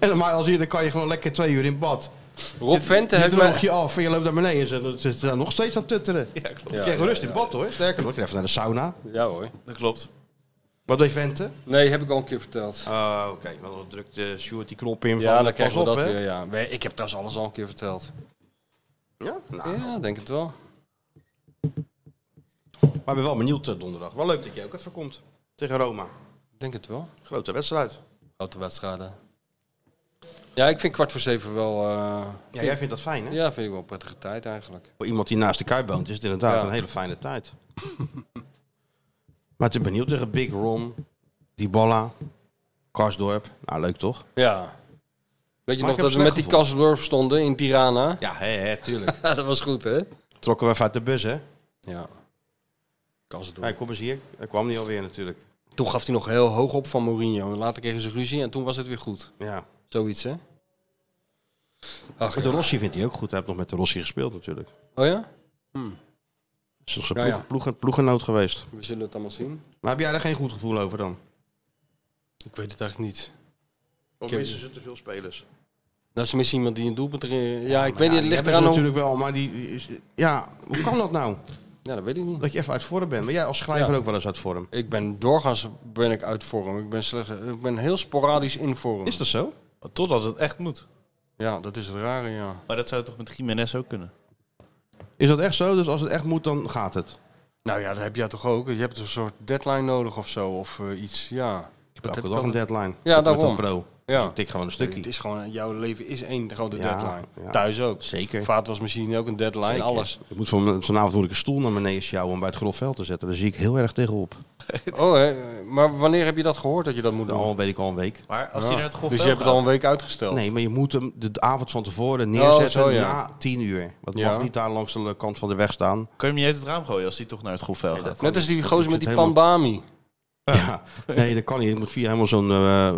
[SPEAKER 5] En, maar als je, dan kan je gewoon lekker twee uur in bad.
[SPEAKER 6] Rob Vente
[SPEAKER 5] je
[SPEAKER 6] heeft
[SPEAKER 5] droog
[SPEAKER 6] mij...
[SPEAKER 5] je af en je loopt naar beneden. En dan zit ze daar nog steeds aan het tutteren.
[SPEAKER 3] ja, klopt.
[SPEAKER 5] Je krijgt rust in bad hoor. Sterker nog, je gaat even naar de sauna.
[SPEAKER 6] Ja hoor.
[SPEAKER 3] Dat klopt.
[SPEAKER 5] Wat deed Vente?
[SPEAKER 6] Nee, heb ik al een keer verteld.
[SPEAKER 5] Ah, oké. Want dan drukt eh Sjoerd die knop in
[SPEAKER 6] Ja,
[SPEAKER 5] van,
[SPEAKER 6] dan
[SPEAKER 5] eh, pas
[SPEAKER 6] krijgen we
[SPEAKER 5] op
[SPEAKER 6] dat
[SPEAKER 5] hè.
[SPEAKER 6] weer, ja. Nee, Ik heb trouwens alles al een keer verteld.
[SPEAKER 5] Ja? Nou,
[SPEAKER 6] Ja, denk het wel.
[SPEAKER 5] maar ik ben wel benieuwd eh, donderdag. Wel leuk dat je ook even komt. Tegen Roma.
[SPEAKER 6] Denk het wel.
[SPEAKER 5] Grote wedstrijd.
[SPEAKER 6] Grote wedstrijden. Ja, ik vind kwart voor zeven wel... eh,
[SPEAKER 5] Ja, jij vindt dat fijn hè?
[SPEAKER 6] ja, vind ik wel een prettige tijd eigenlijk.
[SPEAKER 5] Voor iemand die naast de Kuip woont is het inderdaad
[SPEAKER 6] Ja.
[SPEAKER 5] een hele fijne tijd. maar ik ben benieuwd tegen Big Ron, Dybala, Karsdorp. Nou, leuk toch?
[SPEAKER 6] Ja. Weet je
[SPEAKER 5] Maar
[SPEAKER 6] nog
[SPEAKER 5] ik heb
[SPEAKER 6] dat we
[SPEAKER 5] slecht
[SPEAKER 6] met die Kasseldorp stonden in Tirana?
[SPEAKER 5] Ja, hè, hè, tuurlijk.
[SPEAKER 6] Ja, dat was goed, hè?
[SPEAKER 5] Trokken we even uit de bus, hè?
[SPEAKER 6] Ja. Kasseldorp.
[SPEAKER 5] Hey, kom eens hier. Hij kwam niet alweer natuurlijk.
[SPEAKER 6] Toen gaf hij nog heel hoog op van Mourinho. Later kregen ze ruzie en toen was het weer goed.
[SPEAKER 5] Ja.
[SPEAKER 6] Zoiets, hè? Ach,
[SPEAKER 5] Maar de Rossi vindt hij ook goed. Hij heeft nog met de Rossi gespeeld natuurlijk.
[SPEAKER 6] Oh ja?
[SPEAKER 5] Is toch zijn
[SPEAKER 6] Ja,
[SPEAKER 5] ploeg,
[SPEAKER 6] ja.
[SPEAKER 5] ploegen- ploegenoot geweest.
[SPEAKER 6] We zullen het allemaal zien.
[SPEAKER 5] Maar heb jij daar geen goed gevoel over dan?
[SPEAKER 6] Ik weet het eigenlijk niet.
[SPEAKER 5] Of
[SPEAKER 6] heb-
[SPEAKER 5] missen ze te veel spelers?
[SPEAKER 6] Nou, is er misschien iemand die een doelpunt erin... Ja, ik
[SPEAKER 5] Maar
[SPEAKER 6] weet
[SPEAKER 5] ja,
[SPEAKER 6] niet, het
[SPEAKER 5] die
[SPEAKER 6] ligt
[SPEAKER 5] hebben ze
[SPEAKER 6] eraan hoe...
[SPEAKER 5] natuurlijk wel, maar die... is- Ja, hoe kan dat nou?
[SPEAKER 6] Ja, dat weet ik niet.
[SPEAKER 5] Dat je even uit vorm bent. Maar jij als schrijver
[SPEAKER 6] Ja.
[SPEAKER 5] ook wel eens uit vorm.
[SPEAKER 6] Ik ben doorgaans ben ik uit vorm. Ik ben, slechts, ik ben heel sporadisch in vorm.
[SPEAKER 5] Is dat zo?
[SPEAKER 3] Totdat het echt moet.
[SPEAKER 6] Ja, dat is het rare, ja.
[SPEAKER 3] Maar dat zou toch met Jiménez ook kunnen?
[SPEAKER 5] Is dat echt zo? Dus als het echt moet, dan gaat het.
[SPEAKER 6] Nou ja, dat heb jij toch ook? Je hebt een soort deadline nodig of zo, of eh, iets, ja.
[SPEAKER 5] Ik heb
[SPEAKER 6] heb
[SPEAKER 5] elke
[SPEAKER 6] ik
[SPEAKER 5] dag een
[SPEAKER 6] altijd.
[SPEAKER 5] deadline.
[SPEAKER 6] Ja,
[SPEAKER 5] Met dat
[SPEAKER 6] daarom.
[SPEAKER 5] Pro.
[SPEAKER 6] Ja.
[SPEAKER 5] Ik tik gewoon een
[SPEAKER 6] Het
[SPEAKER 5] stukje.
[SPEAKER 6] is gewoon, jouw leven is één grote
[SPEAKER 5] Ja,
[SPEAKER 6] deadline.
[SPEAKER 5] ja.
[SPEAKER 6] Thuis ook.
[SPEAKER 5] Zeker.
[SPEAKER 6] Vaatwasmachine ook een deadline,
[SPEAKER 5] Zeker.
[SPEAKER 6] alles.
[SPEAKER 5] Ik moet van, vanavond moet ik een stoel naar beneden sjouwen om bij het grof veld te zetten. Daar zie ik heel erg tegenop.
[SPEAKER 6] Oh, hè, maar wanneer heb je dat gehoord dat je dat moet doen?
[SPEAKER 5] Al weet ik al een week.
[SPEAKER 3] Maar als
[SPEAKER 6] Ja.
[SPEAKER 3] hij naar het golf
[SPEAKER 6] Dus je hebt het al een week uitgesteld.
[SPEAKER 5] Nee, maar je moet hem de avond van tevoren neerzetten
[SPEAKER 6] zo, Oh, ja.
[SPEAKER 5] na tien uur. Want het
[SPEAKER 6] Ja.
[SPEAKER 5] mag niet daar langs de kant van de weg staan.
[SPEAKER 3] Kun je hem niet uit het raam gooien als hij toch naar het golfveld gaat?
[SPEAKER 6] Net als die gozer met
[SPEAKER 5] moet
[SPEAKER 6] die
[SPEAKER 5] het helemaal-
[SPEAKER 6] pandami.
[SPEAKER 5] Ja. Nee, dat kan niet. Ik moet via helemaal zo'n... eh,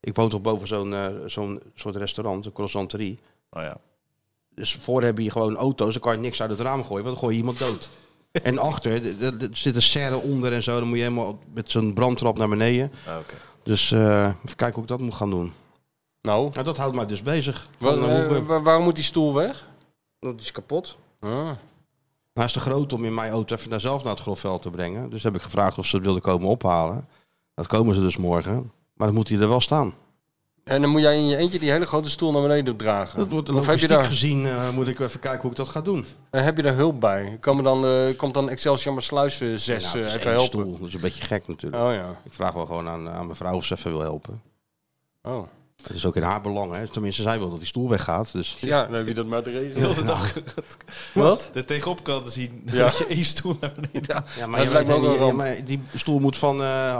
[SPEAKER 5] ik woon toch boven zo'n eh, zo'n soort restaurant, een croissanterie.
[SPEAKER 3] Oh ja.
[SPEAKER 5] Dus voor heb je gewoon auto's, dan kan je niks uit het raam gooien, want dan gooi je iemand dood. en achter, d- d- d- er zit een serre onder en zo, dan moet je helemaal met zo'n brandtrap naar beneden.
[SPEAKER 3] Ah, Oké.
[SPEAKER 5] Dus eh, even kijken hoe ik dat moet gaan doen.
[SPEAKER 6] Nou,
[SPEAKER 5] Nou, dat houdt mij dus bezig.
[SPEAKER 6] wa-
[SPEAKER 5] Van, eh, hoe
[SPEAKER 6] eh,
[SPEAKER 5] ik ben-
[SPEAKER 6] wa- waarom moet die stoel weg?
[SPEAKER 5] dat is kapot.
[SPEAKER 6] Ah.
[SPEAKER 5] Hij Nou, is te groot om in mijn auto even naar zelf naar het grofveld te brengen. Dus heb ik gevraagd of ze het wilden komen ophalen. Dat komen ze dus morgen. Maar dan moet hij er wel staan.
[SPEAKER 6] En dan moet jij in je eentje die hele grote stoel naar beneden dragen.
[SPEAKER 5] Dat wordt
[SPEAKER 6] of heb je,
[SPEAKER 5] logistiek
[SPEAKER 6] daar,
[SPEAKER 5] gezien, eh, moet ik even kijken hoe ik dat ga doen.
[SPEAKER 6] eh, heb je daar hulp bij? Komen dan, eh, komt dan Excelsior maar Sluis eh, zes
[SPEAKER 5] Nou, het
[SPEAKER 6] eh,
[SPEAKER 5] is
[SPEAKER 6] even
[SPEAKER 5] één
[SPEAKER 6] helpen?
[SPEAKER 5] stoel, dat is een beetje gek natuurlijk.
[SPEAKER 6] Oh ja.
[SPEAKER 5] Ik vraag wel gewoon aan, eh, aan mijn vrouw of ze even wil helpen.
[SPEAKER 6] Oh.
[SPEAKER 5] Het is ook in haar belang, hè. Tenminste, zij wil dat die stoel weggaat. Dus
[SPEAKER 6] Ja, dan heb je dat maar te regelen.
[SPEAKER 3] Heel de dag
[SPEAKER 6] Wat?
[SPEAKER 3] de tegenopkant te zien
[SPEAKER 6] Ja.
[SPEAKER 3] dat je één stoel naar beneden
[SPEAKER 5] ja,
[SPEAKER 6] maar dat lijkt me ook wel ramp.
[SPEAKER 5] maar die stoel moet van eh,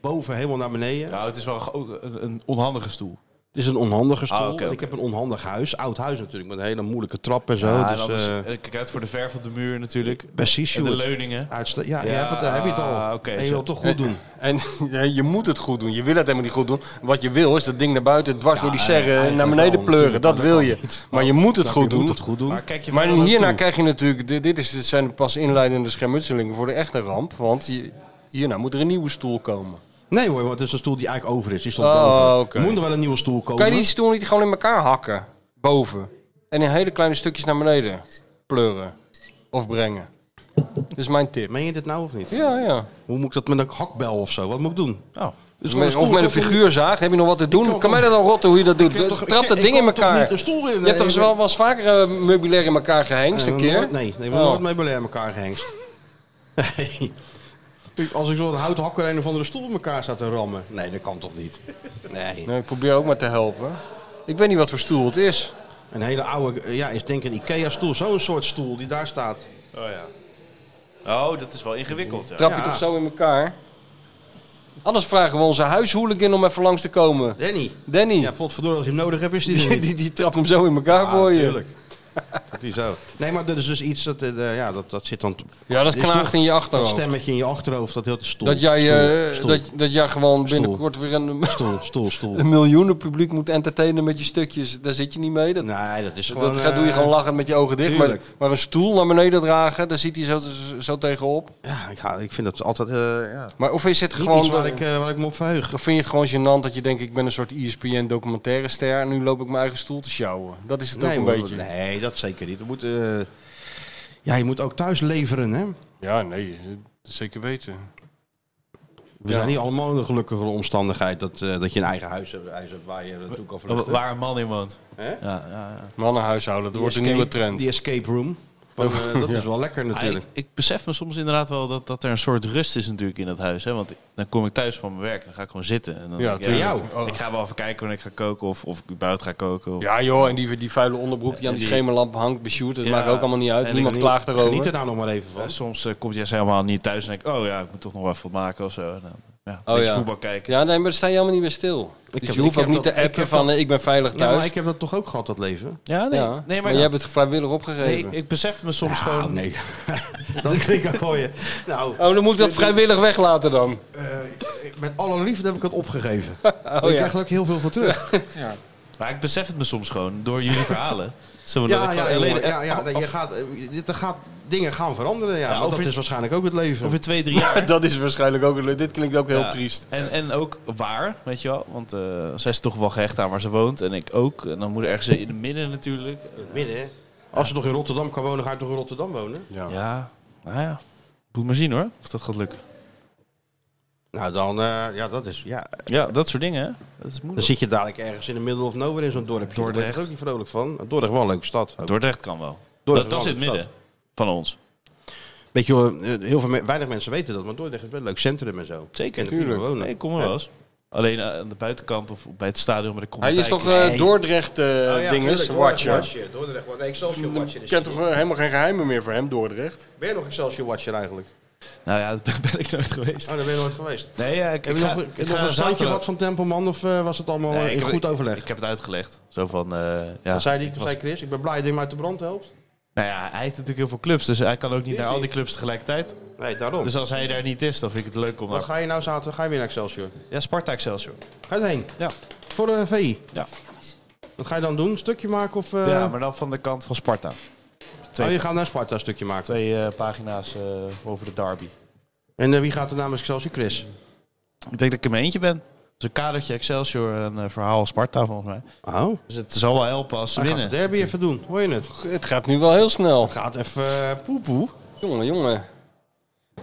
[SPEAKER 5] boven helemaal naar beneden.
[SPEAKER 3] Nou, het is wel ook een, een onhandige stoel.
[SPEAKER 5] Het is een onhandige stoel.
[SPEAKER 3] Ah, oké,
[SPEAKER 5] En Ik
[SPEAKER 3] oké.
[SPEAKER 5] heb een onhandig huis. Oud huis natuurlijk, met een hele moeilijke trap en zo.
[SPEAKER 3] Ja, en
[SPEAKER 5] dus,
[SPEAKER 3] dan is-
[SPEAKER 5] eh,
[SPEAKER 3] eh, kijk uit voor de verf op de muur natuurlijk.
[SPEAKER 5] precies,
[SPEAKER 3] En de
[SPEAKER 5] Sjoerd.
[SPEAKER 3] leuningen.
[SPEAKER 5] Uitsta- ja, je
[SPEAKER 3] Ja,
[SPEAKER 5] hebt het, daar heb je het al.
[SPEAKER 3] oké,
[SPEAKER 5] en je
[SPEAKER 3] zo.
[SPEAKER 5] wilt het toch goed doen.
[SPEAKER 6] En ja, je moet het goed doen. Je wil het helemaal niet goed doen. Wat je wil is dat ding naar buiten, dwars door die serre,
[SPEAKER 5] eigenlijk
[SPEAKER 6] naar
[SPEAKER 5] wel,
[SPEAKER 6] beneden pleuren.
[SPEAKER 5] natuurlijk,
[SPEAKER 6] Dat
[SPEAKER 5] maar
[SPEAKER 6] wil
[SPEAKER 5] dat Oh,
[SPEAKER 6] je. Maar je moet het goed
[SPEAKER 5] Je moet
[SPEAKER 6] doen.
[SPEAKER 5] het goed doen.
[SPEAKER 3] Maar kijk je
[SPEAKER 6] Maar
[SPEAKER 3] vooral
[SPEAKER 6] hierna
[SPEAKER 3] naartoe.
[SPEAKER 6] krijg je natuurlijk, dit, dit is, dit zijn pas inleidende schermutselingen voor de echte ramp. Want je- hierna moet er een nieuwe stoel komen.
[SPEAKER 5] Nee hoor, want het is een stoel die eigenlijk over is. Die stond
[SPEAKER 6] Oh,
[SPEAKER 5] boven.
[SPEAKER 6] oké.
[SPEAKER 5] Er moet er wel een nieuwe stoel komen.
[SPEAKER 6] Kan je die stoel niet gewoon in elkaar hakken? Boven. En in hele kleine stukjes naar beneden pleuren. Of brengen. Dat is mijn tip.
[SPEAKER 5] Meen je dit nou of niet?
[SPEAKER 6] Ja, ja.
[SPEAKER 5] Hoe moet ik dat met een hakbel of zo? Wat moet ik doen?
[SPEAKER 3] Oh.
[SPEAKER 5] Dus gewoon
[SPEAKER 6] Met,
[SPEAKER 5] stoel
[SPEAKER 6] of met een
[SPEAKER 5] tot in-
[SPEAKER 6] figuurzaag, heb je nog wat te doen?
[SPEAKER 5] kan
[SPEAKER 6] Kan,
[SPEAKER 5] toch-
[SPEAKER 6] mij dat al rotten hoe je dat doet?
[SPEAKER 5] Ik heb toch- ik-
[SPEAKER 6] Trap dat
[SPEAKER 5] ik
[SPEAKER 6] ding in
[SPEAKER 5] kan toch niet
[SPEAKER 6] elkaar.
[SPEAKER 5] een stoel in-
[SPEAKER 6] Je hebt toch eens wel was vaker eh, meubilair in elkaar gehengst een
[SPEAKER 5] Nee, we hebben
[SPEAKER 6] keer?
[SPEAKER 5] nooit- Nee, nee we
[SPEAKER 6] Oh.
[SPEAKER 5] hebben nooit meubilair in elkaar gehengst. Nee. Ik- Als ik zo'n houthakker een of andere stoel in elkaar staat te rammen. Nee, dat kan toch niet? Nee.
[SPEAKER 6] Nee, ik probeer ook maar te helpen. Ik weet niet wat voor stoel het is.
[SPEAKER 5] Een hele oude, eh, ja, is denk ik een Ikea-stoel. Zo'n soort stoel die daar staat.
[SPEAKER 3] Oh ja. Oh, dat is wel ingewikkeld. Ja.
[SPEAKER 6] Trap je
[SPEAKER 5] Ja.
[SPEAKER 6] toch zo in elkaar? Anders vragen we onze huishooligan om even langs te komen.
[SPEAKER 5] Danny.
[SPEAKER 6] Danny,
[SPEAKER 5] Ja, potverdorie, als je hem nodig hebt, is die er
[SPEAKER 6] die,
[SPEAKER 5] niet.
[SPEAKER 6] die, die trapt hem zo in elkaar voor je.
[SPEAKER 5] natuurlijk. Die zo. Nee, maar dat is dus iets dat, eh, ja, dat, dat zit dan...
[SPEAKER 6] Ja, dat
[SPEAKER 5] is
[SPEAKER 6] knaagt
[SPEAKER 5] toch
[SPEAKER 6] in je
[SPEAKER 5] Dat
[SPEAKER 6] achterhoofd.
[SPEAKER 5] stemmetje in je achterhoofd, dat heel de stoel.
[SPEAKER 6] Dat jij, eh,
[SPEAKER 5] stoel, stoel,
[SPEAKER 6] Dat, dat jij gewoon
[SPEAKER 5] Stoel.
[SPEAKER 6] binnenkort weer een,
[SPEAKER 5] stoel, stoel, stoel.
[SPEAKER 6] een miljoenen publiek moet entertainen met je stukjes. Daar zit je niet mee. Dat,
[SPEAKER 5] Nee, dat is Nou, gewoon...
[SPEAKER 6] dat gaat, doe je
[SPEAKER 5] eh,
[SPEAKER 6] gewoon lachend met je ogen dicht. Maar,
[SPEAKER 5] tuurlijk.
[SPEAKER 6] maar een stoel naar beneden dragen, daar ziet hij zo, zo tegenop.
[SPEAKER 5] Ja, ik, ga, ik vind dat altijd... eh, ja.
[SPEAKER 6] Maar of is het
[SPEAKER 5] Niet
[SPEAKER 6] gewoon...
[SPEAKER 5] iets waar ik, eh, waar ik me op verheug.
[SPEAKER 6] Of vind je het gewoon gênant dat je denkt, ik ben een soort E ESPN documentaire ster en nu loop ik mijn eigen stoel te sjouwen. Dat is het ook een
[SPEAKER 5] hoor,
[SPEAKER 6] beetje.
[SPEAKER 5] nee, dat zeker niet. We moeten, eh, ja, je moet ook thuis leveren, hè.
[SPEAKER 6] Ja, nee, eh, zeker weten.
[SPEAKER 5] We
[SPEAKER 6] Ja.
[SPEAKER 5] zijn niet allemaal in een gelukkigere omstandigheid dat, eh, dat je een eigen huis hebt, huis hebt waar je naartoe kan vluchten.
[SPEAKER 3] Waar een man in woont.
[SPEAKER 5] Hè?
[SPEAKER 3] Ja, ja, ja.
[SPEAKER 6] Mannenhuishouden, dat
[SPEAKER 5] Die
[SPEAKER 6] wordt een
[SPEAKER 5] escape-
[SPEAKER 6] nieuwe trend. Oh.
[SPEAKER 5] Die escape room. Van, eh, dat is wel lekker
[SPEAKER 3] Ah, ik,
[SPEAKER 5] natuurlijk.
[SPEAKER 3] ik besef me soms inderdaad wel dat, dat er een soort rust is natuurlijk in dat huis. Hè? Want dan kom ik thuis van mijn werk en dan ga ik gewoon zitten. En dan
[SPEAKER 6] Ja,
[SPEAKER 3] denk ik,
[SPEAKER 6] tuurlijk.
[SPEAKER 5] jou.
[SPEAKER 6] Oh.
[SPEAKER 3] Ik ga wel even kijken wanneer ik ga koken of, of ik buiten ga koken. Of,
[SPEAKER 6] Ja joh, en die, die vuile onderbroek die aan die,
[SPEAKER 3] Die-
[SPEAKER 6] schemerlamp hangt bij Sjoerd, dat
[SPEAKER 3] Ja,
[SPEAKER 6] maakt ook allemaal niet uit.
[SPEAKER 3] en
[SPEAKER 6] Niemand
[SPEAKER 3] ik-
[SPEAKER 6] klaagt
[SPEAKER 5] Geniet er
[SPEAKER 6] erover.
[SPEAKER 5] nou nog maar even van.
[SPEAKER 3] Eh, soms eh, komt Jess helemaal niet thuis en denk ik, oh ja, ik moet toch nog wel even wat maken of zo. En dan, ja, een
[SPEAKER 6] Oh
[SPEAKER 3] beetje
[SPEAKER 6] ja.
[SPEAKER 3] voetbal kijken.
[SPEAKER 6] Ja, nee, maar daar sta je helemaal niet meer stil. dus
[SPEAKER 5] heb-
[SPEAKER 6] je hoeft
[SPEAKER 5] ik
[SPEAKER 6] ook
[SPEAKER 5] heb
[SPEAKER 6] niet
[SPEAKER 5] dat-
[SPEAKER 6] te
[SPEAKER 5] ik
[SPEAKER 6] appen
[SPEAKER 5] heb
[SPEAKER 6] van,
[SPEAKER 5] dat-
[SPEAKER 6] eh, ik ben veilig
[SPEAKER 5] Ja,
[SPEAKER 6] thuis.
[SPEAKER 5] maar ik heb dat toch ook gehad, dat leven?
[SPEAKER 3] Ja, nee.
[SPEAKER 6] ja.
[SPEAKER 3] nee
[SPEAKER 6] maar
[SPEAKER 3] maar
[SPEAKER 6] jij hebt het vrijwillig opgegeven.
[SPEAKER 3] nee, ik besef me soms
[SPEAKER 5] Oh,
[SPEAKER 3] gewoon...
[SPEAKER 5] nee. dat klinkt ook wel je. Nou,
[SPEAKER 6] Oh, dan moet ik dat vrijwillig weglaten dan.
[SPEAKER 5] eh, met alle liefde heb ik het opgegeven.
[SPEAKER 6] Oh,
[SPEAKER 5] ik krijg er ook heel veel voor terug.
[SPEAKER 3] Maar ik besef het me soms gewoon door jullie verhalen. Zo, dat
[SPEAKER 5] Ja,
[SPEAKER 3] ik
[SPEAKER 5] ja,
[SPEAKER 3] gewoon
[SPEAKER 5] ja,
[SPEAKER 3] alleen-
[SPEAKER 5] ja, ja, nee, je gaat, eh, dit- er gaat, dingen gaan veranderen. Ja,
[SPEAKER 3] Ja,
[SPEAKER 5] want
[SPEAKER 3] over-
[SPEAKER 5] dat is waarschijnlijk ook het leven.
[SPEAKER 3] Over twee, drie jaar.
[SPEAKER 6] dat is waarschijnlijk ook, een- dit klinkt ook heel
[SPEAKER 3] Ja.
[SPEAKER 6] triest.
[SPEAKER 3] En, en ook waar, weet je wel. Want eh, zij is toch wel gehecht aan waar ze woont. En ik ook. En dan moet er ergens in het midden natuurlijk.
[SPEAKER 5] Midden, hè? Als ze nog in Rotterdam kan wonen, ga je toch in Rotterdam wonen?
[SPEAKER 6] Ja.
[SPEAKER 3] Ja, nou ja. Moet maar zien hoor, of dat gaat lukken.
[SPEAKER 5] Nou, dan, eh, ja, dat is, ja.
[SPEAKER 3] Ja, dat soort dingen hè. Dat is
[SPEAKER 5] Dan
[SPEAKER 3] moeilijk.
[SPEAKER 5] zit je dadelijk ergens in de middle of nowhere in zo'n dorpje. Daar ben ik
[SPEAKER 3] Dordrecht.
[SPEAKER 5] er ook niet vrolijk van. Dordrecht wel een leuke stad.
[SPEAKER 3] Dordrecht kan wel.
[SPEAKER 5] Dordrecht
[SPEAKER 3] dat dat
[SPEAKER 5] wel
[SPEAKER 3] is
[SPEAKER 5] een
[SPEAKER 3] het midden van ons.
[SPEAKER 5] Weet je, wel, eh, heel veel, me- weinig mensen weten dat, maar Dordrecht is wel een leuk centrum en zo.
[SPEAKER 3] Zeker.
[SPEAKER 5] En de prima wonen.
[SPEAKER 3] Nee, ik kom er wel eens. Alleen eh, aan de buitenkant of bij het stadion. Maar ik kom
[SPEAKER 6] Hij is toch eh, Dordrecht eh
[SPEAKER 5] Oh
[SPEAKER 6] dinges, watcher.
[SPEAKER 5] Ah, Dordrecht, wat, dus nee, Excelsior Watcher
[SPEAKER 6] Ik
[SPEAKER 5] is.
[SPEAKER 6] ken toch eh, helemaal geen geheimen meer voor hem, Dordrecht?
[SPEAKER 5] Ben je nog Excelsior Watcher eigenlijk?
[SPEAKER 3] Nou ja, daar ben ik nooit geweest.
[SPEAKER 5] Oh, daar ben je nooit geweest.
[SPEAKER 3] Nee, ja, ik,
[SPEAKER 5] Heb je nog, nog een standje wat van Tempelman of eh, was het allemaal
[SPEAKER 3] Nee,
[SPEAKER 5] eh, in
[SPEAKER 3] ik heb-
[SPEAKER 5] goed overleg?
[SPEAKER 3] Ik heb het uitgelegd. Zo van, eh, ja.
[SPEAKER 5] Dan zei, die,
[SPEAKER 3] ik was-
[SPEAKER 5] zei Chris, ik ben blij dat je hem uit de brand helpt.
[SPEAKER 3] Nou ja, hij heeft natuurlijk heel veel clubs, dus hij kan ook niet naar al
[SPEAKER 5] hij?
[SPEAKER 3] die clubs tegelijkertijd.
[SPEAKER 5] Nee, daarom.
[SPEAKER 3] Dus als hij daar niet is, dan vind ik het leuk om
[SPEAKER 5] Wat
[SPEAKER 3] naar...
[SPEAKER 5] ga je nou zaterdag? Ga je weer naar Excelsior?
[SPEAKER 3] Ja, Sparta Excelsior.
[SPEAKER 5] Ga je erheen?
[SPEAKER 3] Ja.
[SPEAKER 5] Voor de VI?
[SPEAKER 3] Ja.
[SPEAKER 5] Wat ga je dan doen? Een stukje maken of... eh,
[SPEAKER 3] ja, maar dan van de kant van Sparta.
[SPEAKER 5] Oh, je
[SPEAKER 3] Twee,
[SPEAKER 5] gaat naar Sparta een stukje maken.
[SPEAKER 3] twee eh, pagina's eh, over de derby.
[SPEAKER 5] En eh, wie gaat er namens Excelsior? Chris.
[SPEAKER 3] Ik denk dat ik in mijn eentje ben. Dus een kadertje Excelsior en een eh, verhaal Sparta volgens mij.
[SPEAKER 5] Oh.
[SPEAKER 3] Dus het zal wel helpen als ze
[SPEAKER 5] Hij gaat de
[SPEAKER 3] winnen.
[SPEAKER 5] derby even doen. Hoor je het?
[SPEAKER 6] Het gaat nu wel heel snel.
[SPEAKER 5] Gaat even eh, poepoe.
[SPEAKER 6] Jongen, jongen.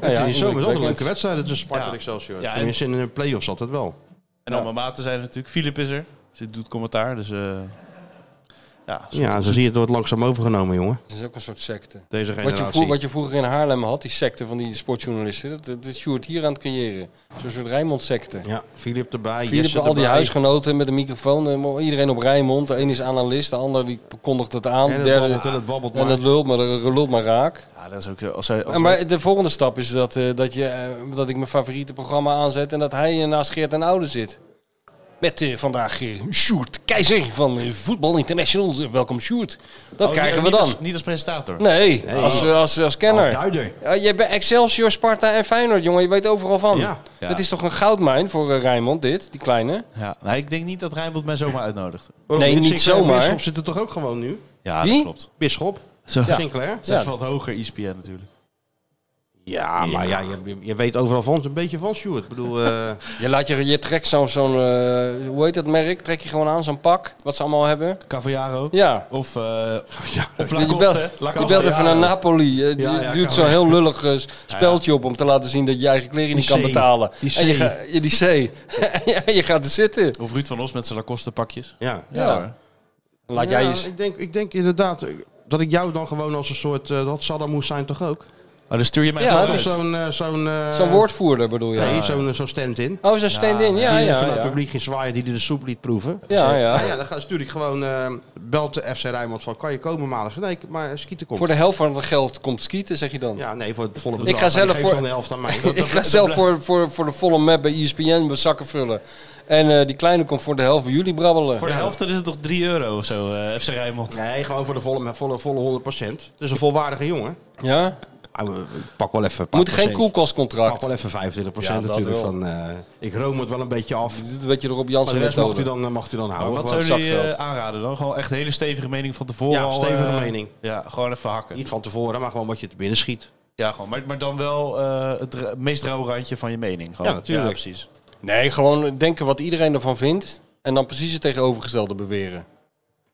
[SPEAKER 5] Ja, ja, in de zomer is altijd een
[SPEAKER 6] indrukwekkend.
[SPEAKER 5] leuke wedstrijd tussen Sparta en
[SPEAKER 3] Ja.
[SPEAKER 5] Excelsior.
[SPEAKER 3] Ja, en-
[SPEAKER 5] Tenminste, in een play-offs altijd wel.
[SPEAKER 3] En allemaal maten zijn er natuurlijk. Filip is er. Ze doet commentaar, dus... eh, ja,
[SPEAKER 5] Ja, zo zie je het wordt langzaam overgenomen, jongen.
[SPEAKER 6] Het is ook een soort secte.
[SPEAKER 5] Deze
[SPEAKER 6] Wat je,
[SPEAKER 5] generatie.
[SPEAKER 6] vroeg- wat je vroeger in Haarlem had, die secte van die sportjournalisten, dat, dat is Sjoerd hier aan het creëren. Zo'n soort Rijnmond-secte.
[SPEAKER 5] Ja, Filip erbij,
[SPEAKER 6] Filip,
[SPEAKER 5] Jesse
[SPEAKER 6] al die
[SPEAKER 5] erbij.
[SPEAKER 6] huisgenoten met een microfoon, eh, iedereen op Rijnmond. De een is analist, de ander die kondigt het aan.
[SPEAKER 5] En
[SPEAKER 6] de
[SPEAKER 5] het
[SPEAKER 6] derde,
[SPEAKER 5] babbelt en het babbelt
[SPEAKER 6] en
[SPEAKER 5] maar.
[SPEAKER 6] het lult maar, lult maar raak.
[SPEAKER 3] Ja, dat is ook zo. Als hij, als
[SPEAKER 6] En maar de volgende stap is dat, eh, dat, je, eh, dat ik mijn favoriete programma aanzet en dat hij eh, naast Geert en Oude zit. Met eh, vandaag eh Sjoerd Keizer van eh, Voetbal International. Eh, welkom Sjoerd. Dat
[SPEAKER 3] Oh,
[SPEAKER 6] krijgen
[SPEAKER 3] niet-
[SPEAKER 6] we
[SPEAKER 3] niet
[SPEAKER 6] dan.
[SPEAKER 3] Als, niet als presentator.
[SPEAKER 6] Nee, Als, eh, als, als kenner.
[SPEAKER 5] Oh, duider.
[SPEAKER 6] Ja, je bent Excelsior, Sparta en Feyenoord, jongen. Je weet overal van.
[SPEAKER 5] Ja.
[SPEAKER 3] Ja.
[SPEAKER 6] Dat is toch een goudmijn voor eh, Rijnmond, dit? Die kleine?
[SPEAKER 3] Ja, nou, ik denk niet dat Rijnmond mij zomaar uitnodigt.
[SPEAKER 6] Nee, niet zomaar.
[SPEAKER 5] Bisschop zit er toch ook gewoon nu?
[SPEAKER 3] Ja,
[SPEAKER 6] Wie?
[SPEAKER 3] dat klopt.
[SPEAKER 5] Bisschop,
[SPEAKER 3] Zo. Ja.
[SPEAKER 5] Sinclair.
[SPEAKER 3] Zij
[SPEAKER 6] Ja.
[SPEAKER 3] valt hoger E ESPN natuurlijk.
[SPEAKER 5] Ja, maar ja, je, je- je weet overal van een beetje van, Sjoerd. Ik bedoel, eh,
[SPEAKER 6] Je, laat je, je trekt zo'n, zo'n eh, hoe heet dat merk? Trek je gewoon aan, zo'n pak, wat ze allemaal hebben.
[SPEAKER 3] Cavallaro.
[SPEAKER 6] Ja.
[SPEAKER 3] Of, eh ja. of
[SPEAKER 6] Je
[SPEAKER 3] Lacoste.
[SPEAKER 6] belt,
[SPEAKER 5] Lacoste,
[SPEAKER 6] je belt
[SPEAKER 5] ja.
[SPEAKER 6] even naar Napoli. Eh, Die
[SPEAKER 5] Ja, ja,
[SPEAKER 6] duwt
[SPEAKER 5] kan
[SPEAKER 6] zo'n heel lullig eh, speltje op om te laten zien dat je je eigen kleren niet
[SPEAKER 5] Die
[SPEAKER 6] kan
[SPEAKER 5] C.
[SPEAKER 6] betalen.
[SPEAKER 5] Die
[SPEAKER 6] En je
[SPEAKER 5] C.
[SPEAKER 6] ga- ja, die C. en je gaat er zitten.
[SPEAKER 3] Of Ruud van Os met zijn Lacoste pakjes.
[SPEAKER 5] ja.
[SPEAKER 6] Ja. Laat
[SPEAKER 5] Ja,
[SPEAKER 6] jij eens.
[SPEAKER 5] ik, denk, ik denk inderdaad eh, dat ik jou dan gewoon als een soort, eh, dat Saddam Hussein toch ook?
[SPEAKER 3] Oh, dan stuur je mij
[SPEAKER 6] Ja,
[SPEAKER 3] gewoon
[SPEAKER 6] dat
[SPEAKER 5] Toch
[SPEAKER 3] uit.
[SPEAKER 5] zo'n... eh, zo'n eh,
[SPEAKER 6] Zo'n woordvoerder bedoel je.
[SPEAKER 5] Nee, zo'n zo'n stand-in.
[SPEAKER 6] Oh, zo'n stand-in. Ja,
[SPEAKER 5] die eh,
[SPEAKER 6] ja,
[SPEAKER 5] vanuit het
[SPEAKER 6] ja.
[SPEAKER 5] publiek ging zwaaien, die de soep liet proeven.
[SPEAKER 6] Ja,
[SPEAKER 5] Nou
[SPEAKER 6] ja.
[SPEAKER 5] ja, dan ga- stuur ik gewoon, eh belt de FC Rijnmond van, kan je komen maandag? Nee, ik- maar skieten komt.
[SPEAKER 6] Voor de helft van het geld komt skieten, zeg je dan.
[SPEAKER 5] Ja, nee, voor het volle bedrag.
[SPEAKER 6] Ik ga
[SPEAKER 5] Maar
[SPEAKER 6] zelf
[SPEAKER 5] die geeft
[SPEAKER 6] voor-
[SPEAKER 5] dan de helft aan mij. Dat-
[SPEAKER 6] Ik
[SPEAKER 5] dat-
[SPEAKER 6] ga zelf voor, voor, voor de volle map bij E ESPN mijn zakken vullen. En eh, die kleine komt voor de helft bij jullie brabbelen.
[SPEAKER 3] Voor de helft dan is het toch 3 euro of zo, eh, FC Rijnmond.
[SPEAKER 5] Nee, gewoon voor de volle, volle, volle 100%. Dus een volwaardige jongen.
[SPEAKER 6] Ja?
[SPEAKER 5] Ah, we- ik pak wel even een paar
[SPEAKER 6] Moet geen
[SPEAKER 5] procent.
[SPEAKER 6] koelkastcontract.
[SPEAKER 5] Ik pak wel even 25%
[SPEAKER 6] Ja, dat
[SPEAKER 5] natuurlijk.
[SPEAKER 6] wel.
[SPEAKER 5] Van, eh, ik room het wel een beetje af.
[SPEAKER 6] Dit is een beetje erop
[SPEAKER 5] Maar
[SPEAKER 6] Jansen
[SPEAKER 5] de rest mag u
[SPEAKER 6] methode.
[SPEAKER 5] dan, eh, mag u dan
[SPEAKER 3] Maar
[SPEAKER 5] houden.
[SPEAKER 3] wat
[SPEAKER 5] Gewoon
[SPEAKER 3] zou je
[SPEAKER 6] zakgeld.
[SPEAKER 3] aanraden dan? Gewoon echt een hele stevige mening van tevoren.
[SPEAKER 5] Ja,
[SPEAKER 3] al,
[SPEAKER 5] stevige
[SPEAKER 3] eh,
[SPEAKER 5] mening.
[SPEAKER 3] Ja, gewoon even hakken.
[SPEAKER 5] Niet van tevoren, maar gewoon wat je te binnen schiet.
[SPEAKER 3] Ja, gewoon, maar, maar dan wel eh, het ra- meest rauwe randje van je mening. Gewoon.
[SPEAKER 5] Ja, natuurlijk.
[SPEAKER 3] precies.
[SPEAKER 6] Nee, gewoon denken wat iedereen ervan vindt. En dan precies het tegenovergestelde beweren.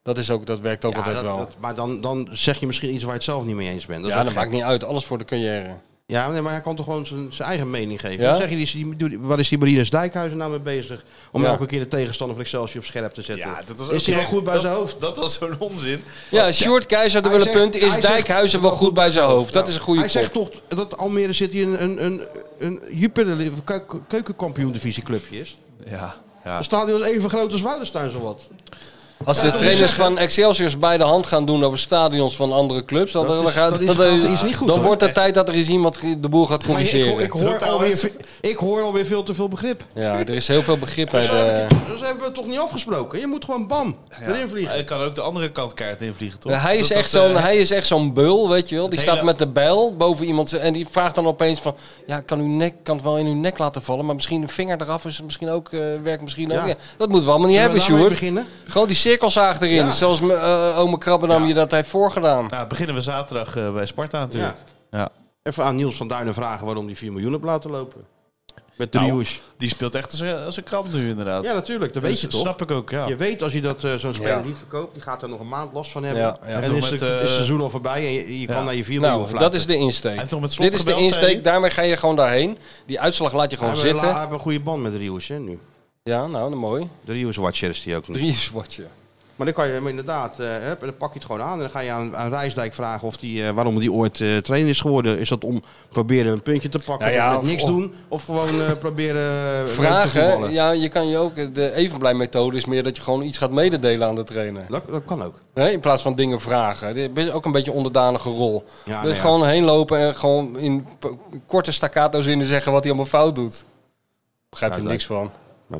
[SPEAKER 6] Dat, is ook, dat werkt ook
[SPEAKER 5] Ja,
[SPEAKER 6] altijd
[SPEAKER 5] dat-
[SPEAKER 6] wel.
[SPEAKER 5] dat- maar dan, dan zeg je misschien iets waar je het zelf niet mee eens bent. Dat
[SPEAKER 6] ja,
[SPEAKER 5] is
[SPEAKER 6] dat
[SPEAKER 5] ook gek.
[SPEAKER 6] maakt niet uit. Alles voor de carrière.
[SPEAKER 5] Ja, nee, maar hij kan toch gewoon zijn, zijn eigen mening geven.
[SPEAKER 6] Ja?
[SPEAKER 5] Dan zeg je, die, die- die- wat is die Marines Dijkhuizen nou mee bezig? Om
[SPEAKER 6] Ja.
[SPEAKER 5] elke keer de tegenstander van Excelsior op scherp te zetten.
[SPEAKER 3] Ja, dat was ook
[SPEAKER 5] is hij wel
[SPEAKER 3] echt-
[SPEAKER 5] goed bij
[SPEAKER 3] dat-
[SPEAKER 5] zijn hoofd?
[SPEAKER 3] Dat was zo'n onzin.
[SPEAKER 6] Ja, Short Keizer, de
[SPEAKER 5] Hij
[SPEAKER 6] willen punt.
[SPEAKER 5] zegt-
[SPEAKER 6] Is
[SPEAKER 5] hij zegt-
[SPEAKER 6] Dijkhuizen wel goed bij zijn hoofd? Dat is een goede
[SPEAKER 5] Hij zegt
[SPEAKER 6] kop.
[SPEAKER 5] toch dat Almere zit hier een, een, een, een Jupiter keukenkampioen divisie clubje is.
[SPEAKER 3] Ja, ja.
[SPEAKER 5] Het stadion is even groot als Woudenstein zowat.
[SPEAKER 6] Als de trainers van Excelsiors bij de hand gaan doen over stadions van andere clubs, dan,
[SPEAKER 5] Dat is-
[SPEAKER 6] dan gaat,
[SPEAKER 5] dat is-
[SPEAKER 6] dan-
[SPEAKER 5] dat is niet goed,
[SPEAKER 6] dan
[SPEAKER 5] hoor.
[SPEAKER 6] wordt het tijd dat er eens iemand ge- de boel gaat
[SPEAKER 5] Maar ik,
[SPEAKER 6] corrigeren.
[SPEAKER 5] hoor- ik, hoor
[SPEAKER 3] Totaal
[SPEAKER 5] alweer,
[SPEAKER 3] het-
[SPEAKER 5] ve- ik hoor alweer veel te veel begrip.
[SPEAKER 6] Ja, er is heel veel begrip bij de...
[SPEAKER 5] Dat hebben we toch niet afgesproken? Je moet gewoon bam, erin vliegen.
[SPEAKER 3] Hij kan ook de andere kant kaart invliegen, toch?
[SPEAKER 6] Ja, hij, is
[SPEAKER 3] Dat
[SPEAKER 6] echt
[SPEAKER 3] dat,
[SPEAKER 6] zo'n,
[SPEAKER 3] eh,
[SPEAKER 6] hij is echt zo'n beul, weet je wel. Die
[SPEAKER 3] het hele-
[SPEAKER 6] staat met de bijl boven iemand en die vraagt dan opeens van... Ja, ik kan, uw nek, kan het wel in uw nek laten vallen, maar misschien een vinger eraf is misschien ook, eh, werkt misschien
[SPEAKER 5] Ja.
[SPEAKER 6] ook. Ja, dat moeten we allemaal niet
[SPEAKER 5] Zullen we
[SPEAKER 6] hebben,
[SPEAKER 5] daarmee
[SPEAKER 6] Sjoerd.
[SPEAKER 5] beginnen?
[SPEAKER 6] Gewoon die cirkelzaag erin,
[SPEAKER 5] Ja.
[SPEAKER 6] zoals me- eh ome Krabbenam je dat heeft voorgedaan.
[SPEAKER 3] Nou, beginnen we zaterdag eh, bij Sparta natuurlijk. Ja.
[SPEAKER 5] Even aan Niels van Duinen vragen waarom die 4 miljoen op laten lopen. Met de
[SPEAKER 3] Nou,
[SPEAKER 5] Rieuws.
[SPEAKER 3] Die speelt echt als een, als een krant nu inderdaad.
[SPEAKER 5] Ja, natuurlijk. Dat
[SPEAKER 3] Dus
[SPEAKER 5] weet je toch?
[SPEAKER 3] snap ik ook, ja.
[SPEAKER 5] Je weet als je dat eh, zo'n speler
[SPEAKER 6] Ja.
[SPEAKER 5] niet verkoopt, die gaat er nog een maand last van hebben.
[SPEAKER 6] Ja, ja.
[SPEAKER 5] En
[SPEAKER 3] Zo
[SPEAKER 5] dan is,
[SPEAKER 3] met,
[SPEAKER 5] de- is het
[SPEAKER 3] eh,
[SPEAKER 5] seizoen al voorbij en je, je kan
[SPEAKER 3] ja.
[SPEAKER 5] naar je 4 miljoen
[SPEAKER 6] Nou,
[SPEAKER 5] fluiten.
[SPEAKER 6] dat is de insteek.
[SPEAKER 3] Hij heeft nog met slot
[SPEAKER 6] Dit is de
[SPEAKER 3] gebeld, zei
[SPEAKER 6] insteek,
[SPEAKER 3] hij.
[SPEAKER 6] daarmee ga je gewoon daarheen. Die uitslag laat je gewoon
[SPEAKER 5] Hij hebben-
[SPEAKER 6] zitten.
[SPEAKER 5] Hij heeft een goede band met de Rieuws, hè, nu.
[SPEAKER 6] Ja, nou, dan mooi.
[SPEAKER 5] De Rieuws Watcher is die ook nu.
[SPEAKER 6] Drie is wat je.
[SPEAKER 5] Maar dan kan je hem inderdaad, eh, hup, en dan pak je het gewoon aan. En dan ga je aan, aan Rijsdijk vragen of die, eh, waarom die ooit eh, trainer is geworden. Is dat om proberen een puntje te pakken,
[SPEAKER 6] Nou ja,
[SPEAKER 5] of met
[SPEAKER 6] of-
[SPEAKER 5] niks
[SPEAKER 6] of-
[SPEAKER 5] doen? Of gewoon eh, proberen eh, leuk te
[SPEAKER 6] Vragen,
[SPEAKER 5] voetballen?
[SPEAKER 6] ja, je kan je ook... eh, De evenblij-methode is meer dat je gewoon iets gaat mededelen aan de trainer.
[SPEAKER 5] Dat, dat kan ook.
[SPEAKER 6] Hè, in plaats van dingen vragen. Dit is ook een beetje een onderdanige rol.
[SPEAKER 5] Ja,
[SPEAKER 6] dus
[SPEAKER 5] nou ja.
[SPEAKER 6] gewoon heen lopen en gewoon in p- korte staccato zinnen zeggen wat hij allemaal fout doet. Begrijpt
[SPEAKER 5] Ja,
[SPEAKER 6] er niks van.
[SPEAKER 5] Daar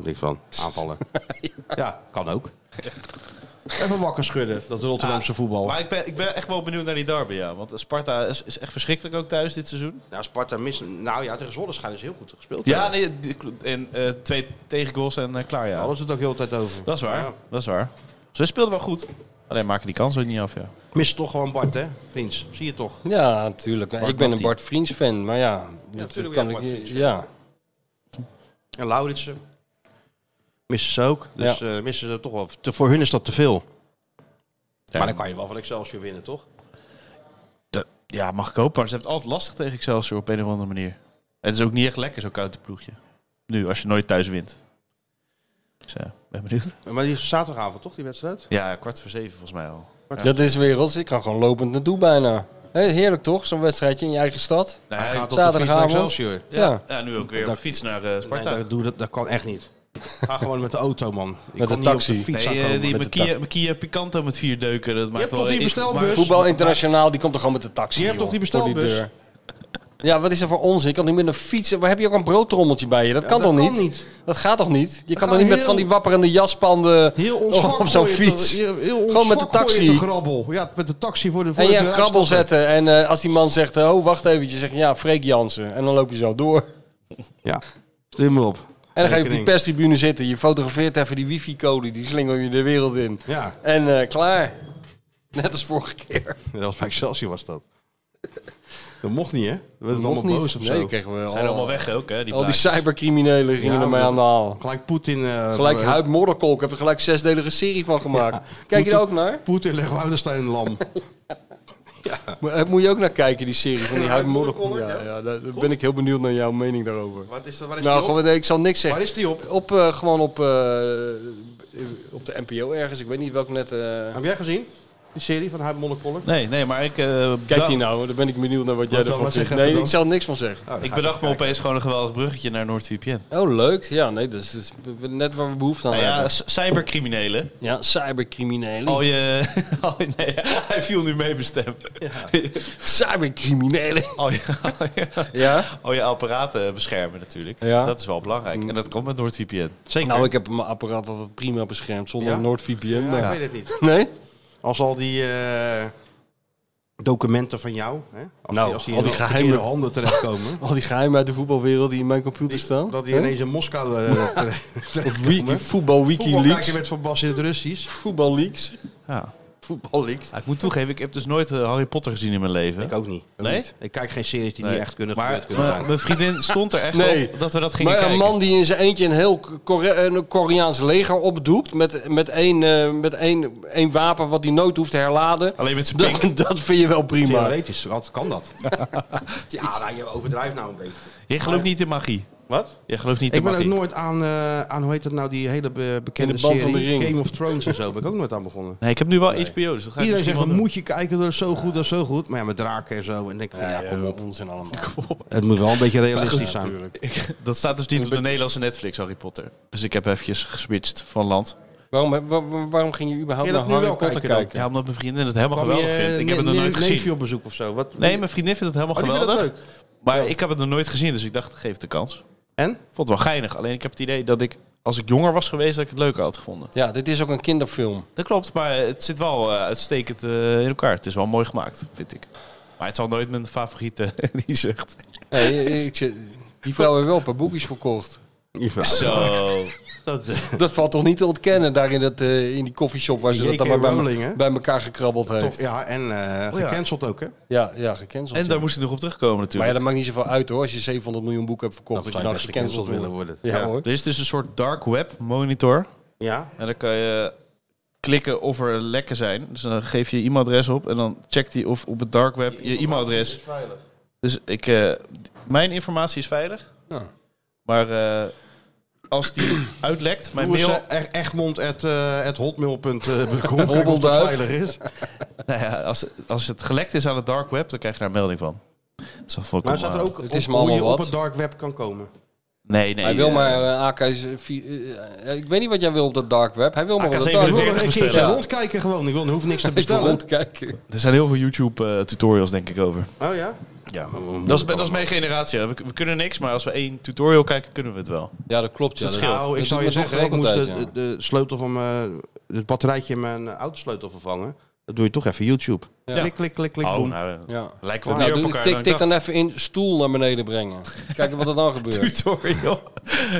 [SPEAKER 5] heb ik niks van. Aanvallen. ja. kan ook. Even wakker schudden, dat
[SPEAKER 6] Ah.
[SPEAKER 5] Rotterdamse voetbal.
[SPEAKER 3] Maar ik ben, ik ben echt wel benieuwd naar die derby, ja. Want Sparta is, is echt verschrikkelijk ook thuis dit seizoen.
[SPEAKER 5] Nou, Sparta mis. Nou ja, tegen Zwolle schijnen ze heel goed gespeeld. te
[SPEAKER 3] Ja,
[SPEAKER 5] hebben.
[SPEAKER 3] nee, die- en eh, twee tegengoals en eh, klaar,
[SPEAKER 5] Daar
[SPEAKER 3] ja.
[SPEAKER 5] hadden ze het ook heel de tijd over.
[SPEAKER 3] Dat is waar,
[SPEAKER 5] Ja.
[SPEAKER 3] dat is waar. Ze speelden wel goed. Alleen maken die kans ook niet af, ja.
[SPEAKER 5] Mis toch gewoon Bart, hè? Vriends, zie je toch?
[SPEAKER 6] Ja, natuurlijk. ik ben een
[SPEAKER 3] Mattie.
[SPEAKER 6] Bart Vriends fan, maar ja. dat
[SPEAKER 5] tuurlijk
[SPEAKER 6] kan
[SPEAKER 5] ben
[SPEAKER 6] ik,
[SPEAKER 5] je een Bart Vriends
[SPEAKER 6] ja.
[SPEAKER 5] En Lauritsen. Missen ze ook. Dus
[SPEAKER 6] Ja.
[SPEAKER 5] eh, missen ze toch wel. te- voor hun is dat te veel. Maar dan kan je wel van Excelsior winnen, toch?
[SPEAKER 3] Dat- ja, mag ik hopen. Maar ze hebben het altijd lastig tegen Excelsior op een of andere manier. Het is ook niet echt lekker, zo'n koude ploegje. Nu, als je nooit thuis wint. Dus ja, ben benieuwd.
[SPEAKER 5] Maar die is zaterdagavond, toch, die wedstrijd?
[SPEAKER 3] Ja, kwart voor zeven volgens mij al.
[SPEAKER 6] Dat is werelds. Ik kan gewoon lopend naartoe bijna. Hè, Heerlijk toch, zo'n wedstrijdje in je eigen stad.
[SPEAKER 3] Nou, hij-
[SPEAKER 5] op de fiets naar
[SPEAKER 6] zaterdagavond.
[SPEAKER 5] Excelsior.
[SPEAKER 6] Ja,
[SPEAKER 3] ja. ja, nu ook weer op de fiets naar eh,
[SPEAKER 5] Nee,
[SPEAKER 3] Sparta.
[SPEAKER 5] dat, doe, dat, dat kan echt niet. Ga gewoon met de auto, man. Je kan
[SPEAKER 6] Met de
[SPEAKER 5] niet op
[SPEAKER 6] taxi.
[SPEAKER 5] fiets
[SPEAKER 3] Nee, eh,
[SPEAKER 5] aankomen.
[SPEAKER 3] die
[SPEAKER 5] Met de
[SPEAKER 3] Makia, Makia Picanto met vier deuken, dat maakt
[SPEAKER 5] hebt
[SPEAKER 3] wel...
[SPEAKER 5] toch die
[SPEAKER 3] in-
[SPEAKER 5] bestelbus?
[SPEAKER 3] maar-
[SPEAKER 6] Voetbal Internationaal, die komt er gewoon met de taxi.
[SPEAKER 5] Je hebt
[SPEAKER 6] joh,
[SPEAKER 5] toch die
[SPEAKER 6] voor
[SPEAKER 5] bestelbus?
[SPEAKER 6] deur. Ja, wat is er voor onzin? Ik kan niet met een fiets. Waar heb je ook een broodtrommeltje bij je? Dat kan
[SPEAKER 5] dat
[SPEAKER 6] toch
[SPEAKER 5] kan
[SPEAKER 6] niet?
[SPEAKER 5] niet.
[SPEAKER 6] Dat gaat toch niet? Je kan
[SPEAKER 5] gaan
[SPEAKER 6] toch niet met
[SPEAKER 5] heel-
[SPEAKER 6] van die wapperende jaspanden
[SPEAKER 5] Heel ons vak
[SPEAKER 6] Oh, op zo'n
[SPEAKER 5] gooi je
[SPEAKER 6] fiets.
[SPEAKER 5] te- heel- heel ons
[SPEAKER 6] Gewoon met de
[SPEAKER 5] vak gooi je
[SPEAKER 6] taxi.
[SPEAKER 5] te grabbel. Ja, met de taxi voor de voor
[SPEAKER 6] En
[SPEAKER 5] de
[SPEAKER 6] je een
[SPEAKER 5] deur
[SPEAKER 6] krabbel
[SPEAKER 5] uitstappen.
[SPEAKER 6] zetten. En eh, als die man zegt, eh, oh wacht eventjes, zeg je, ja, Freek Jansen. En dan loop je zo door.
[SPEAKER 5] Ja, slim maar op.
[SPEAKER 6] En dan ga je op die
[SPEAKER 5] Rekening.
[SPEAKER 6] perstribune zitten. Je fotografeert even die wifi-code, die slinger je de wereld in.
[SPEAKER 5] Ja,
[SPEAKER 6] En eh, klaar. Net als vorige keer.
[SPEAKER 5] dat was bij Excelsior was dat. Dat mocht niet, hè? We werden allemaal
[SPEAKER 6] Mocht niet.
[SPEAKER 5] boos of
[SPEAKER 6] nee,
[SPEAKER 5] zo.
[SPEAKER 6] kregen we
[SPEAKER 3] Zijn
[SPEAKER 6] al,
[SPEAKER 3] allemaal weg ook, hè? Die
[SPEAKER 6] Oh. al die
[SPEAKER 3] plaatjes.
[SPEAKER 6] cybercriminelen gingen
[SPEAKER 5] Ja,
[SPEAKER 6] ermee
[SPEAKER 5] maar-
[SPEAKER 6] aan de haal.
[SPEAKER 5] Gelijk Poetin... eh,
[SPEAKER 6] Gelijk
[SPEAKER 5] eh,
[SPEAKER 6] Huid Modderkolk. Ik heb er gelijk zesdelige serie van gemaakt. Kijk je er ook naar?
[SPEAKER 5] Poetin legt Woudenstein lam.
[SPEAKER 6] Mo- eh, Moet je ook naar kijken, die serie van die Huid Modderkolk. Ja, ja, daar daar ben ik heel benieuwd naar jouw mening daarover.
[SPEAKER 5] Wat is dat? Waar is
[SPEAKER 6] Nou,
[SPEAKER 5] die op?
[SPEAKER 6] gewoon, nee, ik zal niks
[SPEAKER 5] Waar
[SPEAKER 6] zeggen.
[SPEAKER 5] is die op?
[SPEAKER 6] Op, eh, gewoon op, eh, op de NPO ergens. Ik weet niet welke net... eh,
[SPEAKER 5] Heb jij gezien? Die serie van Huid Monnekoller?
[SPEAKER 3] Nee, nee, maar ik... eh,
[SPEAKER 6] Kijk
[SPEAKER 3] bedacht-
[SPEAKER 6] die nou, daar ben ik benieuwd naar wat jij
[SPEAKER 5] Wat dan,
[SPEAKER 6] ervan
[SPEAKER 5] wat
[SPEAKER 6] vindt.
[SPEAKER 5] zeg even
[SPEAKER 6] Nee,
[SPEAKER 5] dan?
[SPEAKER 6] ik zal er niks van zeggen.
[SPEAKER 5] Nou,
[SPEAKER 3] Ik bedacht me opeens gewoon een geweldig bruggetje naar NoordVPN.
[SPEAKER 6] Oh, leuk. Ja, nee, dat is, dat is net waar we behoefte aan
[SPEAKER 3] Nou ja,
[SPEAKER 6] hebben.
[SPEAKER 3] c- cybercriminelen.
[SPEAKER 6] Ja, cybercriminelen.
[SPEAKER 5] Oh,
[SPEAKER 3] Al je... al je- nee, hij viel nu mee bestemd.
[SPEAKER 6] Cybercriminelen.
[SPEAKER 3] Al je, al, je,
[SPEAKER 6] Ja?
[SPEAKER 3] al je apparaten beschermen natuurlijk.
[SPEAKER 6] Ja.
[SPEAKER 3] Dat is wel belangrijk. En dat komt met NoordVPN.
[SPEAKER 5] Zeker.
[SPEAKER 6] Nou, ik heb mijn apparaat altijd prima beschermd zonder
[SPEAKER 5] Ja?
[SPEAKER 6] NordVPN.
[SPEAKER 5] Ja,
[SPEAKER 6] maar-
[SPEAKER 5] Ik weet het niet.
[SPEAKER 6] Nee?
[SPEAKER 5] Als al die eh, documenten van jou, hè? Als
[SPEAKER 6] Nou,
[SPEAKER 5] als die
[SPEAKER 6] al die
[SPEAKER 5] in de
[SPEAKER 6] geheime-
[SPEAKER 5] verkeerde handen terechtkomen.
[SPEAKER 6] Al die geheimen uit de voetbalwereld die in mijn computer
[SPEAKER 5] die-
[SPEAKER 6] staan.
[SPEAKER 5] dat die
[SPEAKER 6] Hè?
[SPEAKER 5] ineens in Moskou eh,
[SPEAKER 6] Op
[SPEAKER 5] terechtkomen.
[SPEAKER 6] wiki, voetbal
[SPEAKER 5] Voetbal kijken
[SPEAKER 6] WikiLeaks.
[SPEAKER 5] met Van Bas in het Russisch.
[SPEAKER 6] Voetbal leaks.
[SPEAKER 3] Ja.
[SPEAKER 5] Voetballeaks.
[SPEAKER 3] ik moet toegeven, ik heb dus nooit eh, Harry Potter gezien in mijn leven.
[SPEAKER 5] Ik ook niet.
[SPEAKER 3] Nee?
[SPEAKER 5] Ik kijk geen series die
[SPEAKER 3] Nee.
[SPEAKER 5] niet echt kunnen
[SPEAKER 3] Maar
[SPEAKER 5] gebeurd kunnen
[SPEAKER 3] mijn-
[SPEAKER 5] zijn.
[SPEAKER 3] mijn vriendin stond er echt
[SPEAKER 6] Nee.
[SPEAKER 3] op dat we dat gingen
[SPEAKER 6] Maar een
[SPEAKER 3] kijken.
[SPEAKER 6] man die in zijn eentje een heel Kore- een Koreaans leger opdoekt. met, met, één, eh, met één, één wapen wat hij nooit hoeft te herladen.
[SPEAKER 5] Oh,
[SPEAKER 3] Alleen met zijn pink.
[SPEAKER 6] Dat, dat vind je wel prima.
[SPEAKER 5] Theoretisch, wat kan dat? ja, nou, je overdrijft nou een beetje.
[SPEAKER 3] Je gelooft niet in magie.
[SPEAKER 5] Wat?
[SPEAKER 3] Je gelooft niet
[SPEAKER 5] Ik
[SPEAKER 3] in
[SPEAKER 5] ben ook
[SPEAKER 3] magie.
[SPEAKER 5] nooit aan, eh, aan hoe heet dat nou, die hele be- bekende
[SPEAKER 6] In de Band
[SPEAKER 5] serie
[SPEAKER 6] van de Ring.
[SPEAKER 5] Game of Thrones en zo, ben ik ook nooit aan begonnen.
[SPEAKER 3] Nee, ik heb nu wel HBO, dus dat ga ik
[SPEAKER 5] Iedereen
[SPEAKER 3] misschien
[SPEAKER 5] zegt,
[SPEAKER 3] wel
[SPEAKER 5] van,
[SPEAKER 3] doen.
[SPEAKER 5] moet je kijken, dat is zo goed, dat is zo goed. Maar ja, met draken en zo, en denk ik van, ja, kom op.
[SPEAKER 6] onzin allemaal.
[SPEAKER 5] Het moet wel een beetje realistisch zijn.
[SPEAKER 6] Natuurlijk.
[SPEAKER 3] Dat staat dus niet op de Nederlandse Netflix, Harry Potter. Dus ik heb eventjes geswitcht van land.
[SPEAKER 6] Waarom, waar- waar- waarom ging je überhaupt
[SPEAKER 5] Kun je
[SPEAKER 6] naar
[SPEAKER 5] dat nu
[SPEAKER 6] Harry
[SPEAKER 5] wel
[SPEAKER 6] Potter
[SPEAKER 5] kijken dan?
[SPEAKER 6] kijken?
[SPEAKER 3] Ja, omdat mijn vriendin het helemaal
[SPEAKER 5] Kwam
[SPEAKER 3] geweldig
[SPEAKER 5] je,
[SPEAKER 3] vindt. Ik
[SPEAKER 5] ne-
[SPEAKER 3] heb het nog
[SPEAKER 5] ne-
[SPEAKER 3] nooit
[SPEAKER 5] neefje
[SPEAKER 3] gezien.
[SPEAKER 5] op bezoek of zo? Wat,
[SPEAKER 3] Nee, mijn vriendin vindt het helemaal
[SPEAKER 5] Oh, die vindt dat
[SPEAKER 3] geweldig.
[SPEAKER 5] leuk.
[SPEAKER 3] Maar ik heb het nog nooit gezien, dus ik dacht, geef het de kans.
[SPEAKER 5] En?
[SPEAKER 3] Vond het wel geinig. Alleen ik heb het idee dat ik, als ik jonger was geweest, dat ik het leuker had gevonden.
[SPEAKER 6] Ja, dit is ook een kinderfilm.
[SPEAKER 3] Dat klopt, maar het zit wel eh, uitstekend eh, in elkaar. Het is wel mooi gemaakt, vind ik. Maar het zal nooit mijn favoriete, die zegt.
[SPEAKER 6] Hey, ik, zit- die vrouw heeft wel een paar boekjes verkocht.
[SPEAKER 3] Zo.
[SPEAKER 6] Dat valt toch niet te ontkennen daar in, dat, eh, in die koffieshop waar ze dat
[SPEAKER 5] J.K.
[SPEAKER 6] dan maar bij,
[SPEAKER 5] Rowling, hè?
[SPEAKER 6] bij elkaar gekrabbeld heeft.
[SPEAKER 5] Toch, ja, en eh,
[SPEAKER 3] Oh, ja.
[SPEAKER 5] gecanceld ook, hè?
[SPEAKER 6] Ja, ja, gecanceld.
[SPEAKER 3] En
[SPEAKER 6] ja.
[SPEAKER 3] daar moest ik nog op terugkomen
[SPEAKER 6] Maar ja,
[SPEAKER 3] natuurlijk.
[SPEAKER 6] dat maakt niet zoveel uit hoor. Als je 700 miljoen boeken hebt verkocht, dat,
[SPEAKER 5] zou
[SPEAKER 6] je
[SPEAKER 5] je
[SPEAKER 6] dan
[SPEAKER 5] best
[SPEAKER 6] gecanceld
[SPEAKER 5] gecanceld
[SPEAKER 6] willen
[SPEAKER 5] willen
[SPEAKER 6] worden.
[SPEAKER 5] worden.
[SPEAKER 6] Ja,
[SPEAKER 5] Ja.
[SPEAKER 6] hoor.
[SPEAKER 3] Er is dus een soort dark web monitor.
[SPEAKER 5] Ja.
[SPEAKER 3] En dan kan je klikken of er lekken zijn. Dus dan geef je je e-mailadres op en dan checkt hij of op het dark web je e-mailadres. Dus ik, eh, d- mijn informatie is veilig.
[SPEAKER 6] Ja.
[SPEAKER 3] Maar eh, als die uitlekt, mijn
[SPEAKER 5] Hoe is
[SPEAKER 3] mail,
[SPEAKER 5] eh, Eg- Egmond at, eh, at hotmail.com. Kijk of dat
[SPEAKER 6] Hobbelduif.
[SPEAKER 5] veilig is.
[SPEAKER 3] nou ja, als, als het gelekt is aan het dark web, dan krijg je daar een melding van. Dat is wel
[SPEAKER 5] Maar
[SPEAKER 3] volkomen.
[SPEAKER 5] staat er ook
[SPEAKER 6] Het
[SPEAKER 5] op
[SPEAKER 6] is me
[SPEAKER 5] hoe je
[SPEAKER 6] allemaal
[SPEAKER 5] op
[SPEAKER 6] wat.
[SPEAKER 5] het dark web kan komen?
[SPEAKER 3] Nee, nee.
[SPEAKER 6] Hij wil
[SPEAKER 3] eh,
[SPEAKER 6] maar eh, AK... is, eh, vi- eh, eh, ik weet niet wat jij wil op dat dark web. Hij wil maar
[SPEAKER 3] AK
[SPEAKER 6] op dat dark
[SPEAKER 5] Ik wil nog
[SPEAKER 6] web.
[SPEAKER 5] een keertje
[SPEAKER 3] bestellen.
[SPEAKER 5] rondkijken gewoon. Ik wil, er hoeft niks te
[SPEAKER 6] Ik wil
[SPEAKER 5] bestellen.
[SPEAKER 6] rondkijken.
[SPEAKER 3] Eh, Er zijn heel veel YouTube-tutorials, denk ik, over.
[SPEAKER 5] Oh ja?
[SPEAKER 3] Ja. Dat is, dat is mijn generatie. hè. We, we kunnen niks, maar als we één tutorial kijken, kunnen we het wel.
[SPEAKER 6] Ja, dat klopt. Ja,
[SPEAKER 3] Dat scheelt.
[SPEAKER 5] Nou, ik
[SPEAKER 6] doet
[SPEAKER 5] zou je
[SPEAKER 6] mijn
[SPEAKER 5] zeggen, ik
[SPEAKER 6] dochter ook
[SPEAKER 5] moest de,
[SPEAKER 6] altijd, ja.
[SPEAKER 5] de sleutel van mijn... Het batterijtje in mijn autosleutel vervangen. Dat doe je toch even YouTube.
[SPEAKER 6] Ja.
[SPEAKER 5] Klik, klik, klik, klik.
[SPEAKER 3] Oh,
[SPEAKER 5] boem.
[SPEAKER 3] nou, eh,
[SPEAKER 6] Ja.
[SPEAKER 3] lijken we
[SPEAKER 6] Nou,
[SPEAKER 3] meer op
[SPEAKER 6] doe-
[SPEAKER 3] elkaar
[SPEAKER 6] tik,
[SPEAKER 3] dan
[SPEAKER 6] tik
[SPEAKER 3] ik
[SPEAKER 6] dan
[SPEAKER 3] dacht.
[SPEAKER 6] even in stoel naar beneden brengen. Kijken wat er dan gebeurt.
[SPEAKER 3] tutorial.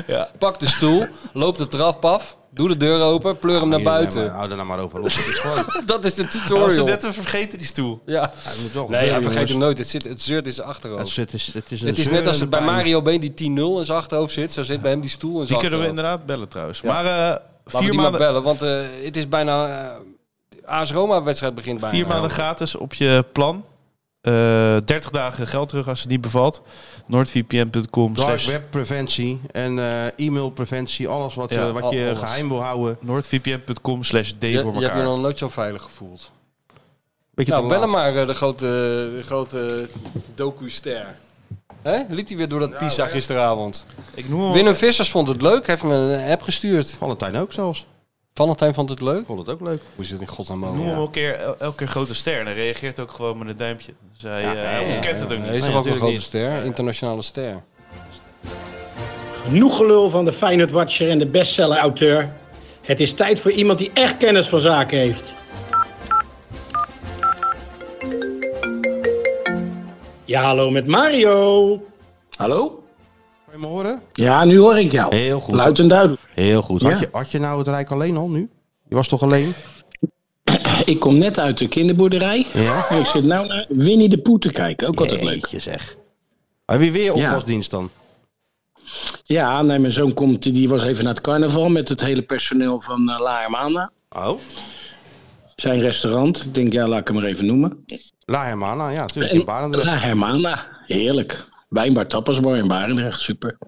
[SPEAKER 3] ja.
[SPEAKER 6] Pak de stoel, loop de trap af, doe de deur open, pleur hem naar
[SPEAKER 5] Hier, nee, Ah, maar
[SPEAKER 6] buiten.
[SPEAKER 5] Hou er nou maar over los. Het is gewoon-
[SPEAKER 6] Dat is de
[SPEAKER 3] Als ze
[SPEAKER 6] tutorial.
[SPEAKER 3] net te vergeten, die stoel.
[SPEAKER 6] Ja.
[SPEAKER 5] het moet wel gebeuren,
[SPEAKER 6] Nee, hij vergeet
[SPEAKER 5] jongens.
[SPEAKER 6] hem nooit. Het, zit, het zeurt in zijn
[SPEAKER 5] Het
[SPEAKER 6] achterhoofd.
[SPEAKER 5] is, het is, het is, een
[SPEAKER 6] Het is net als het bij
[SPEAKER 5] zeurende pijn.
[SPEAKER 6] Mario Been die 10-0 in zijn achterhoofd zit. Zo zit bij hem die stoel in
[SPEAKER 3] Die
[SPEAKER 6] zijn
[SPEAKER 3] kunnen we
[SPEAKER 6] achterhoofd.
[SPEAKER 3] inderdaad bellen trouwens. Maar eh,
[SPEAKER 6] Laten we
[SPEAKER 3] vier
[SPEAKER 6] die maar
[SPEAKER 3] maanden,
[SPEAKER 6] bellen, want eh, het is bijna... eh, AS Roma-wedstrijd begint bijna.
[SPEAKER 3] vier maanden gratis op je plan. Eh 30 dagen geld terug als het niet bevalt. Noordvpn.com
[SPEAKER 5] Dark
[SPEAKER 3] slash
[SPEAKER 5] web preventie en eh, e-mail preventie. Alles wat,
[SPEAKER 3] Ja,
[SPEAKER 5] eh, wat je
[SPEAKER 6] al- alles.
[SPEAKER 5] geheim wil houden.
[SPEAKER 3] noordvpn.com slash d
[SPEAKER 6] Je,
[SPEAKER 3] voor
[SPEAKER 6] je hebt je
[SPEAKER 3] elkaar.
[SPEAKER 6] nog nooit zo veilig gevoeld.
[SPEAKER 5] Beetje
[SPEAKER 6] Nou,
[SPEAKER 5] te
[SPEAKER 6] bel hem
[SPEAKER 5] laat.
[SPEAKER 6] maar, eh, de grote, de grote docu-ster. Hè? Liep hij weer door dat Pisa gisteravond.
[SPEAKER 3] Ik noem hem
[SPEAKER 6] Willem Vissers vond het leuk, heeft me een app gestuurd.
[SPEAKER 5] Valentijn ook zelfs.
[SPEAKER 6] Valentijn vond het leuk.
[SPEAKER 5] Ik vond het ook leuk.
[SPEAKER 6] Hoe is het in godsnaam
[SPEAKER 3] Noem
[SPEAKER 6] mogelijk?
[SPEAKER 3] hem elke keer, el- elke keer grote ster. En hij reageert ook gewoon met een duimpje. Dus hij, eh, hij ontkent het ook niet.
[SPEAKER 6] Hij is
[SPEAKER 3] Nee,
[SPEAKER 6] toch ook een
[SPEAKER 3] natuurlijk
[SPEAKER 6] grote
[SPEAKER 3] niet.
[SPEAKER 6] ster, internationale ster.
[SPEAKER 8] Genoeg gelul van de Feyenoord Watcher en de bestseller-auteur. Het is tijd voor iemand die echt kennis van zaken heeft. Ja, hallo met Mario. Hallo?
[SPEAKER 5] Kan je me horen?
[SPEAKER 8] Ja, nu hoor ik jou.
[SPEAKER 5] Heel goed.
[SPEAKER 8] Luid en duidelijk.
[SPEAKER 5] Heel goed. Had,
[SPEAKER 8] Ja.
[SPEAKER 5] je, had je nou het Rijk alleen al nu? Je was toch alleen?
[SPEAKER 8] Ik kom net uit de kinderboerderij.
[SPEAKER 5] Ja.
[SPEAKER 8] Ik zit nou naar Winnie de Poe te kijken. Ook altijd leuk.
[SPEAKER 5] Jeetje zeg. Heb je weer oppasdienst dan?
[SPEAKER 8] Ja, nee, mijn zoon komt, die was even naar het carnaval met het hele personeel van eh La Hermana.
[SPEAKER 5] Oh.
[SPEAKER 8] Zijn restaurant. Ik denk, ja, laat ik hem maar even noemen.
[SPEAKER 5] La Hermana, Nou ja, natuurlijk.
[SPEAKER 8] En
[SPEAKER 5] In Barendrecht.
[SPEAKER 8] La Hermana. Heerlijk. Wijnbar Tapasbar in Barendrecht. Super.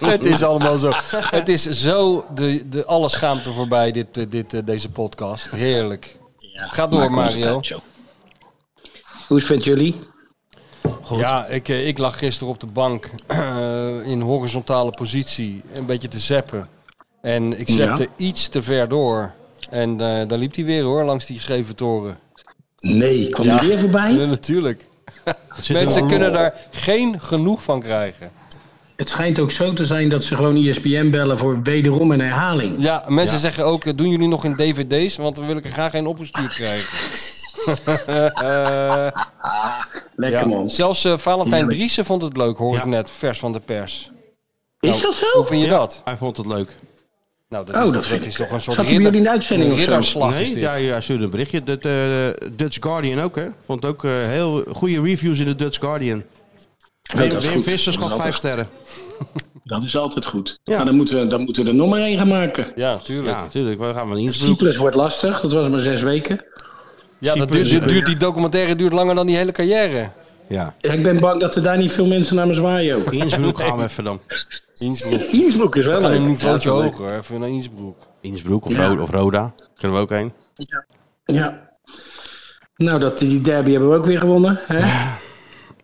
[SPEAKER 6] Het is allemaal zo. Het is zo de, de alle schaamte voorbij, dit, eh, dit, eh, deze podcast. Heerlijk. Ga door,
[SPEAKER 8] Maakt ons
[SPEAKER 6] Mario.
[SPEAKER 8] uit, joh. Hoe is het met jullie?
[SPEAKER 6] Ja, ik, eh, ik lag gisteren op de bank eh, in horizontale positie een beetje te zeppen. En ik zepte iets te ver door. En eh, daar liep hij weer hoor, langs die scheve toren.
[SPEAKER 8] Nee, kwam je weer
[SPEAKER 6] Ja,
[SPEAKER 8] voorbij?
[SPEAKER 6] natuurlijk.
[SPEAKER 5] Zit er
[SPEAKER 6] Mensen
[SPEAKER 5] wel-
[SPEAKER 6] kunnen daar geen genoeg van krijgen.
[SPEAKER 8] Het schijnt ook zo te zijn dat ze gewoon E ESPN bellen voor wederom een herhaling.
[SPEAKER 6] Ja, mensen zeggen ook, eh, doen jullie nog in dvd's? Want dan wil ik er graag een opgestuurd krijgen.
[SPEAKER 8] Lekker man.
[SPEAKER 6] Zelfs eh, Valentijn
[SPEAKER 8] Heerlijk.
[SPEAKER 6] Driessen vond het leuk, hoor
[SPEAKER 5] Ja.
[SPEAKER 6] ik net, vers van de pers. Nou,
[SPEAKER 8] Is dat zo?
[SPEAKER 6] Hoe vind je dat?
[SPEAKER 5] Hij vond het leuk.
[SPEAKER 6] Nou, dat
[SPEAKER 8] Oh,
[SPEAKER 6] is,
[SPEAKER 8] dat
[SPEAKER 6] dat
[SPEAKER 8] vind
[SPEAKER 6] is
[SPEAKER 8] ik-
[SPEAKER 6] toch een soort
[SPEAKER 8] Zat hij bij jullie in de uitzending
[SPEAKER 6] een
[SPEAKER 8] of zo?
[SPEAKER 6] ridderslag
[SPEAKER 5] Nee,
[SPEAKER 6] is dit.
[SPEAKER 5] ja, ja, stuurde een berichtje. De, de- Dutch Guardian ook, hè? Vond ook eh, heel goede reviews in de Dutch Guardian.
[SPEAKER 8] Nee,
[SPEAKER 5] Wim,
[SPEAKER 8] dat is
[SPEAKER 5] Wim
[SPEAKER 8] goed.
[SPEAKER 5] Vissers
[SPEAKER 8] Dat
[SPEAKER 5] gaf
[SPEAKER 8] is
[SPEAKER 5] vijf
[SPEAKER 8] altijd-
[SPEAKER 5] sterren.
[SPEAKER 8] Dat is altijd goed. Maar dan moeten, we, dan moeten we er nog maar één gaan maken.
[SPEAKER 6] Ja, tuurlijk.
[SPEAKER 5] Ja,
[SPEAKER 6] Ja,
[SPEAKER 5] natuurlijk. We gaan maar niet Innsbruck.
[SPEAKER 8] Cyprus wordt lastig, dat was maar zes weken.
[SPEAKER 6] dat duurt, dit duurt, die documentaire duurt langer dan die hele carrière.
[SPEAKER 5] Ja.
[SPEAKER 8] Ik ben bang dat er daar niet veel mensen naar me zwaaien ook.
[SPEAKER 5] Innsbruck gaan we even dan.
[SPEAKER 6] Innsbruck.
[SPEAKER 8] Innsbruck is wel
[SPEAKER 6] Van
[SPEAKER 8] leuk.
[SPEAKER 6] een niveautje
[SPEAKER 8] Ja, dat is leuk.
[SPEAKER 6] hoger, even naar Innsbruck.
[SPEAKER 5] Innsbruck of,
[SPEAKER 8] Ja.
[SPEAKER 5] Ro- of Roda. Kunnen we ook heen.
[SPEAKER 8] Ja. Nou, dat, die derby hebben we ook weer gewonnen. Hè?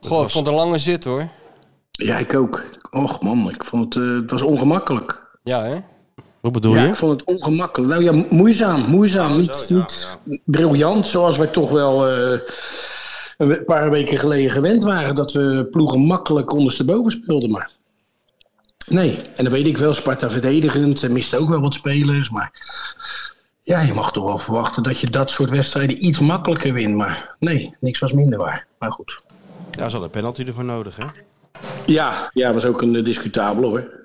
[SPEAKER 6] Goh, ik vond een lange zit hoor.
[SPEAKER 8] Ja, ik ook. Och man, ik vond het, eh, het was ongemakkelijk.
[SPEAKER 6] Ja, hè?
[SPEAKER 5] Wat bedoel
[SPEAKER 8] Ja,
[SPEAKER 5] je?
[SPEAKER 8] ik vond het ongemakkelijk. Nou ja, moeizaam, moeizaam. niet niet briljant, zoals wij toch wel eh, een we- paar weken geleden gewend waren. Dat we ploegen makkelijk ondersteboven speelden, maar... Nee, en dan weet ik wel, Sparta verdedigend, eh, miste ook wel wat spelers, maar... Ja, je mag toch wel verwachten dat je dat soort wedstrijden iets makkelijker wint, maar... Nee, niks was minder waar. Maar goed.
[SPEAKER 5] Daar zal een penalty ervoor nodig, hè?
[SPEAKER 8] Ja, ja, was ook een eh, discutabel hoor.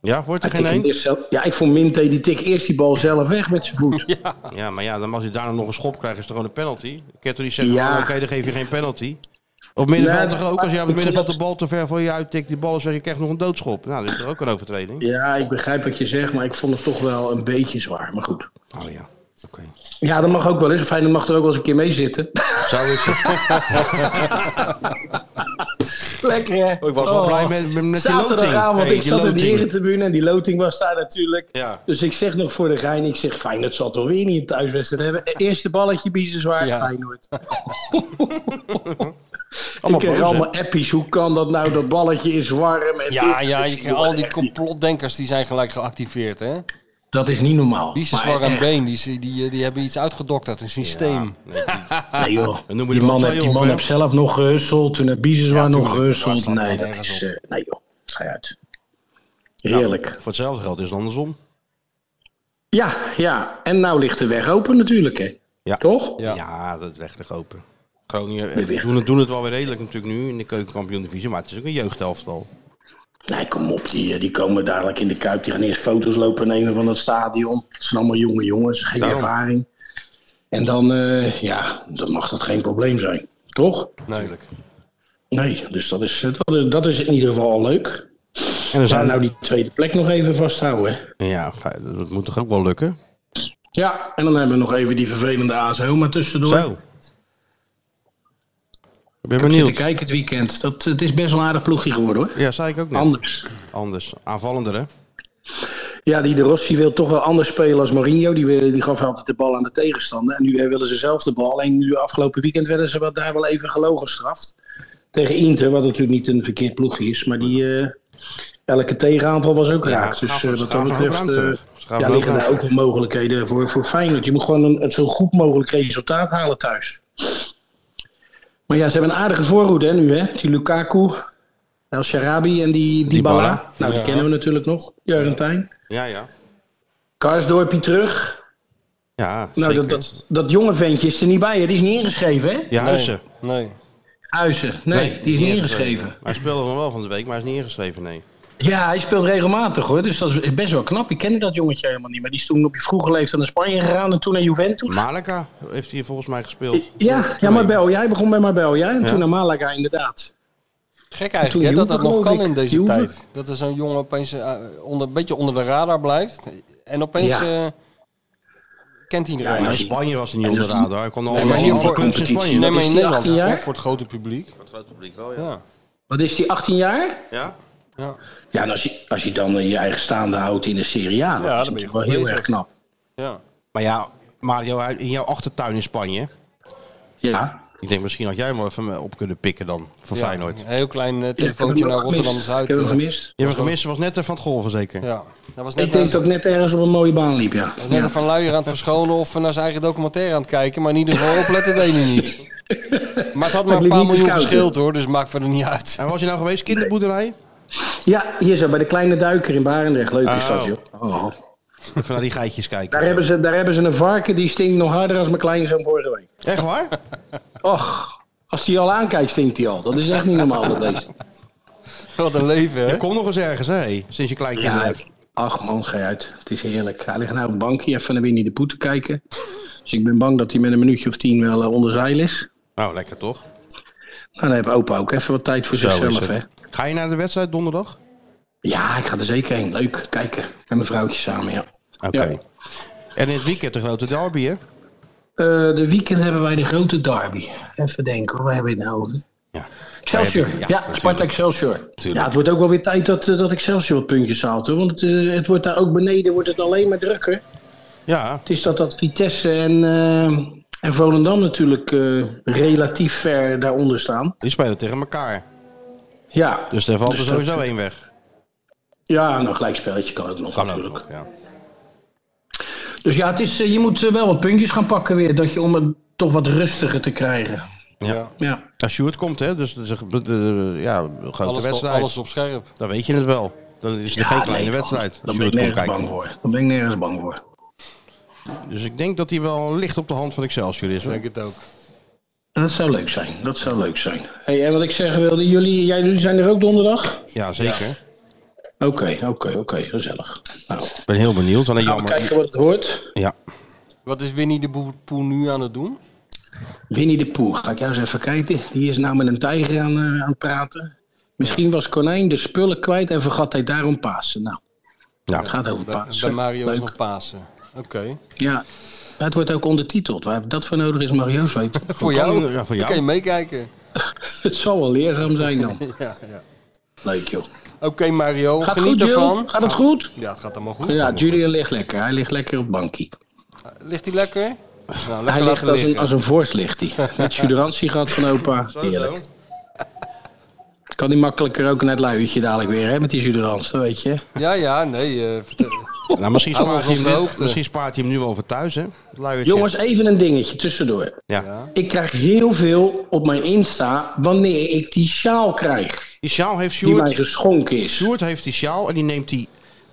[SPEAKER 5] Ja, wordt er geen
[SPEAKER 8] Hij tikte hem
[SPEAKER 5] één?
[SPEAKER 8] eerst zelf- E ja, ik vond Minte, die tik eerst die bal zelf weg met zijn voet. Ja,
[SPEAKER 5] Ja, maar ja, dan als je daarna nog een schop krijgt, is het gewoon een penalty. Ik kan toch niet zeggen,
[SPEAKER 8] Ja.
[SPEAKER 5] oh, oké, dan geef je geen penalty. Op middenveld
[SPEAKER 8] Nee,
[SPEAKER 5] toch ook? Als jij op het
[SPEAKER 8] ik vind
[SPEAKER 5] middenveld de bal te ver voor je uittikt, die bal zeg je krijgt nog een doodschop. Nou, dat is toch ook een overtreding?
[SPEAKER 8] ik begrijp wat je zegt, maar ik vond het toch wel een beetje zwaar. Maar goed.
[SPEAKER 5] Oh ja, oké.
[SPEAKER 8] Ja, dat mag ook wel eens. Feyenoord mag er ook wel eens een keer mee zitten.
[SPEAKER 5] Zo is het.
[SPEAKER 8] Lekker hè?
[SPEAKER 5] Oh, Ik was wel blij met, met, met die loting.
[SPEAKER 8] Zaterdagavond,
[SPEAKER 5] Hey,
[SPEAKER 8] Oh. ik
[SPEAKER 5] die
[SPEAKER 8] zat in de
[SPEAKER 5] loting.
[SPEAKER 8] herentribune en die loting was daar natuurlijk.
[SPEAKER 5] Ja.
[SPEAKER 8] Dus ik zeg nog voor de gein, ik zeg Feyenoord zal toch weer niet een thuiswedstrijd hebben. Eh, Eerste balletje biezen zwaar,
[SPEAKER 6] Ja.
[SPEAKER 8] Feyenoord.
[SPEAKER 5] Allemaal
[SPEAKER 8] ik
[SPEAKER 5] boos,
[SPEAKER 8] kreeg
[SPEAKER 5] hè?
[SPEAKER 8] allemaal appies, hoe kan dat nou? Dat balletje is warm. En
[SPEAKER 6] Ja,
[SPEAKER 8] dit.
[SPEAKER 6] ja,
[SPEAKER 8] Ik
[SPEAKER 6] je
[SPEAKER 8] zeg,
[SPEAKER 6] krijgt
[SPEAKER 8] jongen,
[SPEAKER 6] al die
[SPEAKER 8] echt niet.
[SPEAKER 6] complotdenkers die zijn gelijk geactiveerd, hè?
[SPEAKER 8] Dat is niet normaal.
[SPEAKER 6] Die
[SPEAKER 8] Maar
[SPEAKER 6] zwar aan
[SPEAKER 8] echt,
[SPEAKER 6] been, die, die, die, eh, die hebben iets uitgedokterd, een systeem.
[SPEAKER 8] Nee, joh.
[SPEAKER 5] Ah, Dan noemen we die
[SPEAKER 8] Die
[SPEAKER 5] man
[SPEAKER 8] man,
[SPEAKER 5] twee
[SPEAKER 8] heeft, die
[SPEAKER 5] op,
[SPEAKER 8] man
[SPEAKER 5] hè?
[SPEAKER 8] heeft zelf nog gehusteld. Toen heeft Biezen
[SPEAKER 6] Ja,
[SPEAKER 8] nog
[SPEAKER 6] tuurlijk.
[SPEAKER 8] gehusteld.
[SPEAKER 6] Waar slaat
[SPEAKER 8] Nee,
[SPEAKER 6] dat
[SPEAKER 8] dat
[SPEAKER 6] nergens
[SPEAKER 8] is...
[SPEAKER 6] op?
[SPEAKER 8] eh, nee, joh. Ga je uit. Heerlijk.
[SPEAKER 5] Voor hetzelfde geld is het andersom.
[SPEAKER 8] Ja, ja. En nou ligt de weg open natuurlijk, hè.
[SPEAKER 5] Ja.
[SPEAKER 8] Toch?
[SPEAKER 6] Ja.
[SPEAKER 5] Ja, dat legt echt open. Groningen
[SPEAKER 8] Weer.
[SPEAKER 5] eh, doen het, doen het wel weer redelijk natuurlijk nu in de keukenkampioen divisie, maar het is ook een jeugdelftal.
[SPEAKER 8] Nee, kom op. Die, eh, die komen dadelijk in de Kuip. Die gaan eerst foto's lopen nemen van het stadion. Het zijn allemaal jonge jongens. Geen
[SPEAKER 5] Daarom.
[SPEAKER 8] ervaring. En dan, eh, ja, dan mag dat geen probleem zijn. Toch?
[SPEAKER 5] Natuurlijk.
[SPEAKER 8] Nee, dus dat is, dat is, dat is in ieder geval al leuk.
[SPEAKER 5] En dan
[SPEAKER 8] We gaan
[SPEAKER 5] zijn
[SPEAKER 8] nou die tweede plek nog even vasthouden, hè.
[SPEAKER 5] Ja, ga- dat moet toch ook wel lukken?
[SPEAKER 8] Ja, en dan hebben we nog even die vervelende AS Roma tussendoor.
[SPEAKER 5] Zo. Ik ben
[SPEAKER 8] Ik zit te
[SPEAKER 5] benieuwd.
[SPEAKER 8] kijken het weekend. Dat, het is best wel een aardig ploegje geworden hoor.
[SPEAKER 5] Ja, zei ik ook net.
[SPEAKER 8] Anders.
[SPEAKER 5] Anders. Aanvallender, hè?
[SPEAKER 8] Ja, die de Rossi wil toch wel anders spelen als Mourinho. Die, wil- die gaf altijd de bal aan de tegenstander. En nu eh, willen ze zelf de bal. Alleen nu afgelopen weekend werden ze wel, daar wel even gelogen gestraft. Tegen Inter, wat natuurlijk niet een verkeerd ploegje is. Maar die, eh, elke tegenaanval was ook raak.
[SPEAKER 5] Gaaf-
[SPEAKER 8] dus eh, wat
[SPEAKER 5] Gaaf
[SPEAKER 8] dat
[SPEAKER 5] nog
[SPEAKER 8] betreft...
[SPEAKER 5] ruimte
[SPEAKER 8] eh,
[SPEAKER 5] terug. Schaaf
[SPEAKER 8] Ja,
[SPEAKER 5] Loop
[SPEAKER 8] liggen
[SPEAKER 5] aan.
[SPEAKER 8] daar ook wel mogelijkheden voor, voor Feyenoord. Je moet gewoon een, het zo goed mogelijk resultaat halen thuis. Maar ja, ze hebben een aardige voorhoede hè, nu, hè? Die Lukaku, El Sharabi en die Dybala.
[SPEAKER 5] Dybala.
[SPEAKER 8] Nou, die kennen we natuurlijk nog. Jurentijn.
[SPEAKER 5] Ja, ja.
[SPEAKER 8] Karsdorpie terug.
[SPEAKER 5] Ja,
[SPEAKER 8] Nou,
[SPEAKER 5] zeker.
[SPEAKER 8] dat, dat, dat jonge ventje is er niet bij, hè? Die is niet ingeschreven, hè?
[SPEAKER 5] Ja, Huissen.
[SPEAKER 7] Nee.
[SPEAKER 8] Huizen. Nee, die eh, is niet ingeschreven.
[SPEAKER 5] Hij speelde nog wel van de week, maar hij is niet ingeschreven, nee.
[SPEAKER 8] Ja, hij speelt regelmatig hoor, dus dat is best wel knap. Ik kende dat jongetje helemaal niet, maar die is toen op je vroege leeftijd naar Spanje gegaan en toen naar Juventus.
[SPEAKER 5] Malaga heeft hier volgens mij gespeeld.
[SPEAKER 8] ja, ja, Marbella. Jij begon bij Marbella en toen naar Malaga inderdaad.
[SPEAKER 7] Gek
[SPEAKER 8] Toen
[SPEAKER 7] eigenlijk hè, dat dat
[SPEAKER 8] Juve,
[SPEAKER 7] nog
[SPEAKER 8] geloof
[SPEAKER 7] kan in
[SPEAKER 8] ik.
[SPEAKER 7] deze
[SPEAKER 8] Juve.
[SPEAKER 7] tijd. Dat er zo'n jongen opeens eh, onder, een beetje onder de radar blijft. En opeens
[SPEAKER 8] Ja.
[SPEAKER 7] eh, kent hij
[SPEAKER 8] Ja,
[SPEAKER 7] iedereen.
[SPEAKER 5] Maar in
[SPEAKER 8] zie-
[SPEAKER 5] Spanje was hij niet onder de radar. Hij kon al
[SPEAKER 7] maar
[SPEAKER 5] alle
[SPEAKER 7] hier
[SPEAKER 5] andere
[SPEAKER 7] voor-
[SPEAKER 5] clubs in
[SPEAKER 8] competitie.
[SPEAKER 5] Spanje.
[SPEAKER 7] nee,
[SPEAKER 8] wat
[SPEAKER 7] maar
[SPEAKER 8] is
[SPEAKER 7] in
[SPEAKER 8] die,
[SPEAKER 7] Nederland
[SPEAKER 8] 18 jaar?
[SPEAKER 7] toch voor het grote publiek.
[SPEAKER 5] het grote publiek wel,
[SPEAKER 7] Ja.
[SPEAKER 8] Wat is die, 18 jaar?
[SPEAKER 5] Ja?
[SPEAKER 7] Ja.
[SPEAKER 8] Ja, en als je, als je dan eh, je eigen staande houdt in de Serie A, dat
[SPEAKER 7] Ja,
[SPEAKER 8] is
[SPEAKER 7] dan ben je
[SPEAKER 8] natuurlijk
[SPEAKER 7] goed
[SPEAKER 8] wel heel
[SPEAKER 7] bezig.
[SPEAKER 8] erg knap.
[SPEAKER 7] Ja.
[SPEAKER 5] Maar ja, Mario, in jouw achtertuin in Spanje.
[SPEAKER 8] Ja,
[SPEAKER 5] Ik denk, misschien had jij hem wel even op kunnen pikken dan, voor
[SPEAKER 7] Ja,
[SPEAKER 5] Feyenoord.
[SPEAKER 7] Een heel klein eh,
[SPEAKER 8] Ik heb
[SPEAKER 7] telefoontje
[SPEAKER 8] hem
[SPEAKER 7] naar
[SPEAKER 8] gemist.
[SPEAKER 7] Rotterdam-Zuid.
[SPEAKER 8] Ik heb hem
[SPEAKER 7] eh,
[SPEAKER 8] gemist.
[SPEAKER 5] Je hebt hem gemist, hij was net eh, van het golven zeker.
[SPEAKER 7] Ja, dat was net,
[SPEAKER 8] Ik denk
[SPEAKER 7] naar-
[SPEAKER 8] dat ik net ergens op een mooie baan liep, ja.
[SPEAKER 7] was net een Van Luijer aan het verschonen of naar zijn eigen documentaire aan het kijken. Maar in ieder geval opletten deed hij niet. Maar het had maar
[SPEAKER 8] liep
[SPEAKER 7] een paar
[SPEAKER 8] niet te
[SPEAKER 7] miljoen
[SPEAKER 8] scouten.
[SPEAKER 7] gescheeld hoor, dus maakt verder niet uit.
[SPEAKER 5] En was je nou geweest, kinderboerderij?
[SPEAKER 8] Ja, hier zo, bij de Kleine Duiker in Barendrecht. Leuk is
[SPEAKER 5] Oh.
[SPEAKER 8] dat, joh. Oh.
[SPEAKER 5] Even naar die geitjes kijken.
[SPEAKER 8] Daar, hebben ze, daar hebben ze een varken, die stinkt nog harder als mijn kleinzoon vorige week.
[SPEAKER 5] Echt waar?
[SPEAKER 8] Och, als die al aankijkt, stinkt hij al. Dat is echt niet normaal, dat beest.
[SPEAKER 7] Wat een leven hè.
[SPEAKER 5] Je komt nog eens ergens, hè? hey, Sinds je klein kinderen
[SPEAKER 8] Ja,
[SPEAKER 5] hebt.
[SPEAKER 8] ach man, ga je uit. Het is heerlijk. Hij ligt nou op het bankje even naar Winnie de Poet te kijken. Dus ik ben bang dat hij met een minuutje of tien wel eh, onder zeil is.
[SPEAKER 5] Nou, lekker toch?
[SPEAKER 8] Nou, dan heeft opa ook even wat tijd voor zichzelf, hè.
[SPEAKER 5] Ga je naar de wedstrijd donderdag?
[SPEAKER 8] Ja, ik ga er zeker heen. Leuk, kijken. Met mijn vrouwtje samen, ja.
[SPEAKER 5] Oké.
[SPEAKER 8] Ja.
[SPEAKER 5] En in het weekend de grote derby, hè?
[SPEAKER 8] Eh, de weekend hebben wij de grote derby. Even denken, hoor, waar hebben we het nou over?
[SPEAKER 5] Ja.
[SPEAKER 8] Excelsior,
[SPEAKER 5] Ja,
[SPEAKER 8] ja,
[SPEAKER 5] natuurlijk.
[SPEAKER 8] Sparta Excelsior. Ja, het wordt ook wel weer tijd dat, eh, dat Excelsior wat puntjes haalt. Hoor. Want het, eh, het wordt daar ook beneden wordt het alleen maar drukker.
[SPEAKER 5] Ja.
[SPEAKER 8] Het is dat, dat Vitesse en, eh, en Volendam natuurlijk eh, relatief ver daaronder staan.
[SPEAKER 5] Die spelen tegen elkaar.
[SPEAKER 8] Ja,
[SPEAKER 5] Dus daar valt er
[SPEAKER 8] Dus dat-
[SPEAKER 5] sowieso één weg.
[SPEAKER 8] ja een gelijkspelletje kan ook nog
[SPEAKER 5] Kan ook
[SPEAKER 8] natuurlijk.
[SPEAKER 5] nog, ja.
[SPEAKER 8] Dus ja, het is, eh, je moet eh, wel wat puntjes gaan pakken weer. Dat je, om het toch wat rustiger te krijgen.
[SPEAKER 5] Ja.
[SPEAKER 8] Ja.
[SPEAKER 5] Als Sjoerd komt, hè? Dus dat is een, de- de- ja, een grote
[SPEAKER 7] Alles, tot-
[SPEAKER 5] wedstrijd.
[SPEAKER 7] alles op scherp.
[SPEAKER 5] Dan weet je het wel. Dan is het geen
[SPEAKER 8] Ja,
[SPEAKER 5] kleine
[SPEAKER 8] nee,
[SPEAKER 5] wedstrijd.
[SPEAKER 8] Dan
[SPEAKER 5] als
[SPEAKER 8] ben ik
[SPEAKER 5] Sjoerd komt
[SPEAKER 8] nergens
[SPEAKER 5] kijken.
[SPEAKER 8] bang voor. Dan ben ik nergens bang voor.
[SPEAKER 5] Dus ik denk dat hij wel licht op de hand van Excelsior is. Hoor.
[SPEAKER 7] Denk het ook.
[SPEAKER 8] Dat zou leuk zijn. Dat zou leuk zijn. Hey, en wat ik zeggen wilde, jullie, jij, jullie zijn er ook donderdag?
[SPEAKER 5] Ja, zeker.
[SPEAKER 8] Oké, oké, oké. gezellig. Nou,
[SPEAKER 5] Ik ben heel benieuwd. Alleen
[SPEAKER 8] gaan we
[SPEAKER 5] jammer.
[SPEAKER 8] kijken wat het wordt.
[SPEAKER 5] Ja.
[SPEAKER 7] Wat is Winnie de Boer Poel nu aan het doen?
[SPEAKER 8] Winnie de Poel, ga ik jou eens even kijken. Die is nou met een tijger aan, eh, aan het praten. Misschien was Konijn de spullen kwijt en vergat hij daarom Pasen. Nou,
[SPEAKER 5] Ja.
[SPEAKER 8] het gaat over
[SPEAKER 5] Ah,
[SPEAKER 7] Bij,
[SPEAKER 8] Pasen.
[SPEAKER 7] bij Mario is
[SPEAKER 8] Leuk.
[SPEAKER 7] nog Pasen. Oké.
[SPEAKER 8] Ja. Maar het wordt ook ondertiteld. Waar dat voor nodig is, mag Joost weten.
[SPEAKER 7] Voor
[SPEAKER 5] kan-
[SPEAKER 7] jou?
[SPEAKER 5] ja, voor jou.
[SPEAKER 7] Dan kan je meekijken.
[SPEAKER 8] het zal wel leerzaam zijn dan.
[SPEAKER 7] Ja, ja.
[SPEAKER 8] Leuk joh.
[SPEAKER 7] Oké Mario,
[SPEAKER 8] Gaat het
[SPEAKER 7] geniet
[SPEAKER 8] goed, Jill?
[SPEAKER 7] ervan.
[SPEAKER 8] Gaat het goed?
[SPEAKER 7] Ja, het gaat allemaal goed.
[SPEAKER 8] Ja, Julian ligt lekker. Hij ligt lekker op bankie.
[SPEAKER 7] Ligt hij lekker? Nou,
[SPEAKER 8] Hij
[SPEAKER 7] lekker
[SPEAKER 8] ligt
[SPEAKER 7] laten
[SPEAKER 8] als een,
[SPEAKER 7] liggen.
[SPEAKER 8] als een vorst ligt hij. Met suderantie gehad van opa. Heerlijk. Kan hij makkelijker ook naar het luiertje dadelijk weer, hè? Met die suderans, dat weet je.
[SPEAKER 7] Ja, ja, nee. eh vertel-
[SPEAKER 5] Nou, misschien,
[SPEAKER 7] Hou
[SPEAKER 5] spaart
[SPEAKER 7] ons
[SPEAKER 5] hij
[SPEAKER 7] op de
[SPEAKER 5] hem, nu-
[SPEAKER 7] hoogte.
[SPEAKER 5] misschien spaart hij hem nu wel voor thuis, hè? Het luiertje.
[SPEAKER 8] Jongens, even een dingetje tussendoor.
[SPEAKER 5] Ja.
[SPEAKER 8] Ik krijg heel veel op mijn Insta wanneer ik die sjaal krijg.
[SPEAKER 5] Die sjaal heeft
[SPEAKER 8] Die mij
[SPEAKER 5] Sjoerd.
[SPEAKER 8] geschonken is.
[SPEAKER 5] Sjoerd heeft die sjaal en die neemt die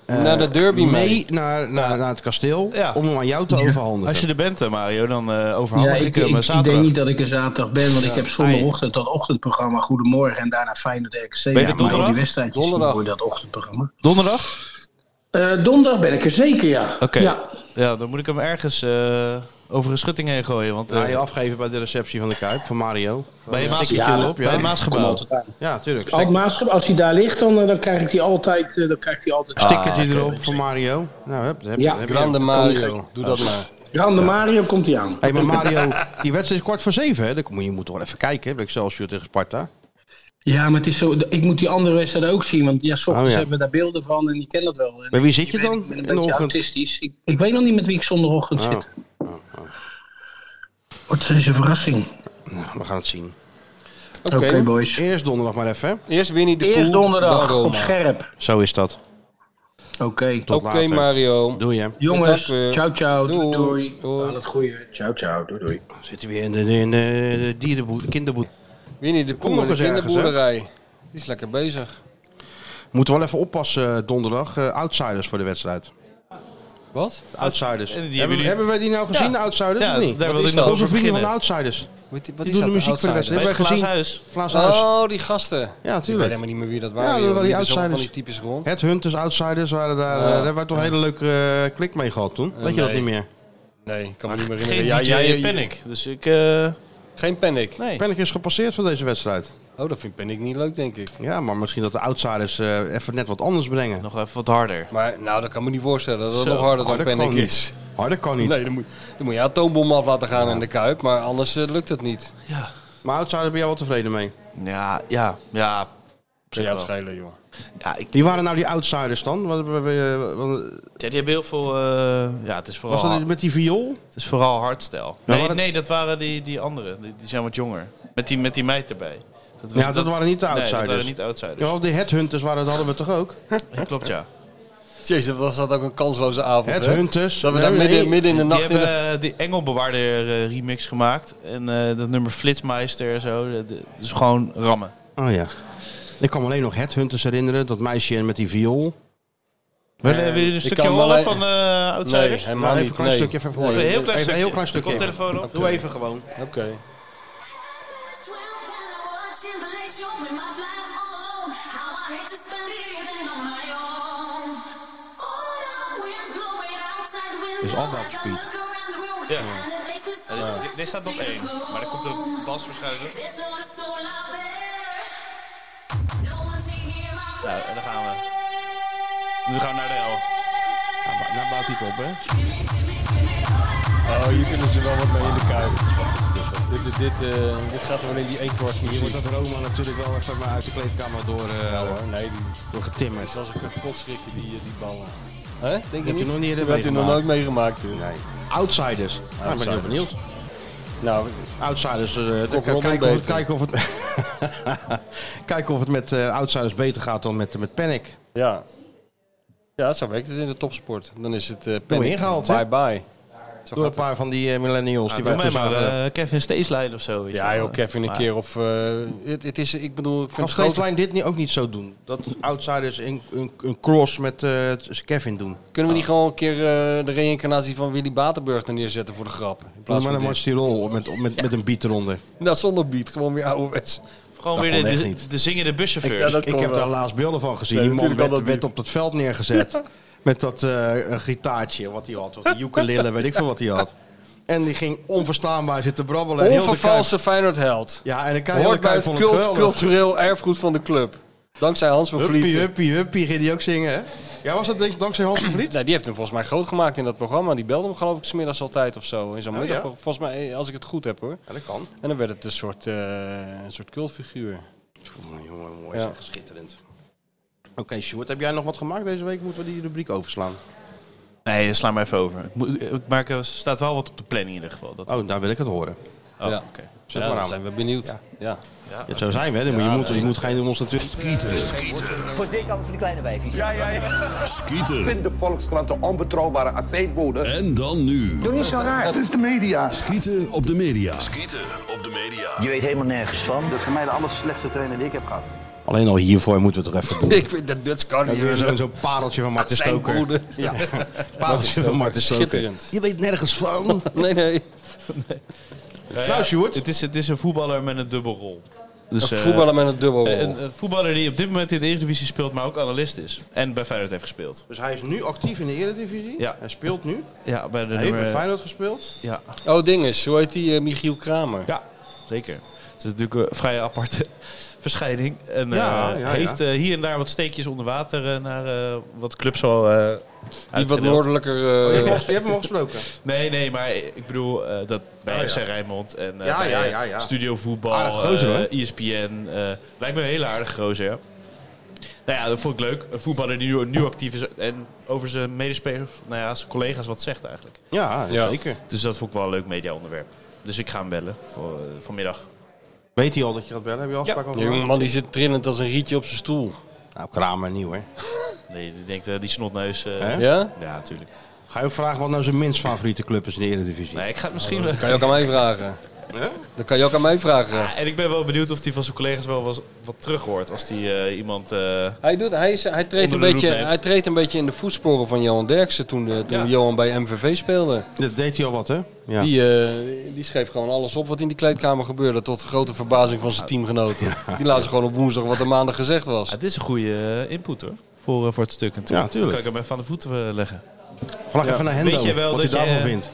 [SPEAKER 5] Eh,
[SPEAKER 7] naar de derby mee.
[SPEAKER 5] mee naar, naar, naar het kasteel.
[SPEAKER 3] Ja.
[SPEAKER 5] Om hem aan jou te overhandigen.
[SPEAKER 3] Als je er bent, eh, Mario, dan eh
[SPEAKER 8] Ja,
[SPEAKER 3] overhandig
[SPEAKER 8] ik,
[SPEAKER 3] ik, hem
[SPEAKER 8] ik,
[SPEAKER 3] eh,
[SPEAKER 8] ik
[SPEAKER 3] zaterdag.
[SPEAKER 8] denk niet dat ik er zaterdag ben, want ik heb zondagochtend dat ochtendprogramma Goedemorgen en daarna Feyenoord RKC. Ja, maar al
[SPEAKER 3] donderdag?
[SPEAKER 8] die wedstrijdjes zien
[SPEAKER 7] Donderdag.
[SPEAKER 8] voor dat ochtendprogramma.
[SPEAKER 3] Donderdag?
[SPEAKER 8] Eh, donderdag ben ik er zeker, ja.
[SPEAKER 3] Oké.
[SPEAKER 8] Ja,
[SPEAKER 3] Ja. dan moet ik hem ergens eh, over een schutting heen gooien. Want, eh,
[SPEAKER 5] Ga je afgeven bij de receptie van de Kuip van Mario.
[SPEAKER 3] bij je Maas-
[SPEAKER 8] Ja,
[SPEAKER 5] Op, Nou, ja.
[SPEAKER 3] bij je Maasgebouw.
[SPEAKER 8] Komt altijd aan.
[SPEAKER 5] Ja, tuurlijk.
[SPEAKER 8] Als,
[SPEAKER 5] Stik,
[SPEAKER 8] Maaschap, als hij daar ligt, dan, eh, dan krijg ik die altijd. eh, Dan krijg ik die altijd.
[SPEAKER 5] stickertje
[SPEAKER 6] Ah,
[SPEAKER 5] erop van Mario. Nou, heb, heb,
[SPEAKER 8] Ja.
[SPEAKER 5] heb je hem.
[SPEAKER 7] Grande
[SPEAKER 5] oh,
[SPEAKER 7] Mario, doe dat maar.
[SPEAKER 8] Grande Mario komt hij aan.
[SPEAKER 5] Hé, maar Mario, die wedstrijd is kwart voor zeven, hè? Dan moet je moet toch wel even kijken, hè? Excelsior tegen Sparta.
[SPEAKER 8] Ja, maar het is zo, ik moet die andere wedstrijd ook zien. Want ja, soms
[SPEAKER 5] Oh, ja.
[SPEAKER 8] hebben we daar beelden van en je kent dat wel. En
[SPEAKER 5] Bij wie zit je
[SPEAKER 8] ik weet,
[SPEAKER 5] dan
[SPEAKER 8] ik ben
[SPEAKER 5] in
[SPEAKER 8] een
[SPEAKER 5] de
[SPEAKER 8] beetje
[SPEAKER 5] ochtend?
[SPEAKER 8] autistisch. Ik, ik weet nog niet met wie ik zondagochtend
[SPEAKER 5] Oh.
[SPEAKER 8] zit. Wat is een verrassing.
[SPEAKER 5] Nou, we gaan het zien.
[SPEAKER 7] Oké.
[SPEAKER 8] Oké, boys.
[SPEAKER 5] Eerst donderdag maar even, hè?
[SPEAKER 7] Eerst Winnie de Poel,
[SPEAKER 8] Eerst
[SPEAKER 7] dan
[SPEAKER 8] donderdag
[SPEAKER 7] Roma.
[SPEAKER 8] op scherp.
[SPEAKER 5] Zo is dat.
[SPEAKER 8] Oké.
[SPEAKER 5] Tot
[SPEAKER 6] Oké
[SPEAKER 5] later.
[SPEAKER 6] Mario.
[SPEAKER 5] Doei hè.
[SPEAKER 8] Jongens,
[SPEAKER 6] Tot dan.
[SPEAKER 8] ciao ciao. Doei.
[SPEAKER 6] Doei.
[SPEAKER 8] doei. Aan het goede. Ciao ciao. Doei doei.
[SPEAKER 5] Zitten weer in de, in de, de dierenboer, kinderboer.
[SPEAKER 6] Winnie de
[SPEAKER 5] nog
[SPEAKER 6] Poel, de
[SPEAKER 5] eens ergens,
[SPEAKER 6] kinderboerderij. Die is lekker bezig.
[SPEAKER 5] Moeten we wel even oppassen eh, donderdag. eh, outsiders voor de wedstrijd.
[SPEAKER 6] Wat?
[SPEAKER 5] De outsiders.
[SPEAKER 3] En
[SPEAKER 5] hebben,
[SPEAKER 3] die hebben jullie-
[SPEAKER 5] hebben wij die nou gezien,
[SPEAKER 3] Ja.
[SPEAKER 5] de outsiders?
[SPEAKER 3] Ja,
[SPEAKER 5] of niet?
[SPEAKER 3] daar
[SPEAKER 6] Wat
[SPEAKER 3] wil
[SPEAKER 6] is
[SPEAKER 3] ik
[SPEAKER 6] dat?
[SPEAKER 3] nog
[SPEAKER 5] Onze
[SPEAKER 3] over
[SPEAKER 5] vrienden van de
[SPEAKER 3] beginnen.
[SPEAKER 5] outsiders.
[SPEAKER 6] Wat, wat
[SPEAKER 5] Die
[SPEAKER 6] is
[SPEAKER 5] doen de
[SPEAKER 6] dat,
[SPEAKER 5] muziek voor de
[SPEAKER 6] Outsiders?
[SPEAKER 5] wedstrijd.
[SPEAKER 3] Bij het
[SPEAKER 5] Hebben wij
[SPEAKER 3] Glazen
[SPEAKER 5] gezien.
[SPEAKER 3] Huis.
[SPEAKER 5] Klaas Huis.
[SPEAKER 6] Oh, die gasten.
[SPEAKER 5] Ja,
[SPEAKER 6] Ik weet
[SPEAKER 5] tuurlijk.
[SPEAKER 6] helemaal niet meer wie dat
[SPEAKER 5] Ja,
[SPEAKER 6] waren.
[SPEAKER 5] dat
[SPEAKER 6] joh.
[SPEAKER 5] waren die
[SPEAKER 6] Liepen zo
[SPEAKER 5] outsiders.
[SPEAKER 6] Van die types rond.
[SPEAKER 5] Het Hunters Outsiders waren daar. eh, daar hebben wij toch een hele leuke eh, klik mee gehad toen. Weet je dat
[SPEAKER 6] nee.
[SPEAKER 5] niet meer?
[SPEAKER 6] Nee, ik kan me niet meer
[SPEAKER 3] Geen
[SPEAKER 6] herinneren.
[SPEAKER 3] ja,
[SPEAKER 6] jij-
[SPEAKER 3] DJ
[SPEAKER 6] je-
[SPEAKER 3] Panic. Dus ik... eh,
[SPEAKER 6] Geen panic.
[SPEAKER 3] nee.
[SPEAKER 5] Panic is gepasseerd van deze wedstrijd.
[SPEAKER 6] Oh, dat vind panic niet leuk, denk ik.
[SPEAKER 5] Ja, maar misschien dat de outsiders eh, even net wat anders brengen.
[SPEAKER 3] Nog even wat harder.
[SPEAKER 6] Maar nou, dat kan me niet voorstellen dat het
[SPEAKER 3] Zo.
[SPEAKER 6] nog harder
[SPEAKER 5] Oh,
[SPEAKER 6] dan
[SPEAKER 5] dat
[SPEAKER 6] panic
[SPEAKER 5] kan niet.
[SPEAKER 6] is.
[SPEAKER 5] Maar Nou, dat kan niet.
[SPEAKER 6] Nee, dan moet, dan moet je atoombom af laten gaan in de kuip, maar anders eh, lukt het niet.
[SPEAKER 5] Maar outsiders ben jij wel tevreden mee?
[SPEAKER 3] Ja, ja, ja.
[SPEAKER 6] Zou jou
[SPEAKER 3] wel.
[SPEAKER 6] het schelen, joh.
[SPEAKER 3] ja ik,
[SPEAKER 5] Wie waren nou die outsiders dan? Wat, hebben we- wat-
[SPEAKER 3] ja, die hebben heel veel... eh, ja, het is
[SPEAKER 5] was
[SPEAKER 3] vooral,
[SPEAKER 5] dat met die viool?
[SPEAKER 3] het is vooral hardstyle. Nee,
[SPEAKER 5] waren-
[SPEAKER 3] nee, dat waren die, die anderen. Die, die zijn wat jonger. Met die, met die meid erbij. Dat
[SPEAKER 5] Ja, dat waren niet de
[SPEAKER 3] Nee, dat
[SPEAKER 5] outsiders.
[SPEAKER 3] waren niet outsiders.
[SPEAKER 5] Ja, die headhunters waren, dat hadden we toch ook?
[SPEAKER 3] Ja, klopt, ja.
[SPEAKER 6] Jezus, dat was dat ook een kansloze avond, hè?
[SPEAKER 5] Headhunters.
[SPEAKER 6] Dat we
[SPEAKER 5] Nee,
[SPEAKER 6] daar
[SPEAKER 5] nee.
[SPEAKER 6] midden, midden in de
[SPEAKER 3] Die
[SPEAKER 6] nacht in
[SPEAKER 3] hebben
[SPEAKER 6] de...
[SPEAKER 3] eh, die Engelbewaarder eh, remix gemaakt. En eh, dat nummer Flitsmeister en zo. Dat- dat is gewoon rammen.
[SPEAKER 5] Oh ja. Ik kan me alleen nog headhunters herinneren. Dat meisje met die viool.
[SPEAKER 3] Willen willen jullie een
[SPEAKER 6] ik
[SPEAKER 3] stukje
[SPEAKER 6] kan me
[SPEAKER 3] horen
[SPEAKER 6] alleen-
[SPEAKER 3] van eh
[SPEAKER 6] Nee,
[SPEAKER 3] Outsiders?
[SPEAKER 6] helemaal
[SPEAKER 5] Nou, even
[SPEAKER 6] niet.
[SPEAKER 5] een klein
[SPEAKER 6] nee.
[SPEAKER 5] stukje even voor
[SPEAKER 3] Even een
[SPEAKER 5] je.
[SPEAKER 3] heel klein
[SPEAKER 5] Even
[SPEAKER 3] stukje.
[SPEAKER 5] een heel klein stukje.
[SPEAKER 3] Komt telefoon op.
[SPEAKER 5] Doe even gewoon.
[SPEAKER 6] Oké.
[SPEAKER 5] Is allemaal op speed.
[SPEAKER 3] Ja. Eh, dit- Dit staat op één. Maar dan komt de bas waarschijnlijk op. Nou, en dan gaan we. Nu gaan we naar de hel.
[SPEAKER 5] Nou bouwt hij het op, hè?
[SPEAKER 6] Oh, hier kunnen ze wel wat mee in de kuip. Dit, dit, dit, eh, dit gaat er wel in die eenkwarts
[SPEAKER 5] Je
[SPEAKER 6] muziek.
[SPEAKER 5] wordt dat Roma natuurlijk wel even maar uit de kleedkamer door, eh,
[SPEAKER 6] hoor, nee. die-
[SPEAKER 5] door getimmerd.
[SPEAKER 6] Zoals een kapot schrikken die, eh, die ballen. Hè? Denk
[SPEAKER 5] je
[SPEAKER 6] je niet?
[SPEAKER 5] nog niet eerder
[SPEAKER 6] Dat heb je nog
[SPEAKER 5] meegemaakt.
[SPEAKER 6] nooit meegemaakt. dus.
[SPEAKER 5] Nee. Outsiders. Nou, ik ben heel
[SPEAKER 6] Outsiders.
[SPEAKER 5] benieuwd.
[SPEAKER 6] Nou,
[SPEAKER 5] Outsiders. eh, dan
[SPEAKER 6] Rob
[SPEAKER 5] kan-
[SPEAKER 6] en
[SPEAKER 5] kijken, of het,
[SPEAKER 6] Peter.
[SPEAKER 5] kijken of het, kijken of het met eh, Outsiders beter gaat dan met, met Panic.
[SPEAKER 6] ja. Ja, zo werkt het in de topsport. Dan is het eh
[SPEAKER 5] Mooi
[SPEAKER 6] panic.
[SPEAKER 5] ingehaald, hè?
[SPEAKER 6] bye bye. Zo
[SPEAKER 5] Door een
[SPEAKER 6] gaat het.
[SPEAKER 5] paar van die eh, millennials die
[SPEAKER 3] Doe
[SPEAKER 5] wij
[SPEAKER 3] mij
[SPEAKER 5] toen
[SPEAKER 3] maar
[SPEAKER 5] zagen.
[SPEAKER 3] eh, Kevin Steesleid of zo. Weet je
[SPEAKER 6] Ja,
[SPEAKER 3] wel.
[SPEAKER 6] joh, Kevin, een
[SPEAKER 3] Maar-
[SPEAKER 6] keer of... eh, het, het is, ik bedoel, ik
[SPEAKER 5] Kan
[SPEAKER 6] vind het grote-
[SPEAKER 5] Steedlijn dit niet, ook niet zo doen? Dat Outsiders een, een, een cross met eh, Kevin doen.
[SPEAKER 6] Kunnen we niet gewoon een keer eh, de reïncarnatie van Willy Batenburg er neerzetten voor de grap? In
[SPEAKER 5] Doe
[SPEAKER 6] plaats
[SPEAKER 5] maar
[SPEAKER 6] van
[SPEAKER 5] een
[SPEAKER 6] dit.
[SPEAKER 5] Martirol met, met, met een beat eronder.
[SPEAKER 6] Nou, zonder beat, gewoon weer ouderwets.
[SPEAKER 3] Gewoon
[SPEAKER 5] Dat
[SPEAKER 3] weer
[SPEAKER 5] kon
[SPEAKER 3] de,
[SPEAKER 5] echt
[SPEAKER 3] de,
[SPEAKER 5] niet.
[SPEAKER 3] de zingende buschauffeur.
[SPEAKER 6] Ja, dat
[SPEAKER 5] Ik
[SPEAKER 6] kon
[SPEAKER 5] heb
[SPEAKER 6] wel.
[SPEAKER 5] daar laatst beelden van gezien.
[SPEAKER 6] Nee,
[SPEAKER 5] die man
[SPEAKER 6] natuurlijk
[SPEAKER 5] werd,
[SPEAKER 6] kan dat
[SPEAKER 5] werd op
[SPEAKER 6] niet.
[SPEAKER 5] dat veld neergezet. Met dat eh, gitaartje wat hij had. Of die ukulele, weet ik veel wat hij had. En die ging onverstaanbaar zitten brabbelen. en heel de
[SPEAKER 6] Onvervalste Feyenoord held.
[SPEAKER 5] Kuip- Ja, en dan kan je
[SPEAKER 6] Hoort bij het
[SPEAKER 5] vond
[SPEAKER 6] cult-
[SPEAKER 5] geweldig.
[SPEAKER 6] cultureel erfgoed van de club. Dankzij Hans van
[SPEAKER 5] Huppie,
[SPEAKER 6] Vliet.
[SPEAKER 5] huppie, huppie, ging die ook zingen, hè? Ja, was dat denk- dankzij Hans van Vliet?
[SPEAKER 6] Nou, die heeft hem volgens mij groot gemaakt in dat programma. Die belde hem geloof ik smiddags altijd of zo. In zo'n
[SPEAKER 5] Oh,
[SPEAKER 6] middag,
[SPEAKER 5] ja?
[SPEAKER 6] volgens mij, eh, als ik het goed heb hoor.
[SPEAKER 5] Ja, dat kan.
[SPEAKER 6] En dan werd het een soort, eh, een soort cultfiguur.
[SPEAKER 5] Jongen, jongen, mooi
[SPEAKER 6] Ja.
[SPEAKER 5] zeg, schitterend. Oké, Sjoerd, heb jij nog wat gemaakt deze week? Moeten we die rubriek overslaan?
[SPEAKER 3] Nee, sla maar even over. Ik moet- ik maak, er staat wel wat op de planning in ieder geval. Dat,
[SPEAKER 5] Oh, daar wil ik het horen.
[SPEAKER 3] oh,
[SPEAKER 6] ja.
[SPEAKER 3] oké.
[SPEAKER 5] Zet
[SPEAKER 6] Ja,
[SPEAKER 5] maar
[SPEAKER 6] dan
[SPEAKER 5] aan.
[SPEAKER 6] zijn we benieuwd. Ja.
[SPEAKER 5] Ja, zo zijn we, hè? Dan moet je, moet, je moet geen ons natuurlijk...
[SPEAKER 4] Voor dik altijd voor die kleine wijfjes.
[SPEAKER 9] Skieten.
[SPEAKER 10] de Volkskrant de onbetrouwbare aceetbode.
[SPEAKER 9] En dan nu.
[SPEAKER 4] Doe niet zo raar.
[SPEAKER 9] Skieten op de media. Skieten op de media.
[SPEAKER 4] Je weet helemaal nergens van.
[SPEAKER 10] Dat is voor mij de aller slechtste trainer die ik heb gehad.
[SPEAKER 5] Alleen al hiervoor moeten we het toch even doen.
[SPEAKER 6] Ik vind dat Dutch kan
[SPEAKER 5] Ook
[SPEAKER 6] niet.
[SPEAKER 5] weer
[SPEAKER 6] hoor.
[SPEAKER 5] zo'n zo'n pareltje van Marten
[SPEAKER 6] Zijn
[SPEAKER 5] Stoker.
[SPEAKER 6] broeder.
[SPEAKER 5] Ja, pareltje van Marten Stoker.
[SPEAKER 6] Schitterend.
[SPEAKER 5] Je weet nergens van.
[SPEAKER 6] Nee, nee.
[SPEAKER 5] Nou, Sjoerd.
[SPEAKER 3] Het, is, het is een voetballer met een dubbelrol. Dus,
[SPEAKER 6] een
[SPEAKER 3] eh,
[SPEAKER 6] voetballer met een dubbelrol.
[SPEAKER 3] Een, een voetballer die op dit moment in de Eredivisie speelt, maar ook analist is. En bij Feyenoord heeft gespeeld.
[SPEAKER 5] Dus hij is nu actief in de Eredivisie.
[SPEAKER 3] Ja.
[SPEAKER 5] Hij speelt nu.
[SPEAKER 3] Ja, bij de
[SPEAKER 5] Hij heeft bij
[SPEAKER 3] nummer...
[SPEAKER 5] Feyenoord gespeeld.
[SPEAKER 3] Ja,
[SPEAKER 6] Oh, dinges. Hoe heet die? eh, Michiel Kramer.
[SPEAKER 3] ja, zeker. Het is natuurlijk een vrij aparte verschijning. En
[SPEAKER 5] Ja,
[SPEAKER 3] eh,
[SPEAKER 5] ja, ja.
[SPEAKER 3] heeft eh, hier en daar wat steekjes onder water eh, naar eh, wat clubs al eh
[SPEAKER 6] Die wat
[SPEAKER 3] uitgedeeld.
[SPEAKER 6] noordelijker...
[SPEAKER 5] Je
[SPEAKER 6] eh,
[SPEAKER 5] hebt hem al- je hebt hem al gesproken.
[SPEAKER 3] Nee, nee, maar ik bedoel eh, dat bij
[SPEAKER 5] Oh, ja.
[SPEAKER 3] FC Rijnmond en eh,
[SPEAKER 5] Ja,
[SPEAKER 3] bij,
[SPEAKER 5] ja,
[SPEAKER 3] eh,
[SPEAKER 5] ja, ja.
[SPEAKER 3] Studio
[SPEAKER 5] Aardige
[SPEAKER 3] Voetbal,
[SPEAKER 5] gozer,
[SPEAKER 3] eh,
[SPEAKER 5] hoor.
[SPEAKER 3] ESPN. eh, lijkt me een hele aardige gozer, ja. Nou ja, dat vond ik leuk. Een voetballer die nu, nu actief is en over zijn medespelers, nou ja, zijn collega's wat zegt eigenlijk.
[SPEAKER 5] Ja,
[SPEAKER 6] Ja.
[SPEAKER 5] zeker.
[SPEAKER 3] Dus dat vond ik wel een leuk mediaonderwerp. Dus ik ga hem bellen voor, eh, vanmiddag.
[SPEAKER 5] Weet hij al dat je gaat bellen? Heb je afspraak
[SPEAKER 3] Ja.
[SPEAKER 5] over?
[SPEAKER 6] Die jonge man die zit trillend als een rietje op zijn stoel.
[SPEAKER 5] Nou, Kramer nieuw, hè?
[SPEAKER 3] Nee, die denkt eh, die snotneus. eh,
[SPEAKER 5] Hè?
[SPEAKER 6] Ja?
[SPEAKER 3] Ja, natuurlijk.
[SPEAKER 5] Ga je ook vragen wat nou zijn minst favoriete club is in de Eredivisie?
[SPEAKER 3] Nee, ik ga het misschien wel.
[SPEAKER 6] Kan je ook aan mij vragen.
[SPEAKER 5] Ja?
[SPEAKER 6] Dat kan je ook aan mij vragen.
[SPEAKER 3] Ja, en ik ben wel benieuwd of hij van zijn collega's wel wat, wat terug hoort. Als die eh, iemand. eh,
[SPEAKER 6] Hij, doet, hij, is, hij, treedt een
[SPEAKER 3] Onder de
[SPEAKER 6] beetje,
[SPEAKER 3] loep neemt.
[SPEAKER 6] hij treedt een beetje in de voetsporen van Johan Derksen toen, eh, toen
[SPEAKER 3] Ja.
[SPEAKER 6] Johan bij MVV speelde.
[SPEAKER 5] Dat deed hij al wat, hè? Ja.
[SPEAKER 6] Die, eh, die schreef gewoon alles op wat in die kleedkamer gebeurde. Tot grote verbazing van zijn teamgenoten. Die lazen gewoon op woensdag wat er maandag gezegd was.
[SPEAKER 3] het is een goede eh, input hoor. Voor, eh, voor het stuk natuurlijk.
[SPEAKER 5] Ja, tuurlijk.
[SPEAKER 3] Kan ik hem even aan de voeten eh, leggen.
[SPEAKER 5] Vraag even naar Hendo
[SPEAKER 3] Weet je wel
[SPEAKER 5] wat
[SPEAKER 3] dat
[SPEAKER 5] hij daarvan
[SPEAKER 3] je-
[SPEAKER 5] vindt.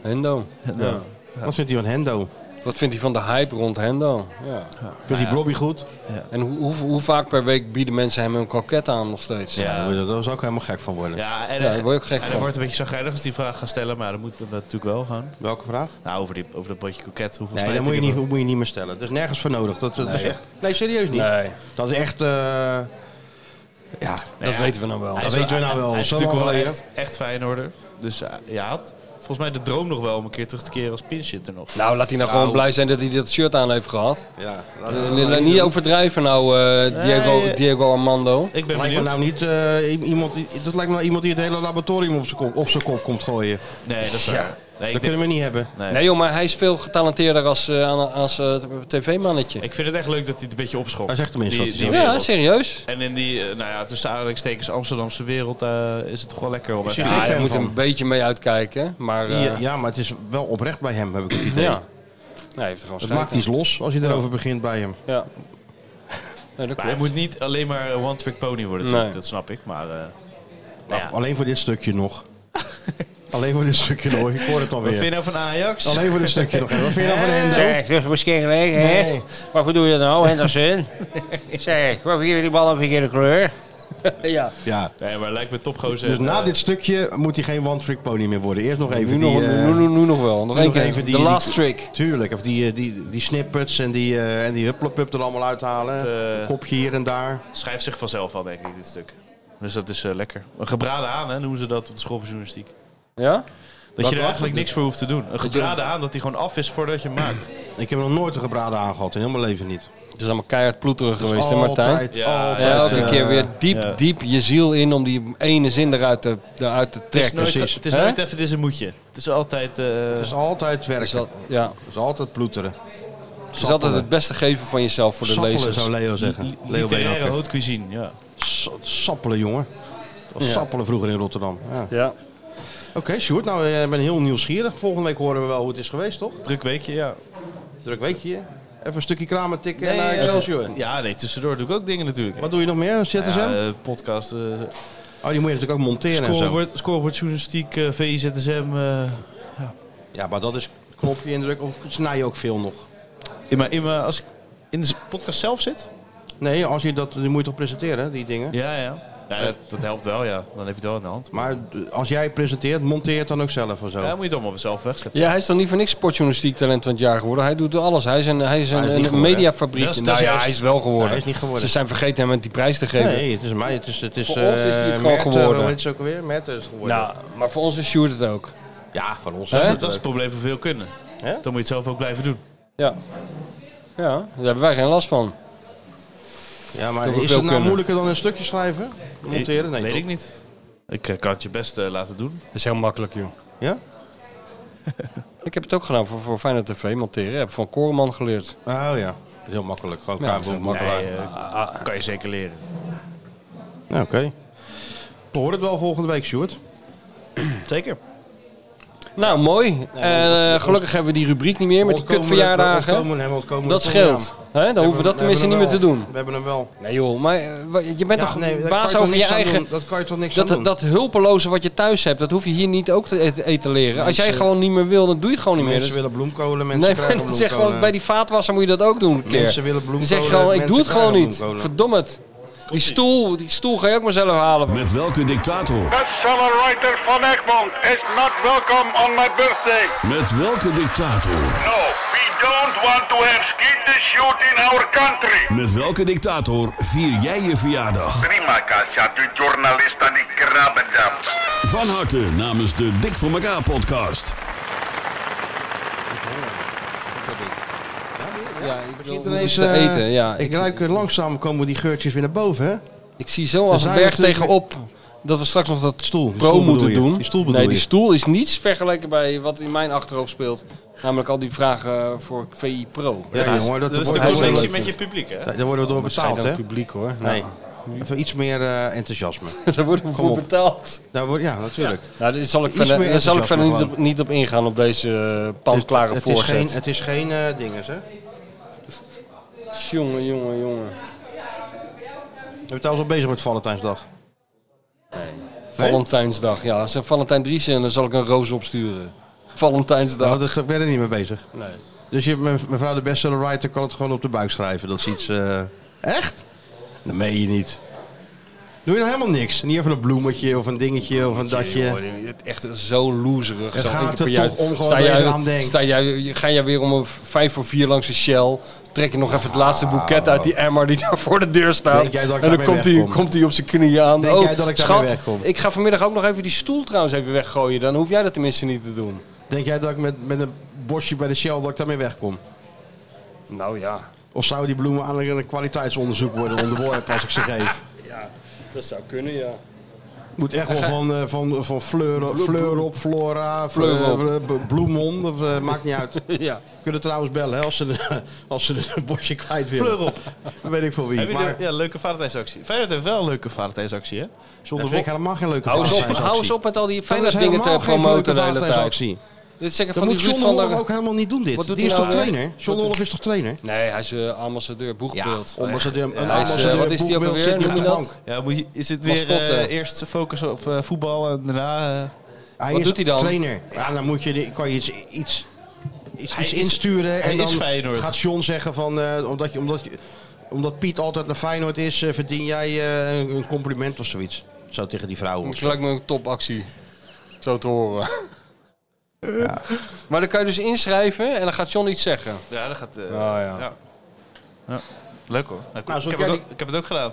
[SPEAKER 6] Hendo. Ja.
[SPEAKER 5] Wat vindt hij van Hendo?
[SPEAKER 6] Wat vindt hij van de hype rond Hendo? Ja.
[SPEAKER 5] Vindt hij Blobby goed?
[SPEAKER 6] En hoe, hoe, hoe vaak per week bieden mensen hem een kroket aan nog steeds?
[SPEAKER 3] Ja.
[SPEAKER 5] Ja, daar zou ik helemaal gek van worden.
[SPEAKER 3] Ja, en,
[SPEAKER 6] Ja,
[SPEAKER 3] eh,
[SPEAKER 6] daar word je ook gek
[SPEAKER 3] en
[SPEAKER 6] van.
[SPEAKER 3] dan wordt het een beetje zagrijnig als die vraag gaan stellen, maar dat moet dat natuurlijk wel gaan.
[SPEAKER 5] Welke vraag?
[SPEAKER 3] Nou, over, die, over dat potje koket. Hoeveel
[SPEAKER 5] Nee, dat
[SPEAKER 3] spijt
[SPEAKER 5] moet je,
[SPEAKER 3] ik
[SPEAKER 5] niet,
[SPEAKER 3] heb.
[SPEAKER 5] moet je niet meer stellen. Dat is nergens voor nodig. Dat, dat is echt- nee serieus niet.
[SPEAKER 6] Nee,
[SPEAKER 5] Dat is echt... eh, ja,
[SPEAKER 6] dat weten we nou wel.
[SPEAKER 3] Hij
[SPEAKER 5] Dat
[SPEAKER 3] is wel-
[SPEAKER 5] weten we nou wel.
[SPEAKER 3] Hij is
[SPEAKER 5] Zo
[SPEAKER 3] natuurlijk
[SPEAKER 5] lang
[SPEAKER 3] wel
[SPEAKER 5] geleden.
[SPEAKER 3] echt, echt Feyenoorder. Dus eh, ja, had volgens mij de droom nog wel om een keer terug te keren als pinshitter nog.
[SPEAKER 6] Nou, laat hij nou gewoon blij zijn dat hij dat shirt aan heeft gehad.
[SPEAKER 5] Ja,
[SPEAKER 6] Eh, niet overdrijven nou, eh, Diego,
[SPEAKER 3] Nee.
[SPEAKER 6] Diego Armando.
[SPEAKER 3] Ik
[SPEAKER 5] lijkt
[SPEAKER 3] ben
[SPEAKER 5] me
[SPEAKER 3] benieuwd.
[SPEAKER 5] nou niet eh, i- iemand, die- dat lijkt me nou iemand die het hele laboratorium op zijn kop, op zijn kop komt gooien.
[SPEAKER 3] Nee, dat is waar. Nee,
[SPEAKER 5] dat
[SPEAKER 3] ik, denk-
[SPEAKER 5] kunnen we niet hebben.
[SPEAKER 3] nee.
[SPEAKER 6] Nee joh, maar hij is veel getalenteerder als, eh, aan- als eh, tv-mannetje.
[SPEAKER 3] ik vind het echt leuk dat hij het een beetje opschopt.
[SPEAKER 5] Hij zegt tenminste
[SPEAKER 3] Die-
[SPEAKER 5] wat hij
[SPEAKER 3] die
[SPEAKER 5] zegt.
[SPEAKER 6] Ja,
[SPEAKER 3] wereld.
[SPEAKER 6] serieus.
[SPEAKER 3] En in die, eh, nou ja, tussen aanhalingstekens Amsterdamse wereld eh, is het toch wel lekker om
[SPEAKER 5] Is
[SPEAKER 3] even...
[SPEAKER 5] hij-
[SPEAKER 6] Ja,
[SPEAKER 5] fan
[SPEAKER 6] je moet
[SPEAKER 5] van.
[SPEAKER 6] een beetje mee uitkijken, maar eh,
[SPEAKER 5] Ja, ja, maar het is wel oprecht bij hem, heb ik het idee.
[SPEAKER 6] ja. Nee, hij heeft er gewoon
[SPEAKER 5] Het
[SPEAKER 6] schijt
[SPEAKER 5] maakt iets los als je erover begint bij hem.
[SPEAKER 6] aan. Ja. Nee, dat
[SPEAKER 3] Maar hij
[SPEAKER 6] klopt.
[SPEAKER 3] moet niet alleen maar een one-trick pony worden, natuurlijk.
[SPEAKER 6] Nee.
[SPEAKER 3] dat snap ik. Maar eh,
[SPEAKER 5] Nou,
[SPEAKER 3] ja.
[SPEAKER 5] Alleen voor dit stukje nog. Alleen voor dit stukje nog. Ik hoor het
[SPEAKER 3] wat vind je
[SPEAKER 5] alweer.
[SPEAKER 3] nou van Ajax?
[SPEAKER 5] Alleen voor dit stukje nog. Wat vind je nou van Hendo?
[SPEAKER 8] Zeg, dus misschien gelijk, hè?
[SPEAKER 5] Nee.
[SPEAKER 8] Waarvoor doe je dat nou, Henderson? zeg, waarvoor geven die bal een verkeerde kleur?
[SPEAKER 6] Ja.
[SPEAKER 5] Ja.
[SPEAKER 3] Nee, maar lijkt me topgozer.
[SPEAKER 5] Dus na
[SPEAKER 3] Eh,
[SPEAKER 5] dit stukje moet hij geen one-trick pony meer worden. Eerst nog even
[SPEAKER 6] nu, nog,
[SPEAKER 5] die... eh,
[SPEAKER 6] nu, nu, nu nog wel. Nog één
[SPEAKER 5] nog
[SPEAKER 6] keer.
[SPEAKER 5] even die-
[SPEAKER 6] The last
[SPEAKER 5] die-
[SPEAKER 6] trick.
[SPEAKER 5] Tuurlijk, of die, eh, die, die snippets en die, eh en die hupplepup er allemaal uithalen.
[SPEAKER 3] eh,
[SPEAKER 5] Een kopje hier en daar.
[SPEAKER 3] schrijft zich vanzelf al, denk ik, dit stuk. Dus dat is eh, lekker. Een gebraden aan, hè, noemen ze dat op de school van journalistiek.
[SPEAKER 6] Ja?
[SPEAKER 3] Dat je er eigenlijk niks voor hoeft te doen. Een gebraden aan dat hij gewoon af is voordat je hem maakt.
[SPEAKER 5] Ik heb nog nooit een gebraden aangehad, in heel mijn leven niet.
[SPEAKER 6] Het is allemaal keihard ploeterig geweest, hè Martijn?
[SPEAKER 5] Altijd,
[SPEAKER 3] Ja,
[SPEAKER 5] altijd.
[SPEAKER 6] Elke
[SPEAKER 5] eh,
[SPEAKER 6] keer weer diep,
[SPEAKER 3] ja.
[SPEAKER 6] diep je ziel in om die ene zin eruit te, eruit te
[SPEAKER 3] Het is
[SPEAKER 6] trekken.
[SPEAKER 3] nooit, het is
[SPEAKER 6] Hè?
[SPEAKER 3] nooit even, dit is een moetje. Het is altijd... eh,
[SPEAKER 5] Het is altijd werken.
[SPEAKER 6] Dus dat- ja.
[SPEAKER 5] Het is altijd ploeteren.
[SPEAKER 6] Het is altijd het beste geven van jezelf voor de
[SPEAKER 5] Sappelen,
[SPEAKER 6] lezers.
[SPEAKER 5] zou Leo zeggen.
[SPEAKER 3] li-
[SPEAKER 5] Leo
[SPEAKER 3] literaire
[SPEAKER 5] Beenhakker.
[SPEAKER 3] haute cuisine, ja.
[SPEAKER 5] Sa- Sappelen, jongen. Dat was Sappelen vroeger in Rotterdam. Ja.
[SPEAKER 6] Ja.
[SPEAKER 5] Oké, Sjoerd, nou, eh, ik ben heel nieuwsgierig. Volgende week horen we wel hoe het is geweest, toch?
[SPEAKER 3] Druk weekje, ja.
[SPEAKER 5] Druk weekje. Even een stukje kramen tikken en naar
[SPEAKER 3] eh,
[SPEAKER 5] Excelsior.
[SPEAKER 3] Ja, nee, tussendoor doe ik ook dingen natuurlijk.
[SPEAKER 5] Wat doe je nog meer? ZSM?
[SPEAKER 3] Ja, eh, podcast, eh
[SPEAKER 5] oh, die moet je natuurlijk ook monteren en zo.
[SPEAKER 3] scoreboard, scoreboard journalistiek, eh, VIZSM. eh,
[SPEAKER 5] Ja, maar dat is knopje indruk. Of snij je ook veel nog?
[SPEAKER 3] in mijn, in mijn, als ik in de podcast zelf zit?
[SPEAKER 5] Nee, als je dat, die moet je toch presenteren, die dingen?
[SPEAKER 3] Ja, ja. ja dat, dat helpt wel, ja. Dan heb je het wel in de hand.
[SPEAKER 5] Maar eh, als jij presenteert, monteer het dan ook zelf en zo.
[SPEAKER 3] Ja, dan moet je het allemaal zelf wegzetten.
[SPEAKER 6] Ja, hij is dan niet voor niks sportjournalistiek talent van het jaar geworden. Hij doet alles. Hij is een, hij is een,
[SPEAKER 5] Hij is niet
[SPEAKER 6] een
[SPEAKER 5] geworden, hè?
[SPEAKER 6] mediafabriek.
[SPEAKER 3] Dat is- dat
[SPEAKER 6] nou
[SPEAKER 3] is
[SPEAKER 6] ja,
[SPEAKER 3] juist-
[SPEAKER 6] hij is wel geworden.
[SPEAKER 5] Hij is niet geworden.
[SPEAKER 6] Ze zijn vergeten hem die prijs te geven.
[SPEAKER 5] Nee, het is mij. Het is, het is,
[SPEAKER 6] Voor ons is hij het
[SPEAKER 5] eh,
[SPEAKER 6] gewoon
[SPEAKER 5] Merten,
[SPEAKER 6] geworden.
[SPEAKER 5] Hoe heet ze ook alweer? Merten is het geworden.
[SPEAKER 6] Nou, maar voor ons is Sjoerd het ook.
[SPEAKER 5] Ja, van ons.
[SPEAKER 6] Hè?
[SPEAKER 5] is
[SPEAKER 3] Dat,
[SPEAKER 5] het
[SPEAKER 3] is- dat is het
[SPEAKER 5] leuk.
[SPEAKER 3] probleem van veel kunnen.
[SPEAKER 5] Hè?
[SPEAKER 3] Dan moet je het zelf ook blijven doen.
[SPEAKER 6] Ja. Ja, daar hebben wij geen last van.
[SPEAKER 5] Ja, maar
[SPEAKER 6] dat we
[SPEAKER 5] is het
[SPEAKER 6] veel
[SPEAKER 5] nou
[SPEAKER 6] kunnen.
[SPEAKER 5] moeilijker dan een stukje schrijven? Monteren? Nee,
[SPEAKER 3] Weet
[SPEAKER 5] toch?
[SPEAKER 3] ik niet. Ik eh, kan het je best eh, laten doen.
[SPEAKER 6] Dat is heel makkelijk, joh.
[SPEAKER 5] Ja?
[SPEAKER 6] Ik heb het ook gedaan voor, voor Feyenoord TV monteren. Ik heb van Koreman geleerd.
[SPEAKER 5] Oh ja, dat is heel makkelijk. Gewoon
[SPEAKER 6] Ja,
[SPEAKER 5] elkaar
[SPEAKER 6] dat is heel
[SPEAKER 5] boeken.
[SPEAKER 3] Nee, eh, kan je zeker leren.
[SPEAKER 6] eh,
[SPEAKER 5] Ja, Oké. We horen het wel volgende week, Sjoerd.
[SPEAKER 3] Zeker.
[SPEAKER 6] Nou, mooi. Eh, gelukkig hebben we die rubriek niet meer met die
[SPEAKER 5] Ontkomen-
[SPEAKER 6] kutverjaardagen.
[SPEAKER 5] ontkomen hem, ontkomen
[SPEAKER 6] Dat
[SPEAKER 5] hem, ja.
[SPEAKER 6] scheelt. hè? Dan hoeven we dat
[SPEAKER 5] We hebben
[SPEAKER 6] tenminste
[SPEAKER 5] hem
[SPEAKER 6] niet meer te
[SPEAKER 5] wel.
[SPEAKER 6] doen.
[SPEAKER 5] We hebben hem wel.
[SPEAKER 6] Nee joh, maar eh, wa- je bent
[SPEAKER 5] Ja,
[SPEAKER 6] toch
[SPEAKER 5] nee, daar kan
[SPEAKER 6] baas
[SPEAKER 5] toch
[SPEAKER 6] over je
[SPEAKER 5] niks aan
[SPEAKER 6] eigen...
[SPEAKER 5] doen? Dat kan je toch niks aan
[SPEAKER 6] Dat,
[SPEAKER 5] doen?
[SPEAKER 6] dat hulpeloze wat je thuis hebt, dat hoef je hier niet ook te et- etaleren. Als jij
[SPEAKER 5] Mensen-
[SPEAKER 6] gewoon niet meer wil, dan doe je het gewoon niet meer.
[SPEAKER 5] Mensen willen bloemkolen, mensen
[SPEAKER 6] nee,
[SPEAKER 5] krijgen
[SPEAKER 6] maar zeg
[SPEAKER 5] bloemkolen.
[SPEAKER 6] gewoon, bij die vaatwasser moet je dat ook doen een keer.
[SPEAKER 5] Mensen willen
[SPEAKER 6] Dan
[SPEAKER 5] bloemkolen.
[SPEAKER 6] zeg je gewoon, ik
[SPEAKER 5] mensen
[SPEAKER 6] doe het gewoon
[SPEAKER 5] krijgen
[SPEAKER 6] niet.
[SPEAKER 5] bloemkolen.
[SPEAKER 6] Verdom het. Die stoel, die stoel ga je ook maar zelf halen.
[SPEAKER 11] Met welke dictator?
[SPEAKER 12] Accelerator van Egmond is not welcome on my birthday.
[SPEAKER 11] Met welke dictator?
[SPEAKER 12] No, we don't want to have skeeter shoot in our country.
[SPEAKER 11] Met welke dictator vier jij je verjaardag?
[SPEAKER 12] Prima, Kasia, de journalist aan die krabbendam.
[SPEAKER 11] Van harte namens de Dik voor elkaar podcast.
[SPEAKER 6] Ja, ik wil
[SPEAKER 5] Ineens,
[SPEAKER 6] te
[SPEAKER 5] eh,
[SPEAKER 6] eten. Ja,
[SPEAKER 5] ik ruik eh, langzaam komen die geurtjes weer naar boven, hè?
[SPEAKER 6] Ik zie zo als een berg tegenop dat we straks nog dat
[SPEAKER 5] stoel,
[SPEAKER 6] pro moeten doen.
[SPEAKER 5] Die stoel bedoel
[SPEAKER 6] nee, die
[SPEAKER 5] je.
[SPEAKER 6] stoel is niets vergeleken bij wat in mijn achterhoofd speelt. Namelijk al die vragen voor VI Pro.
[SPEAKER 5] Ja, jongen, dat,
[SPEAKER 3] dat is
[SPEAKER 5] wordt-
[SPEAKER 3] de
[SPEAKER 5] hij
[SPEAKER 3] connectie
[SPEAKER 5] leuk
[SPEAKER 3] met je
[SPEAKER 5] vindt.
[SPEAKER 3] publiek, hè?
[SPEAKER 5] Daar daar worden we door
[SPEAKER 6] Maar zij
[SPEAKER 5] betaald, hè?
[SPEAKER 6] dan publiek hoor.
[SPEAKER 5] Nee.
[SPEAKER 6] Nou,
[SPEAKER 5] Even iets meer eh, enthousiasme.
[SPEAKER 6] daar worden we
[SPEAKER 5] Kom
[SPEAKER 6] voor
[SPEAKER 5] op.
[SPEAKER 6] betaald.
[SPEAKER 5] Daar wordt, ja, natuurlijk.
[SPEAKER 6] Nou, daar zal ik
[SPEAKER 5] Iets
[SPEAKER 6] verder,
[SPEAKER 5] meer
[SPEAKER 6] daar zal ik verder niet,
[SPEAKER 5] enthousiasme
[SPEAKER 6] op, niet op ingaan op deze eh,
[SPEAKER 5] het,
[SPEAKER 6] pandklare
[SPEAKER 5] het is geen,
[SPEAKER 6] voorzet.
[SPEAKER 5] het is geen eh, dinges, hè?
[SPEAKER 6] Jongen, jongen, jongen.
[SPEAKER 5] We zijn trouwens al bezig met Valentijnsdag.
[SPEAKER 6] Valentijnsdag. Ja, als er Valentijn Driessen en dan zal ik een roos opsturen.
[SPEAKER 5] Nou,
[SPEAKER 6] Valentijnsdag.
[SPEAKER 5] dat, ik ben er niet mee bezig.
[SPEAKER 6] Nee.
[SPEAKER 5] Dus je, me- mevrouw de bestsellerwriter kan het gewoon op de buik schrijven. Dat is iets... eh, echt? Dat meen je niet. Doe je nou helemaal niks? Niet even een bloemetje of een dingetje of een datje?
[SPEAKER 6] Jongen, het is echt zo loserig.
[SPEAKER 5] Het
[SPEAKER 6] zo
[SPEAKER 5] gaat
[SPEAKER 6] één keer per
[SPEAKER 5] er
[SPEAKER 6] jaar.
[SPEAKER 5] toch om gewoon
[SPEAKER 6] sta
[SPEAKER 5] dat je
[SPEAKER 6] jij,
[SPEAKER 5] eraan denkt.
[SPEAKER 6] Sta jij, ga jij weer om een vijf voor vier langs de Shell. Trek je nog even het laatste boeket uit die emmer die daar voor de deur staat.
[SPEAKER 5] Denk jij dat ik
[SPEAKER 6] en dan
[SPEAKER 5] daarmee
[SPEAKER 6] komt hij,
[SPEAKER 5] wegkom?
[SPEAKER 6] komt hij op zijn knieën aan.
[SPEAKER 5] Denk
[SPEAKER 6] oh,
[SPEAKER 5] jij dat ik daarmee
[SPEAKER 6] schat,
[SPEAKER 5] wegkom?
[SPEAKER 6] ik ga vanmiddag ook nog even die stoel trouwens even weggooien. Dan hoef jij dat tenminste niet te doen.
[SPEAKER 5] Denk jij dat ik met, met een bosje bij de Shell dat ik daarmee wegkom?
[SPEAKER 6] Nou ja,
[SPEAKER 5] Of zouden die bloemen aan een kwaliteitsonderzoek worden onderworpen als ik ze geef?
[SPEAKER 6] dat zou kunnen ja.
[SPEAKER 5] Moet echt wel van, eh, van, van fleur, fleur op, flora,
[SPEAKER 6] Fleur op.
[SPEAKER 5] fleur, eh, bloemon, of, eh, maakt niet uit.
[SPEAKER 6] ja.
[SPEAKER 5] Kunnen trouwens bellen hè, als ze, de- als ze de- een bosje kwijt willen.
[SPEAKER 3] Fleur op.
[SPEAKER 5] Dan weet ik voor wie.
[SPEAKER 3] Hebben
[SPEAKER 5] Maar
[SPEAKER 3] jullie ja, leuke Valentijnsactie? Feyenoord heeft wel een leuke Valentijnsactie, hè?
[SPEAKER 5] dat
[SPEAKER 3] Zonder
[SPEAKER 5] vind ik
[SPEAKER 3] wol-
[SPEAKER 5] helemaal geen leuke
[SPEAKER 6] Hou eens, op,
[SPEAKER 5] Valentijnsactie.
[SPEAKER 6] hou eens op met al die
[SPEAKER 5] Dat is
[SPEAKER 6] fijne dingen te
[SPEAKER 5] helemaal geen
[SPEAKER 6] promoten de
[SPEAKER 5] leuke
[SPEAKER 6] hele tijd.
[SPEAKER 5] Valentijnsactie.
[SPEAKER 6] Dit zeggen
[SPEAKER 5] Dat
[SPEAKER 6] van die
[SPEAKER 5] moet
[SPEAKER 6] Ruud
[SPEAKER 5] John
[SPEAKER 6] van
[SPEAKER 5] Wolf
[SPEAKER 6] der...
[SPEAKER 5] ook helemaal niet doen
[SPEAKER 6] Wat
[SPEAKER 5] dit.
[SPEAKER 6] doet
[SPEAKER 5] Die is
[SPEAKER 6] hij
[SPEAKER 5] toch
[SPEAKER 6] nou weer?
[SPEAKER 5] trainer?
[SPEAKER 6] Wat
[SPEAKER 5] John
[SPEAKER 6] doet-
[SPEAKER 5] Wolf is toch trainer?
[SPEAKER 6] Nee, hij is eh, ambassadeur boegbeeld.
[SPEAKER 5] ambassadeur-
[SPEAKER 6] Echt.
[SPEAKER 5] een
[SPEAKER 6] Hij is, eh,
[SPEAKER 5] ambassadeur
[SPEAKER 6] Wat is die ook
[SPEAKER 5] boegbeeld zit
[SPEAKER 6] alweer?
[SPEAKER 5] niet
[SPEAKER 6] Noem je
[SPEAKER 5] aan de
[SPEAKER 6] dat?
[SPEAKER 5] bank.
[SPEAKER 3] Ja, moet je, is het weer
[SPEAKER 6] Mascotte.
[SPEAKER 3] eh, eerst focussen op eh, voetbal en daarna... eh,
[SPEAKER 5] Hij
[SPEAKER 6] Wat
[SPEAKER 5] is
[SPEAKER 6] doet hij dan?
[SPEAKER 5] trainer. Ja, dan moet je, die- kan je iets, iets, iets,
[SPEAKER 3] Hij
[SPEAKER 5] iets
[SPEAKER 3] is-
[SPEAKER 5] insturen.
[SPEAKER 3] hij
[SPEAKER 5] en dan
[SPEAKER 3] is Feyenoord.
[SPEAKER 5] gaat John zeggen van, eh, omdat, je, omdat, je, omdat Piet altijd naar Feyenoord is, eh, verdien jij eh, een- een compliment of zoiets. Zo tegen die vrouw.
[SPEAKER 6] Dat lijkt me een topactie. Zo te horen. Maar dan kan je dus inschrijven en dan gaat John iets zeggen.
[SPEAKER 3] ja, dat gaat... eh,
[SPEAKER 6] Ah, ja.
[SPEAKER 3] ja. Ja. Leuk hoor. Nou, ik-
[SPEAKER 5] Nou,
[SPEAKER 3] ik,
[SPEAKER 5] zoals
[SPEAKER 3] heb
[SPEAKER 5] jij
[SPEAKER 3] het ook,
[SPEAKER 5] die-
[SPEAKER 3] ik heb het ook gedaan.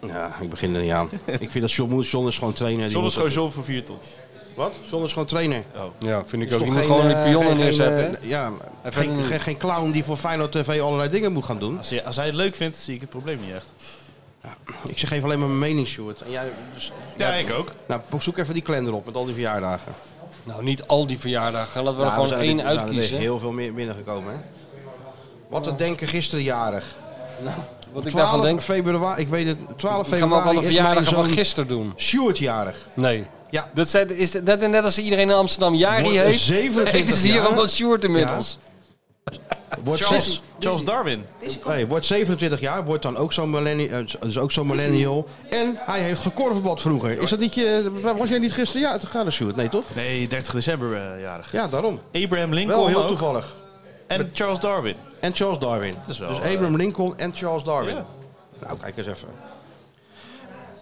[SPEAKER 5] Ja, ik begin er niet aan. ik vind dat John, moet- John is gewoon trainer. Die
[SPEAKER 3] John is
[SPEAKER 5] moet-
[SPEAKER 3] gewoon John voor vier ton.
[SPEAKER 5] Wat? John is gewoon trainer.
[SPEAKER 6] Ja, vind ik
[SPEAKER 5] Is
[SPEAKER 6] ook.
[SPEAKER 5] toch
[SPEAKER 6] Je moet
[SPEAKER 5] geen,
[SPEAKER 6] gewoon die
[SPEAKER 5] eh,
[SPEAKER 6] pionnen
[SPEAKER 5] geen-
[SPEAKER 6] neerzetten.
[SPEAKER 5] geen, eh, ja,
[SPEAKER 6] Hij
[SPEAKER 5] geen,
[SPEAKER 6] vindt-
[SPEAKER 5] geen, geen clown die voor Feyenoord TV allerlei dingen moet gaan doen.
[SPEAKER 3] Als hij, als hij het leuk vindt, zie ik het probleem niet echt.
[SPEAKER 5] Ik zeg even alleen maar mijn mening, Stuart. En jij, dus,
[SPEAKER 3] Ja,
[SPEAKER 5] jij-
[SPEAKER 3] ik ook.
[SPEAKER 5] Nou, zoek even die kalender op met al die verjaardagen.
[SPEAKER 6] Nou, niet al die verjaardagen. Laten
[SPEAKER 5] Nou,
[SPEAKER 6] we er
[SPEAKER 5] we
[SPEAKER 6] gewoon
[SPEAKER 5] zijn
[SPEAKER 6] één
[SPEAKER 5] er- nou, er is
[SPEAKER 6] uitkiezen.
[SPEAKER 5] heel veel meer binnengekomen, hè? Wat te denken gisteren jarig.
[SPEAKER 6] Wat ik
[SPEAKER 5] 12
[SPEAKER 6] daarvan denk.
[SPEAKER 5] Februari, ik weet het, 12
[SPEAKER 6] Gaan we ook
[SPEAKER 5] februari
[SPEAKER 6] alle
[SPEAKER 5] is mijn
[SPEAKER 6] verjaardagen van
[SPEAKER 5] zoon
[SPEAKER 6] gisteren doen?
[SPEAKER 5] Stuart jarig.
[SPEAKER 6] Nee.
[SPEAKER 5] Ja.
[SPEAKER 6] Dat, zijn, is dat dat- net als iedereen in Amsterdam Jari
[SPEAKER 5] Wordt
[SPEAKER 6] heet.
[SPEAKER 5] 27
[SPEAKER 6] heet is hier
[SPEAKER 5] jaar.
[SPEAKER 6] allemaal Sjoerd inmiddels.
[SPEAKER 5] Wordt
[SPEAKER 3] Charles,
[SPEAKER 5] zes-
[SPEAKER 3] Charles Darwin.
[SPEAKER 5] nee, wordt 27 jaar, wordt dan ook zo'n millennial, dus ook zo'n millennial. En hij heeft gekorvenbad vroeger. Is dat niet je, was jij niet gisteren ja, te gaan, Stuart? Nee, toch?
[SPEAKER 3] Nee, 30 december eh, jarig.
[SPEAKER 5] Ja, daarom.
[SPEAKER 3] Abraham Lincoln
[SPEAKER 5] Wel heel
[SPEAKER 3] ook.
[SPEAKER 5] toevallig.
[SPEAKER 3] En Charles Darwin.
[SPEAKER 5] En Charles Darwin.
[SPEAKER 3] is wel,
[SPEAKER 5] dus
[SPEAKER 3] eh,
[SPEAKER 5] Abraham Lincoln en Charles Darwin.
[SPEAKER 3] Ja.
[SPEAKER 5] Nou, kijk eens even.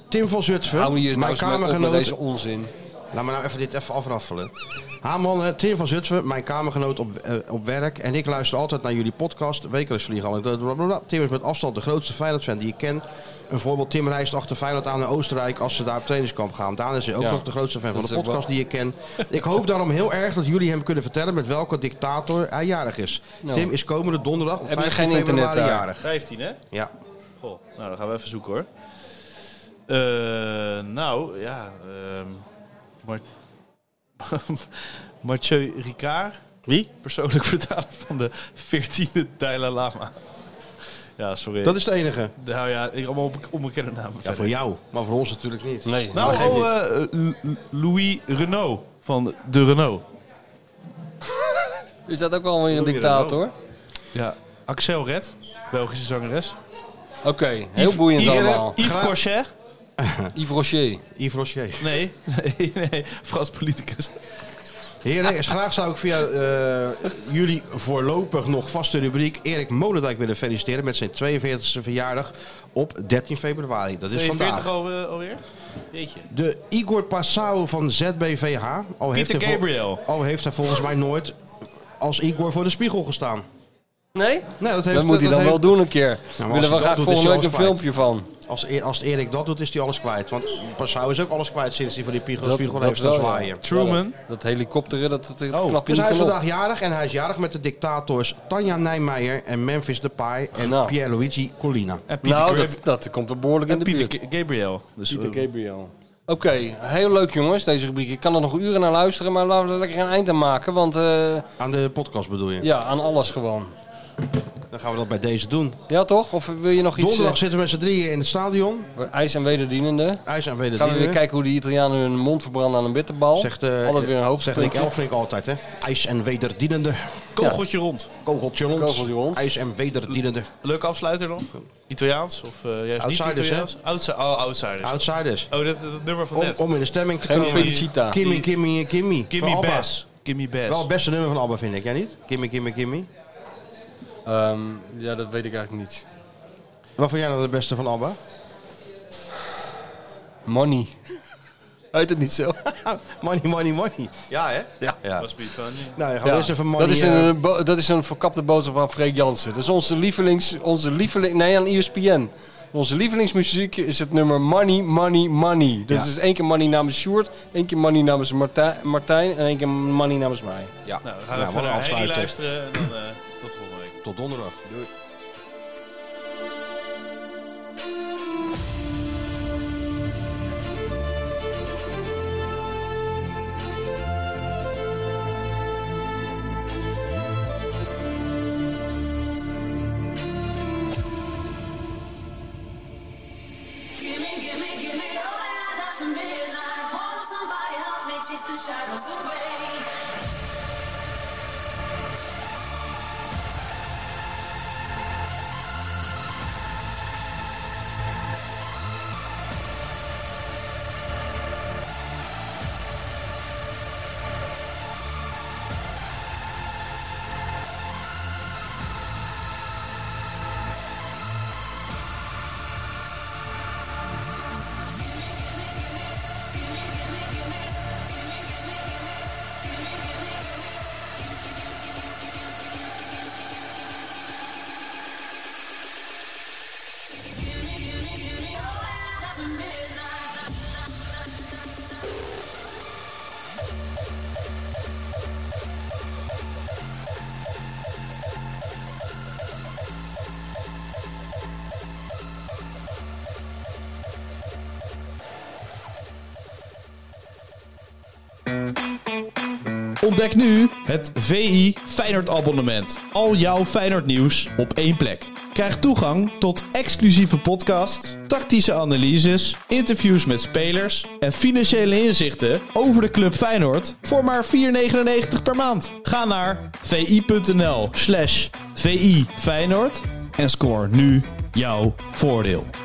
[SPEAKER 5] Tim van
[SPEAKER 6] Hou
[SPEAKER 5] Zutphen,
[SPEAKER 6] hier nou
[SPEAKER 5] mijn
[SPEAKER 6] eens mee op met
[SPEAKER 5] kamergenoot
[SPEAKER 6] deze onzin.
[SPEAKER 5] Laat me nou even dit even afraffelen. Haman, eh, Tim van Zutphen, mijn kamergenoot op, eh, op werk. En ik luister altijd naar jullie podcast. Wekelijks vliegen al. blablabla. Tim is met afstand de grootste Feyenoord-fan die ik ken. Een voorbeeld, Tim reist achter Feyenoord aan naar Oostenrijk als ze daar op trainingskamp gaan. Daan is ook
[SPEAKER 6] Ja.
[SPEAKER 5] nog de grootste fan van
[SPEAKER 6] Dat
[SPEAKER 5] de
[SPEAKER 6] is ook
[SPEAKER 5] podcast die ik ken. Ik hoop daarom heel erg dat jullie hem kunnen vertellen met welke dictator hij jarig is.
[SPEAKER 6] Nou.
[SPEAKER 5] Tim is komende donderdag op
[SPEAKER 6] Hebben ze
[SPEAKER 5] 15
[SPEAKER 6] geen internet
[SPEAKER 5] februari
[SPEAKER 6] daar?
[SPEAKER 5] jarig.
[SPEAKER 3] 15, hè?
[SPEAKER 5] Ja.
[SPEAKER 3] Goh, nou, dan gaan we even zoeken hoor. Eh, nou, ja. ehm Mar Mathieu Ricard. Wie? Persoonlijk vertaler van de 14e Dalai Lama. Ja, sorry.
[SPEAKER 5] Dat is het enige.
[SPEAKER 3] Nou ja, ik allemaal onbe- onbekende namen.
[SPEAKER 5] Ja,
[SPEAKER 3] verder.
[SPEAKER 5] voor jou, maar voor ons natuurlijk niet.
[SPEAKER 6] Nee.
[SPEAKER 3] Nou,
[SPEAKER 5] geeft
[SPEAKER 3] oh, eh, L- Louis Renault van de Renault.
[SPEAKER 6] Is dat ook alweer een dictator?
[SPEAKER 3] Ja, Axel Red, Belgische zangeres.
[SPEAKER 6] Oké, heel boeiend
[SPEAKER 3] Yves-
[SPEAKER 6] allemaal.
[SPEAKER 3] Yves Corchet.
[SPEAKER 6] Yves Rocher.
[SPEAKER 5] Yves Rocher.
[SPEAKER 3] Nee, nee, nee, Frans politicus.
[SPEAKER 5] Heren, is graag zou ik via eh, jullie voorlopig nog vaste rubriek Erik Molendijk willen feliciteren met zijn 42e verjaardag op 13 februari. Dat is
[SPEAKER 3] 42
[SPEAKER 5] vandaag.
[SPEAKER 3] al, eh, alweer? Jeetje.
[SPEAKER 5] De Igor Passau van ZBVH. Al heeft,
[SPEAKER 3] Pieter
[SPEAKER 5] hij vol-
[SPEAKER 3] Gabriel.
[SPEAKER 5] al heeft hij volgens mij nooit als Igor voor de spiegel gestaan.
[SPEAKER 6] Nee?
[SPEAKER 5] Nee, dat heeft,
[SPEAKER 6] Dat moet hij dan
[SPEAKER 5] heeft-
[SPEAKER 6] wel doen een
[SPEAKER 5] maar
[SPEAKER 6] keer.
[SPEAKER 5] als
[SPEAKER 6] Willen we
[SPEAKER 5] hij dat
[SPEAKER 6] graag
[SPEAKER 5] doet, is
[SPEAKER 6] volgende
[SPEAKER 5] hij
[SPEAKER 6] week een
[SPEAKER 5] al spijt.
[SPEAKER 6] filmpje van.
[SPEAKER 5] Als, E- als Erik dat doet, is hij alles kwijt. Want Passau is ook alles kwijt sinds hij van die Pigo's
[SPEAKER 6] Dat-
[SPEAKER 5] Pigo
[SPEAKER 6] dat
[SPEAKER 5] heeft gaan
[SPEAKER 6] wel, ja.
[SPEAKER 5] zwaaien.
[SPEAKER 6] Truman. Dat helikopteren, dat, dat, dat knap je
[SPEAKER 5] Dus hij
[SPEAKER 6] niet
[SPEAKER 5] is
[SPEAKER 6] van op.
[SPEAKER 5] vandaag jarig en hij is jarig met de dictators Tanja Nijmeijer en Memphis Depay en Pierluigi Collina.
[SPEAKER 6] nou, dat, dat komt wel behoorlijk in de buurt.
[SPEAKER 13] eh, Gabriel. Dus
[SPEAKER 6] Pieter Gabriel. Oké, heel leuk jongens, deze rubriek. Ik kan er nog uren naar luisteren, maar laten we er lekker een eind aan maken. Want eh,
[SPEAKER 5] Aan de podcast bedoel je?
[SPEAKER 6] ja, aan alles gewoon.
[SPEAKER 5] Dan gaan we dat bij deze doen.
[SPEAKER 6] Ja toch? Of wil je nog iets...
[SPEAKER 5] Donderdag
[SPEAKER 6] eh,
[SPEAKER 5] zitten we met z'n drieën in het stadion.
[SPEAKER 6] IJs en wederdienende.
[SPEAKER 5] IJs en
[SPEAKER 6] Gaan we weer
[SPEAKER 5] wederdienende.
[SPEAKER 6] kijken hoe de Italianen hun mond verbranden aan een bitterbal.
[SPEAKER 5] Zegt, eh,
[SPEAKER 6] Altijd weer een hoop
[SPEAKER 5] zegt Nick Elfrink altijd, hè? IJs en wederdienende.
[SPEAKER 13] Kogeltje rond.
[SPEAKER 5] Kogeltje rond.
[SPEAKER 6] Kogeltje rond.
[SPEAKER 5] IJs en wederdienende.
[SPEAKER 13] Leuke afsluiter nog? Italiaans? Of eh juist niet
[SPEAKER 5] Outsiders, hè?
[SPEAKER 13] Italiaans? Outsi- oh, outsiders.
[SPEAKER 5] Outsiders.
[SPEAKER 13] oh, dat, dat nummer van
[SPEAKER 5] Om,
[SPEAKER 13] net.
[SPEAKER 5] om in de stemming te
[SPEAKER 6] Geen
[SPEAKER 5] komen.
[SPEAKER 6] Felicita.
[SPEAKER 5] Kimmy, Kimmy, Kimmy.
[SPEAKER 13] Gimme
[SPEAKER 5] Van Abba.
[SPEAKER 13] Bass. Gimme Bass.
[SPEAKER 5] Wel het beste nummer van Abba, vind ik. Jij niet? Kimmy, Kimmy, Kimmy.
[SPEAKER 6] Ehm, ja, dat weet ik eigenlijk niet.
[SPEAKER 5] Wat vond jij nou het beste van Abba?
[SPEAKER 6] Money. Heet het niet zo?
[SPEAKER 5] Money, money, money. Ja, hè?
[SPEAKER 6] Ja.
[SPEAKER 5] ja.
[SPEAKER 13] Must be funny.
[SPEAKER 5] Nou, dan gaan we
[SPEAKER 6] Ja,
[SPEAKER 5] eerst even money...
[SPEAKER 6] dat, is
[SPEAKER 5] eh,
[SPEAKER 6] een, Nou, bo- dat is een verkapte boodschap aan Freek Jansen. Dat is onze lievelings... Onze lieveling, nee, aan E ESPN. Onze lievelingsmuziek is het nummer Money, Money, Money. Dus
[SPEAKER 5] Ja.
[SPEAKER 6] het is één keer Money namens Sjoerd, één keer Money namens Martijn, Martijn en één keer Money namens mij.
[SPEAKER 5] Ja.
[SPEAKER 13] Nou, we gaan
[SPEAKER 5] Nou,
[SPEAKER 13] even
[SPEAKER 5] wat een
[SPEAKER 13] naar Harry
[SPEAKER 5] afsluiter.
[SPEAKER 13] luisteren en dan eh, tot de volgende week.
[SPEAKER 5] Tot donderdag. Doei.
[SPEAKER 12] Gimme, gimme, gimme the bad after midnight. Won't somebody help me chase the shadows away? Gimme, gimme, gimme the bad after midnight.
[SPEAKER 3] Ontdek nu het VI Feyenoord abonnement. Al jouw Feyenoord nieuws op één plek. Krijg toegang tot exclusieve podcasts, tactische analyses, interviews met spelers en financiële inzichten over de club Feyenoord voor maar 4,99 per maand. Ga naar vi.nl slash vi Feyenoord en score nu jouw voordeel.